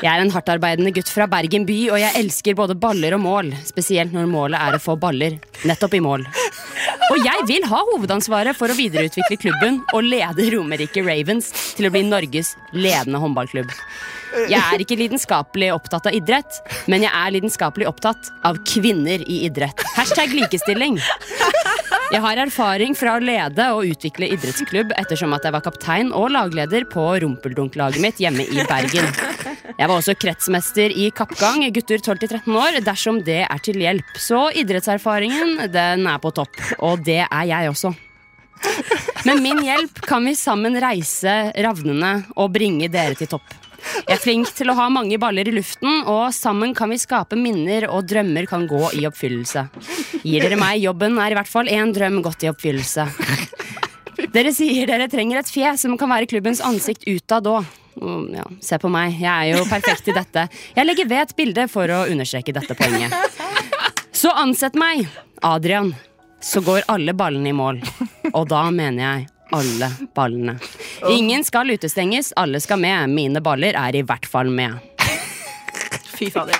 Speaker 4: Jeg er en hardtarbeidende gutt fra Bergen by, og jeg elsker både baller og mål. Spesielt når målet er å få baller nettopp i mål. Og jeg vil ha hovedansvaret for å videreutvikle klubben og lede Romerike Ravens til å bli Norges ledende håndballklubb. Jeg er ikke lidenskapelig opptatt av idrett, men jeg er lidenskapelig opptatt av kvinner i idrett. Hashtag likestilling. Jeg har erfaring fra å lede og utvikle idrettsklubb ettersom at jeg var kaptein og lagleder på rumpeldunklaget mitt hjemme i Bergen. Jeg var også kretsmester i kappgang gutter 12-13 år dersom det er til hjelp. Så idrettserfaringen, den er på topp. Og det er jeg også. Med min hjelp kan vi sammen reise ravnene og bringe dere til topp. Jeg er flink til å ha mange baller i luften, og sammen kan vi skape minner og drømmer kan gå i oppfyllelse. Gir dere meg jobben, er i hvert fall én drøm gått i oppfyllelse. Dere sier dere trenger et fjes som kan være klubbens ansikt utad òg. Mm, Ja, se på meg, jeg er jo perfekt i dette. Jeg legger ved et bilde for å understreke dette poenget. Så ansett meg, Adrian. Så går alle ballene i mål. Og da mener jeg alle ballene. Ingen skal utestenges, alle skal med. Mine baller er i hvert fall med.
Speaker 5: Fy fader.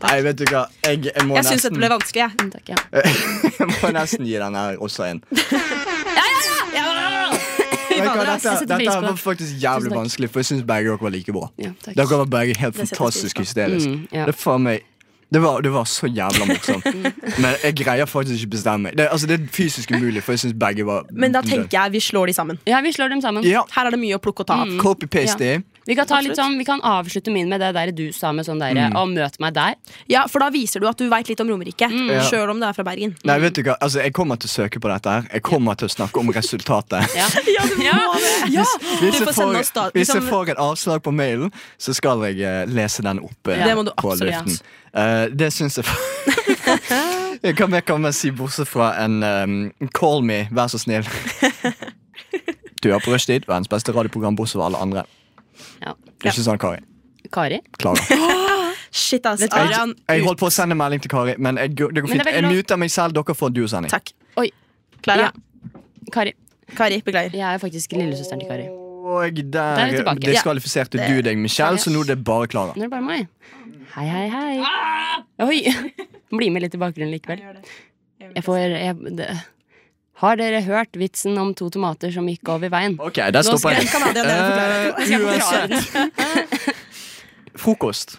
Speaker 3: Nei, vet du hva. Jeg, jeg, må,
Speaker 5: Jeg syns dette
Speaker 3: nesten,
Speaker 5: ble vanskelig. jeg.
Speaker 4: Takk, ja.
Speaker 3: (laughs) jeg må nesten gi denne her også en.
Speaker 5: Fy
Speaker 3: Vet du hva,
Speaker 5: fader, ass.
Speaker 3: dette,
Speaker 4: setter
Speaker 3: dette
Speaker 4: pris på
Speaker 3: var
Speaker 4: det.
Speaker 3: faktisk
Speaker 4: Tusen
Speaker 3: jævlig
Speaker 4: takk.
Speaker 3: vanskelig, for jeg syns begge dere var like bra.
Speaker 4: Ja, takk.
Speaker 3: Dere var begge helt
Speaker 5: setter jeg
Speaker 3: fantastisk
Speaker 5: pris
Speaker 3: hysterisk.
Speaker 4: Mm, ja. Mm.
Speaker 3: Det, er faen meg, det, var, det var så jævla
Speaker 4: (laughs)
Speaker 3: morsomt. Men jeg greier faktisk ikke bestemme meg. Det, altså, det er fysisk umulig, for jeg syns begge
Speaker 4: (laughs)
Speaker 3: var
Speaker 5: Men da tenker jeg vi slår de sammen.
Speaker 4: ja, vi slår dem sammen.
Speaker 3: Ja,
Speaker 5: Her er det mye å plukke og ta av.
Speaker 3: Mm.
Speaker 4: Mm.
Speaker 3: copy-paste
Speaker 4: Ja.
Speaker 3: det.
Speaker 4: Vi kan, ta litt sånn, vi kan avslutte min med det der du sa med sånn derre Og møt meg der.
Speaker 5: Ja, For da viser du at du veit litt om Romerike,
Speaker 3: Ja.
Speaker 5: sjøl om du er fra Bergen.
Speaker 4: Mm.
Speaker 3: Nei, vet du hva, altså, Jeg kommer til å søke på dette. her Jeg kommer til å snakke
Speaker 4: (laughs)
Speaker 3: om resultatet.
Speaker 4: Ja.
Speaker 3: Hvis
Speaker 5: Ah, Du
Speaker 3: jeg
Speaker 5: får sende
Speaker 3: får,
Speaker 5: oss da-
Speaker 3: hvis jeg
Speaker 5: liksom-
Speaker 3: får et avslag på mailen, så skal jeg eh, lese den opp eh,
Speaker 5: Det må du
Speaker 3: på
Speaker 5: absolutt.
Speaker 3: luften. Eh, det syns jeg Hva mer kan man si bortsett fra en ehm, Call me, vær så snill. Du er på rushtid, verdens beste radioprogram bortsett fra alle andre.
Speaker 4: Ja.
Speaker 3: Det er ikke sånn, Kari.
Speaker 4: Kari?
Speaker 3: Klager.
Speaker 5: Shit, ass. Ah,
Speaker 4: Vet du hva?
Speaker 5: Adrian.
Speaker 3: Jeg holdt på å sende melding til Kari, men jeg, det går
Speaker 4: Men
Speaker 3: fint.
Speaker 4: det er
Speaker 3: Jeg
Speaker 4: veldig lov.
Speaker 3: muter meg selv, dere får en duosending.
Speaker 5: Takk.
Speaker 4: Oi.
Speaker 5: Klara.
Speaker 4: Kari.
Speaker 5: Kari, beklager.
Speaker 4: Jeg er faktisk lillesøsteren til Kari. Nå
Speaker 3: Og
Speaker 4: Da er
Speaker 3: der
Speaker 4: vi tilbake.
Speaker 3: diskvalifiserte du deg, Michelle, så nå er det bare Klara.
Speaker 4: er det bare meg. Hei, hei, hei. Oi! (laughs) Bli med litt i bakgrunnen likevel. Jeg får jeg, det. Har dere hørt vitsen om to tomater som gikk over veien?
Speaker 3: Ok, der
Speaker 4: Nå skal
Speaker 3: stopper
Speaker 4: jeg-
Speaker 3: jeg. Eh, uansett. (laughs) Frokost.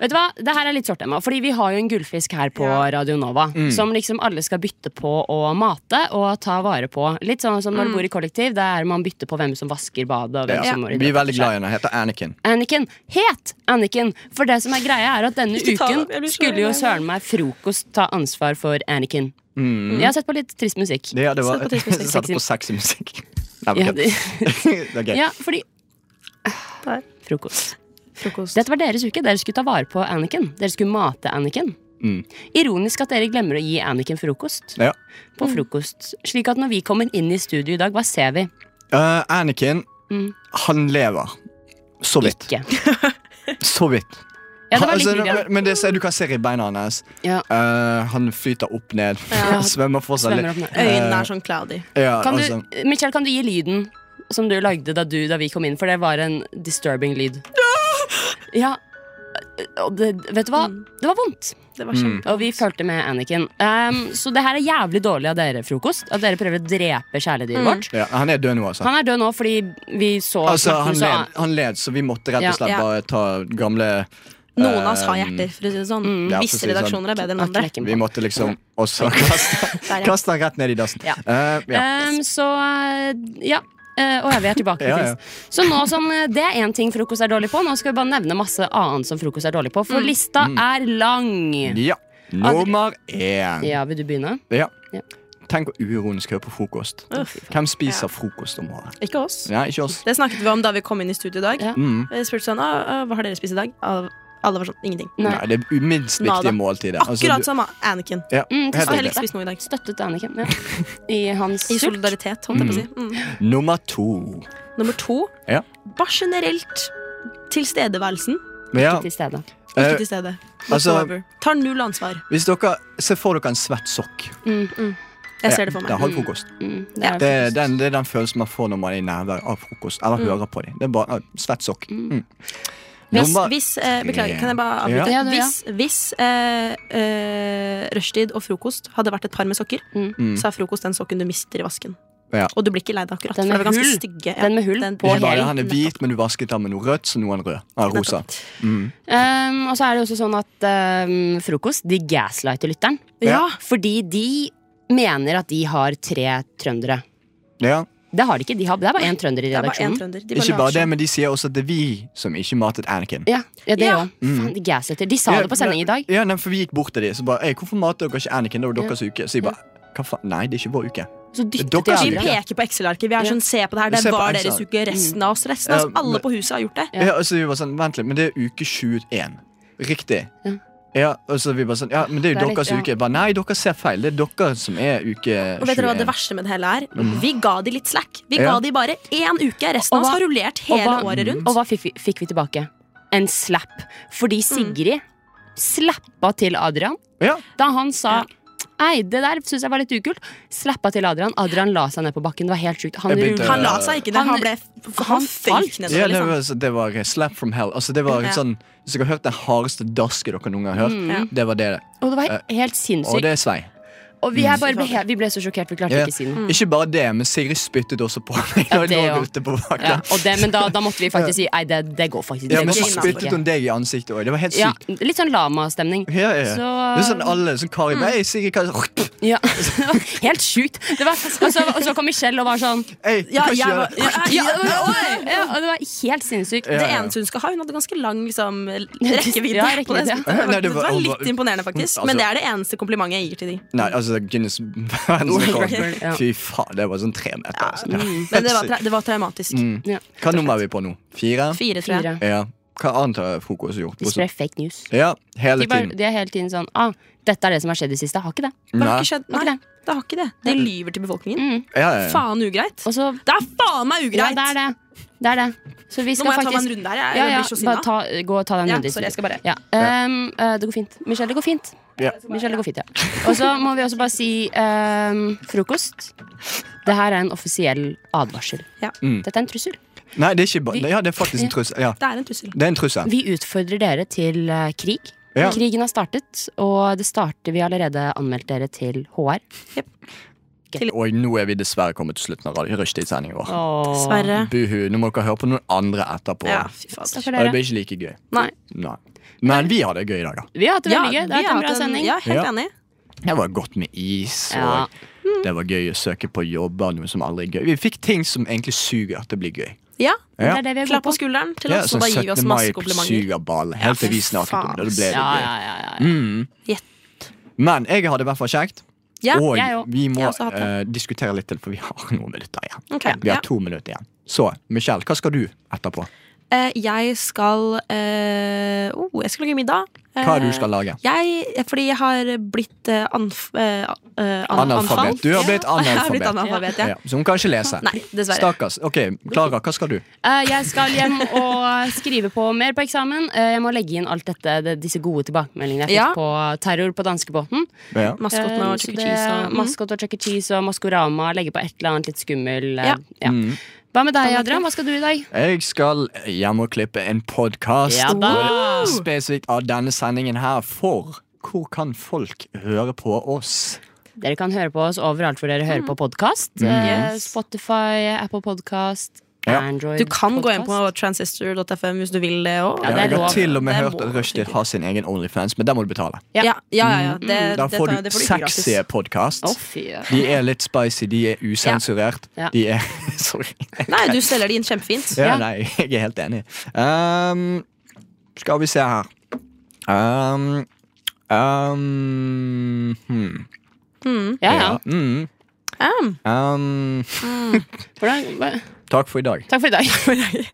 Speaker 4: Vet du hva? Det her er litt sårt Emma, fordi vi har jo en gullfisk her på Radio Nova
Speaker 3: Mm.
Speaker 4: som liksom alle skal bytte på å mate og ta vare på. Litt sånn som når du bor i kollektiv, der man bytter på hvem som vasker badet. Og hvem
Speaker 3: Ja.
Speaker 4: som må rydde
Speaker 3: Vi er sånn
Speaker 4: opp etter
Speaker 3: veldig
Speaker 4: seg.
Speaker 3: glad i henne. Heter Anniken.
Speaker 4: Anakin het Anakin, for det som er greia er at denne
Speaker 5: ta det opp, jeg
Speaker 4: uken
Speaker 5: blir så
Speaker 4: skulle jo
Speaker 5: lei meg.
Speaker 4: søren meg frokost ta ansvar for Anakin. Jeg har sett på litt trist musikk.
Speaker 3: Mm. Det, ja, det var
Speaker 5: Satt på sexy musikk.
Speaker 3: Satt på sexy musikk. (laughs) Nei, men
Speaker 4: Ja,
Speaker 3: kødd.
Speaker 4: det,
Speaker 3: (laughs) Det er gøy.
Speaker 4: (laughs) ja fordi
Speaker 5: Der.
Speaker 4: Frokost.
Speaker 5: Frokost.
Speaker 4: Dette var deres uke. Dere skulle ta vare på Anakin. Dere skulle mate Anakin.
Speaker 3: Mm.
Speaker 4: Ironisk at dere glemmer å gi Anakin frokost.
Speaker 3: Ja.
Speaker 4: På frokost. Slik at når vi kommer inn i studio i dag, hva ser vi?
Speaker 3: Eh, Anakin,
Speaker 4: Mm.
Speaker 3: han lever. Så vidt.
Speaker 4: Ikke.
Speaker 3: Så vidt.
Speaker 4: Ja, det var litt
Speaker 3: (laughs) Altså,
Speaker 4: videre.
Speaker 3: men- men det ser, du kan se i beina hans.
Speaker 4: Ja.
Speaker 3: Eh, han flyter opp ned. (laughs)
Speaker 4: Ja.
Speaker 3: Svømmer fortsatt
Speaker 4: Svømmer
Speaker 3: litt.
Speaker 4: opp ned.
Speaker 3: Eh,
Speaker 5: Øynene er sånn cloudy.
Speaker 3: Ja,
Speaker 4: Kan
Speaker 3: altså.
Speaker 4: du, Michael, kan du gi lyden som du lagde da, du, da vi kom inn? For det var en disturbing lyd. Ja. Og det, vet du hva? Det var vondt.
Speaker 5: Det
Speaker 3: mm.
Speaker 5: var kjempe...
Speaker 4: Og vi fulgte med Anniken. Um, så det her er jævlig dårlig av dere, frokost. At dere prøver å drepe kjæledyret vårt.
Speaker 3: ja, han er død nå, altså.
Speaker 4: Han er død nå fordi vi så
Speaker 3: altså
Speaker 4: smerten,
Speaker 3: han,
Speaker 4: så-
Speaker 3: led, han led, så vi måtte rett
Speaker 4: Ja.
Speaker 3: og slett
Speaker 5: Ja.
Speaker 3: bare ta gamle
Speaker 5: Noen av oss har
Speaker 3: eh,
Speaker 5: hjerter, for å si det sånn.
Speaker 3: Ja, for å si
Speaker 5: Visse
Speaker 3: det sånn.
Speaker 5: redaksjoner er bedre enn andre.
Speaker 4: Knekken på.
Speaker 3: Vi måtte liksom også kaste,
Speaker 5: (laughs) Der, ja.
Speaker 3: kaste han rett ned i dassen.
Speaker 4: Ja.
Speaker 3: Eh, ja.
Speaker 4: Um, så eh, ja. Eh, og vi er tilbake til
Speaker 3: (laughs) Ja, ja.
Speaker 4: trist. Så nå som eh, det er én ting frokost er dårlig på, nå skal vi bare nevne masse annet som frokost er dårlig på. For lista
Speaker 3: Mm.
Speaker 4: er lang.
Speaker 5: Eh,
Speaker 3: ja. Nummer én.
Speaker 4: Ja, vil du begynne?
Speaker 3: Ja.
Speaker 4: Ja.
Speaker 3: Tenk å uironisk høre på frokost. Hvem spiser frokost om morgenen?
Speaker 5: Ikke oss.
Speaker 3: Nei, ikke oss.
Speaker 5: Det snakket vi om da vi kom inn i studio i dag.
Speaker 4: Ja.
Speaker 3: Mm.
Speaker 5: Jeg spurte sånn, «Ah, ah, hva har dere spist i dag? Alle alle var sånn, ingenting.
Speaker 4: Nei.
Speaker 3: Nei, det er minst
Speaker 5: Nada.
Speaker 3: viktige måltider.
Speaker 5: Akkurat sånn. som Anakin.
Speaker 3: Ja,
Speaker 4: Mm,
Speaker 5: Jeg
Speaker 3: altså, helt
Speaker 5: har heller
Speaker 3: enig.
Speaker 5: ikke spist noe i dag.
Speaker 4: Støttet Anniken
Speaker 3: (laughs)
Speaker 4: ja. i hans
Speaker 5: I
Speaker 4: sult.
Speaker 5: solidaritet, holdt jeg på å si. Mm.
Speaker 3: Nummer to.
Speaker 5: Nummer to.
Speaker 3: Ja.
Speaker 5: Bare generelt tilstedeværelsen.
Speaker 3: Ja,
Speaker 4: Til stede.
Speaker 5: Ikke
Speaker 3: eh,
Speaker 5: til stede.
Speaker 3: altså-
Speaker 5: Whatsoever. Tar null ansvar.
Speaker 3: hvis dere ser for dere en svett sokk,
Speaker 5: Jeg ser det for
Speaker 3: da
Speaker 5: meg.
Speaker 3: har du frokost.
Speaker 4: Mm, det
Speaker 5: Ja.
Speaker 4: er
Speaker 3: Det er
Speaker 4: frokost.
Speaker 3: den, det er den følelsen man får når man er i nærvær av frokost.
Speaker 5: Mm.
Speaker 3: Eller hører på dem. Det er bare ah, svett sokk. Mm.
Speaker 5: Hvis,
Speaker 3: Nummer-
Speaker 5: hvis eh, Beklager, kan jeg bare
Speaker 4: Ja.
Speaker 5: avbryte?
Speaker 4: Ja, du, ja.
Speaker 5: Hvis, hvis eh, eh, rushtid og frokost hadde vært et par med sokker,
Speaker 3: Mm.
Speaker 5: så er frokost den sokken du mister i vasken.
Speaker 3: Ja.
Speaker 5: Og du blir ikke lei deg akkurat.
Speaker 4: Den
Speaker 5: Den
Speaker 4: med
Speaker 5: for det var ganske
Speaker 4: hull.
Speaker 5: stygge.
Speaker 4: Den med hull på
Speaker 3: Ikke bare
Speaker 4: hel.
Speaker 3: han er hvit, men du vasket ham med noe rødt, så nå er han rød. Ah, rosa.
Speaker 4: Um, og så er det også sånn at um, frokost de gaslighter lytteren.
Speaker 5: Ja.
Speaker 4: Fordi de mener at de har tre trøndere.
Speaker 3: Ja.
Speaker 4: Det har de ikke. De har, det er bare én trønder i
Speaker 5: Det er bare én
Speaker 4: redaksjonen.
Speaker 5: trønder. De bare
Speaker 3: Ikke
Speaker 5: lar
Speaker 3: bare det,
Speaker 5: seg.
Speaker 3: men de sier også at det er vi som ikke matet Anakin.
Speaker 4: Ja, ja, det
Speaker 5: Ja.
Speaker 4: òg. Faen, de gaslighter. De sa det på sending i dag.
Speaker 3: Mm. Ja, nei, for vi gikk bort til dem. Så bare, «Ei, hvorfor mater dere ikke Anakin? Det var deres uke. Så jeg bare, hva faen? Nei, det er ikke vår uke.
Speaker 4: Så dyttet
Speaker 3: Dere
Speaker 4: de
Speaker 3: er
Speaker 5: Vi
Speaker 3: Ja.
Speaker 4: andre.
Speaker 5: peker på Excel-arket. Vi
Speaker 4: Ja.
Speaker 5: er
Speaker 4: Mm.
Speaker 5: sånn, se på det her,
Speaker 3: Se
Speaker 5: det
Speaker 3: på
Speaker 5: var
Speaker 3: Excel.
Speaker 5: deres uke. Resten av oss, resten av
Speaker 3: Ja,
Speaker 5: oss, alle
Speaker 3: men-
Speaker 5: på huset har gjort det.
Speaker 4: Ja.
Speaker 3: Ja, og så vi var sånn, vent litt, men det er uke 21. Riktig.
Speaker 4: Ja.
Speaker 3: Ja, og så vi bare sånn, ja, men det er jo
Speaker 4: Det er litt-
Speaker 3: deres
Speaker 4: ja.
Speaker 3: uke. Jeg Bare, nei, dere ser feil. Det er dere som er uke 21.
Speaker 5: Og vet dere hva det verste med det hele er? Vi ga de litt slack. Vi
Speaker 3: Mm. Ja.
Speaker 5: ga de bare én uke. Resten
Speaker 4: Og
Speaker 5: av oss
Speaker 4: hva-
Speaker 5: har rullert
Speaker 4: Og
Speaker 5: hele
Speaker 4: hva,
Speaker 5: året rundt.
Speaker 4: og hva fikk, vi- fikk vi tilbake? En slap. Fordi
Speaker 5: Mm.
Speaker 4: Sigrid slappa til Adrian
Speaker 3: Ja.
Speaker 4: da han sa Nei, det der syns jeg var litt ukult. Slappa til Adrian. Adrian la seg ned på bakken. Det var helt sjukt. Han,
Speaker 3: Jeg begynte-
Speaker 4: rullet-
Speaker 5: Han la seg ikke ned.
Speaker 4: Han-
Speaker 5: Han ble
Speaker 4: han
Speaker 5: Han føyk
Speaker 4: falt.
Speaker 5: nedover,
Speaker 3: eh, Ja, det
Speaker 5: liksom.
Speaker 3: var, så det var slap from hell. Altså, det var
Speaker 5: Ja.
Speaker 3: sånn, hvis dere har hørt den hardeste daske dere noen gang har
Speaker 4: Mm.
Speaker 3: hørt,
Speaker 5: Ja.
Speaker 3: det var det.
Speaker 4: og det var helt
Speaker 3: Og
Speaker 4: sinnssykt.
Speaker 3: det er svei.
Speaker 4: Og vi, er bare ble, he- vi ble så sjokkert, vi klarte
Speaker 3: Ja.
Speaker 4: ikke
Speaker 3: Mm.
Speaker 4: å si noe.
Speaker 3: Ikke bare det, men Sigrid spyttet også på meg
Speaker 4: Ja, det
Speaker 3: når jeg
Speaker 4: også.
Speaker 3: lå ute på bakken.
Speaker 4: Ja, og det, men da, da måtte vi faktisk si Nei, det, det går faktisk
Speaker 3: Ja,
Speaker 4: det
Speaker 3: men
Speaker 4: går
Speaker 3: så
Speaker 5: innenfor.
Speaker 4: faktisk
Speaker 3: spyttet
Speaker 4: ikke.
Speaker 3: hun deg i ansiktet òg. Det var helt
Speaker 4: Ja,
Speaker 3: sykt.
Speaker 4: litt sånn lama-stemning.
Speaker 3: Ja, ja, ja.
Speaker 4: Så-
Speaker 3: Det er sånn alle sånn Kari mm. Sigrid, hva
Speaker 4: Ja. (laughs) Det var helt sjukt. Det var, og, så, og så kom Michelle og var sånn
Speaker 3: Ei, du kan ikke
Speaker 5: jeg
Speaker 3: gjøre
Speaker 5: var-
Speaker 3: det.
Speaker 4: Ja, ja, og det var helt sinnssykt.
Speaker 3: Ja,
Speaker 5: (laughs) Det
Speaker 3: ja.
Speaker 5: eneste hun skal ha, hun hadde ganske lang liksom, rekkevidde.
Speaker 4: (laughs) Ja, rekkevidde,
Speaker 5: på det.
Speaker 4: ja.
Speaker 5: Det, var,
Speaker 3: Nei, det
Speaker 5: det
Speaker 3: var-
Speaker 5: var
Speaker 3: hun var-
Speaker 5: litt imponerende, faktisk.
Speaker 3: Altså-
Speaker 5: Men det er det eneste komplimentet jeg gir til de.
Speaker 3: Nei, altså Guinness verdensrekord.
Speaker 4: (laughs) Ja. Mm.
Speaker 3: Fy faen, det var sånn tre meter. altså.
Speaker 5: Men det var, tra det var traumatisk.
Speaker 3: Mm.
Speaker 4: Ja.
Speaker 3: Hva nummer er vi på nå? Fire?
Speaker 5: Fire, tror jeg.
Speaker 4: Fire.
Speaker 3: Ja. Hva annet har Frokost gjort?
Speaker 4: De sprer fake news.
Speaker 3: Ja, hele
Speaker 4: De, bare,
Speaker 3: tiden.
Speaker 4: de er hele tiden sånn ah, 'Dette er det som har skjedd i det siste.' Har ikke det.
Speaker 5: Det har
Speaker 3: Nei.
Speaker 5: ikke skjedd.
Speaker 4: Har ikke
Speaker 5: Nei, det har ikke det. De lyver til befolkningen.
Speaker 4: Mm.
Speaker 3: Ja, ja, ja.
Speaker 5: Faen ugreit.
Speaker 4: Og så
Speaker 5: Det er faen meg
Speaker 4: Ja,
Speaker 5: ugreit!
Speaker 4: det er det. det, er det. Så vi
Speaker 5: Nå
Speaker 4: skal
Speaker 5: må jeg ta
Speaker 4: faktisk
Speaker 5: meg en runde her. Jeg,
Speaker 4: ja, ja,
Speaker 5: blir så
Speaker 4: bare
Speaker 5: sinna.
Speaker 4: ta, gå og ta deg en
Speaker 5: Ja,
Speaker 4: runde. i
Speaker 5: sorry, jeg skal bare-
Speaker 4: Ja. ehm, eh, det går fint. Michelle, det går fint.
Speaker 3: Ja.
Speaker 4: Michelle, det går fint, ja. Og så må vi også bare si ehm, frokost. Det her er en offisiell advarsel.
Speaker 5: Ja.
Speaker 3: Mm.
Speaker 4: Dette er en trussel.
Speaker 3: Nei, det er ikke bare
Speaker 4: Vi-
Speaker 3: Ja, det er faktisk en trussel. Ja,
Speaker 5: Det er en trussel.
Speaker 3: det er en trussel.
Speaker 4: Vi utfordrer dere til eh, krig.
Speaker 3: Ja.
Speaker 4: Krigen har startet, og det starter vi har allerede anmeldt dere til HR.
Speaker 3: Og nå er vi dessverre kommet til slutten av radio- rushtidssendingen vår.
Speaker 5: Dessverre.
Speaker 3: Buhu. Nå må dere høre på noen andre etterpå.
Speaker 5: Ja, fy fader.
Speaker 4: Stakkars
Speaker 3: Og det
Speaker 4: dere.
Speaker 3: blir ikke like gøy.
Speaker 5: Nei.
Speaker 3: Nei. Men vi hadde det gøy i dag, da.
Speaker 4: Vi har hatt det
Speaker 5: Ja,
Speaker 4: veldig gøy. Det
Speaker 5: vi
Speaker 4: har vært
Speaker 5: har
Speaker 4: en bra
Speaker 5: hatt
Speaker 4: sending.
Speaker 5: Ja, helt
Speaker 3: Ja.
Speaker 5: enig.
Speaker 3: Det var godt med is, og
Speaker 4: Ja.
Speaker 3: det var gøy å søke på jobber, noe som aldri er gøy. Vi fikk ting som egentlig suger at det blir gøy.
Speaker 5: Ja.
Speaker 4: Det
Speaker 3: Ja.
Speaker 4: er det vi er
Speaker 5: Klapp
Speaker 4: gode på.
Speaker 5: på skulderen til
Speaker 3: Ja,
Speaker 5: oss,
Speaker 3: sånn
Speaker 5: og da gir vi oss
Speaker 3: 17. mai
Speaker 5: masse komplimenter.
Speaker 3: suger ball, helt til vi snakket om det. Da ble det
Speaker 4: Ja,
Speaker 3: gøy.
Speaker 4: ja, ja, ja.
Speaker 3: Men jeg hadde i hvert fall kjekt.
Speaker 5: Ja,
Speaker 3: og
Speaker 4: jeg òg.
Speaker 3: vi må
Speaker 5: Jeg har også hatt det.
Speaker 3: eh, diskutere litt til, for vi har noen minutter igjen.
Speaker 5: Ok,
Speaker 3: Vi har
Speaker 5: ja.
Speaker 3: to minutter igjen. Så Michelle, hva skal du etterpå?
Speaker 5: Eh, jeg skal eh, oh, Jeg skal lage middag. Eh,
Speaker 3: Hva er det du skal lage?
Speaker 5: Jeg, fordi jeg har blitt eh, anf... Eh, eh, an
Speaker 3: Analfabet. Du har
Speaker 5: (laughs)
Speaker 3: blitt
Speaker 5: Jeg har blitt
Speaker 3: analfabet.
Speaker 5: analfabet, ja.
Speaker 3: Ja, så hun kan ikke lese.
Speaker 5: Nei, dessverre.
Speaker 3: Stakkars. Ok, Klara, hva skal du?
Speaker 4: Eh, Jeg skal hjem og skrive på mer på eksamen. Eh, Jeg må legge inn alt dette, det- disse gode tilbakemeldingene jeg fikk
Speaker 5: Ja.
Speaker 4: på terror på danskebåten.
Speaker 3: Ja.
Speaker 5: Maskoten
Speaker 4: Eh,
Speaker 5: og
Speaker 4: så
Speaker 5: Chuck E.
Speaker 4: det-
Speaker 5: Cheese og mm.
Speaker 4: Maskot og Chuck E. Cheese og Maskorama. Legge på et eller annet litt skummel. eh,
Speaker 5: Ja.
Speaker 4: Ja.
Speaker 3: Mm.
Speaker 4: Hva med deg, Adrian? Hva skal du i dag?
Speaker 3: Jeg skal hjem og klippe en podkast
Speaker 4: Ja da.
Speaker 3: spesifikt av denne sendingen her, for hvor kan folk høre på oss?
Speaker 4: Dere kan høre på oss overalt hvor dere hører
Speaker 5: Mm.
Speaker 4: på podkast.
Speaker 5: Yes.
Speaker 4: Spotify, Apple Podkast,
Speaker 3: Mm. Ja.
Speaker 4: Android
Speaker 5: Du kan gå inn på
Speaker 4: podcast.
Speaker 5: transistor.fm hvis du vil det òg.
Speaker 4: Ja, det er
Speaker 3: jeg har
Speaker 4: lov.
Speaker 3: til og med
Speaker 5: Det er
Speaker 3: hørt
Speaker 5: lov.
Speaker 3: at Rushdie har sin egen Onlyfans, men der må du betale.
Speaker 5: Ja, ja, ja. ja. Det,
Speaker 3: Da
Speaker 5: det tar-
Speaker 3: får du
Speaker 5: det får du ikke gratis.
Speaker 3: sexy podkast.
Speaker 4: Å, fy. ja.
Speaker 3: De er litt spicy, de er usensurert.
Speaker 4: Ja. Ja.
Speaker 3: De er (laughs) Sorry.
Speaker 5: Nei, du selger det inn kjempefint.
Speaker 3: Ja,
Speaker 4: Ja.
Speaker 3: nei, (laughs) jeg er helt enig. Ehm, skal vi se her Ehm, ehm, hmm.
Speaker 4: Ja, ja.
Speaker 3: Mm,
Speaker 5: Um.
Speaker 3: ehm,
Speaker 4: Hvordan, hva-
Speaker 3: takk for i dag.
Speaker 4: takk for i dag.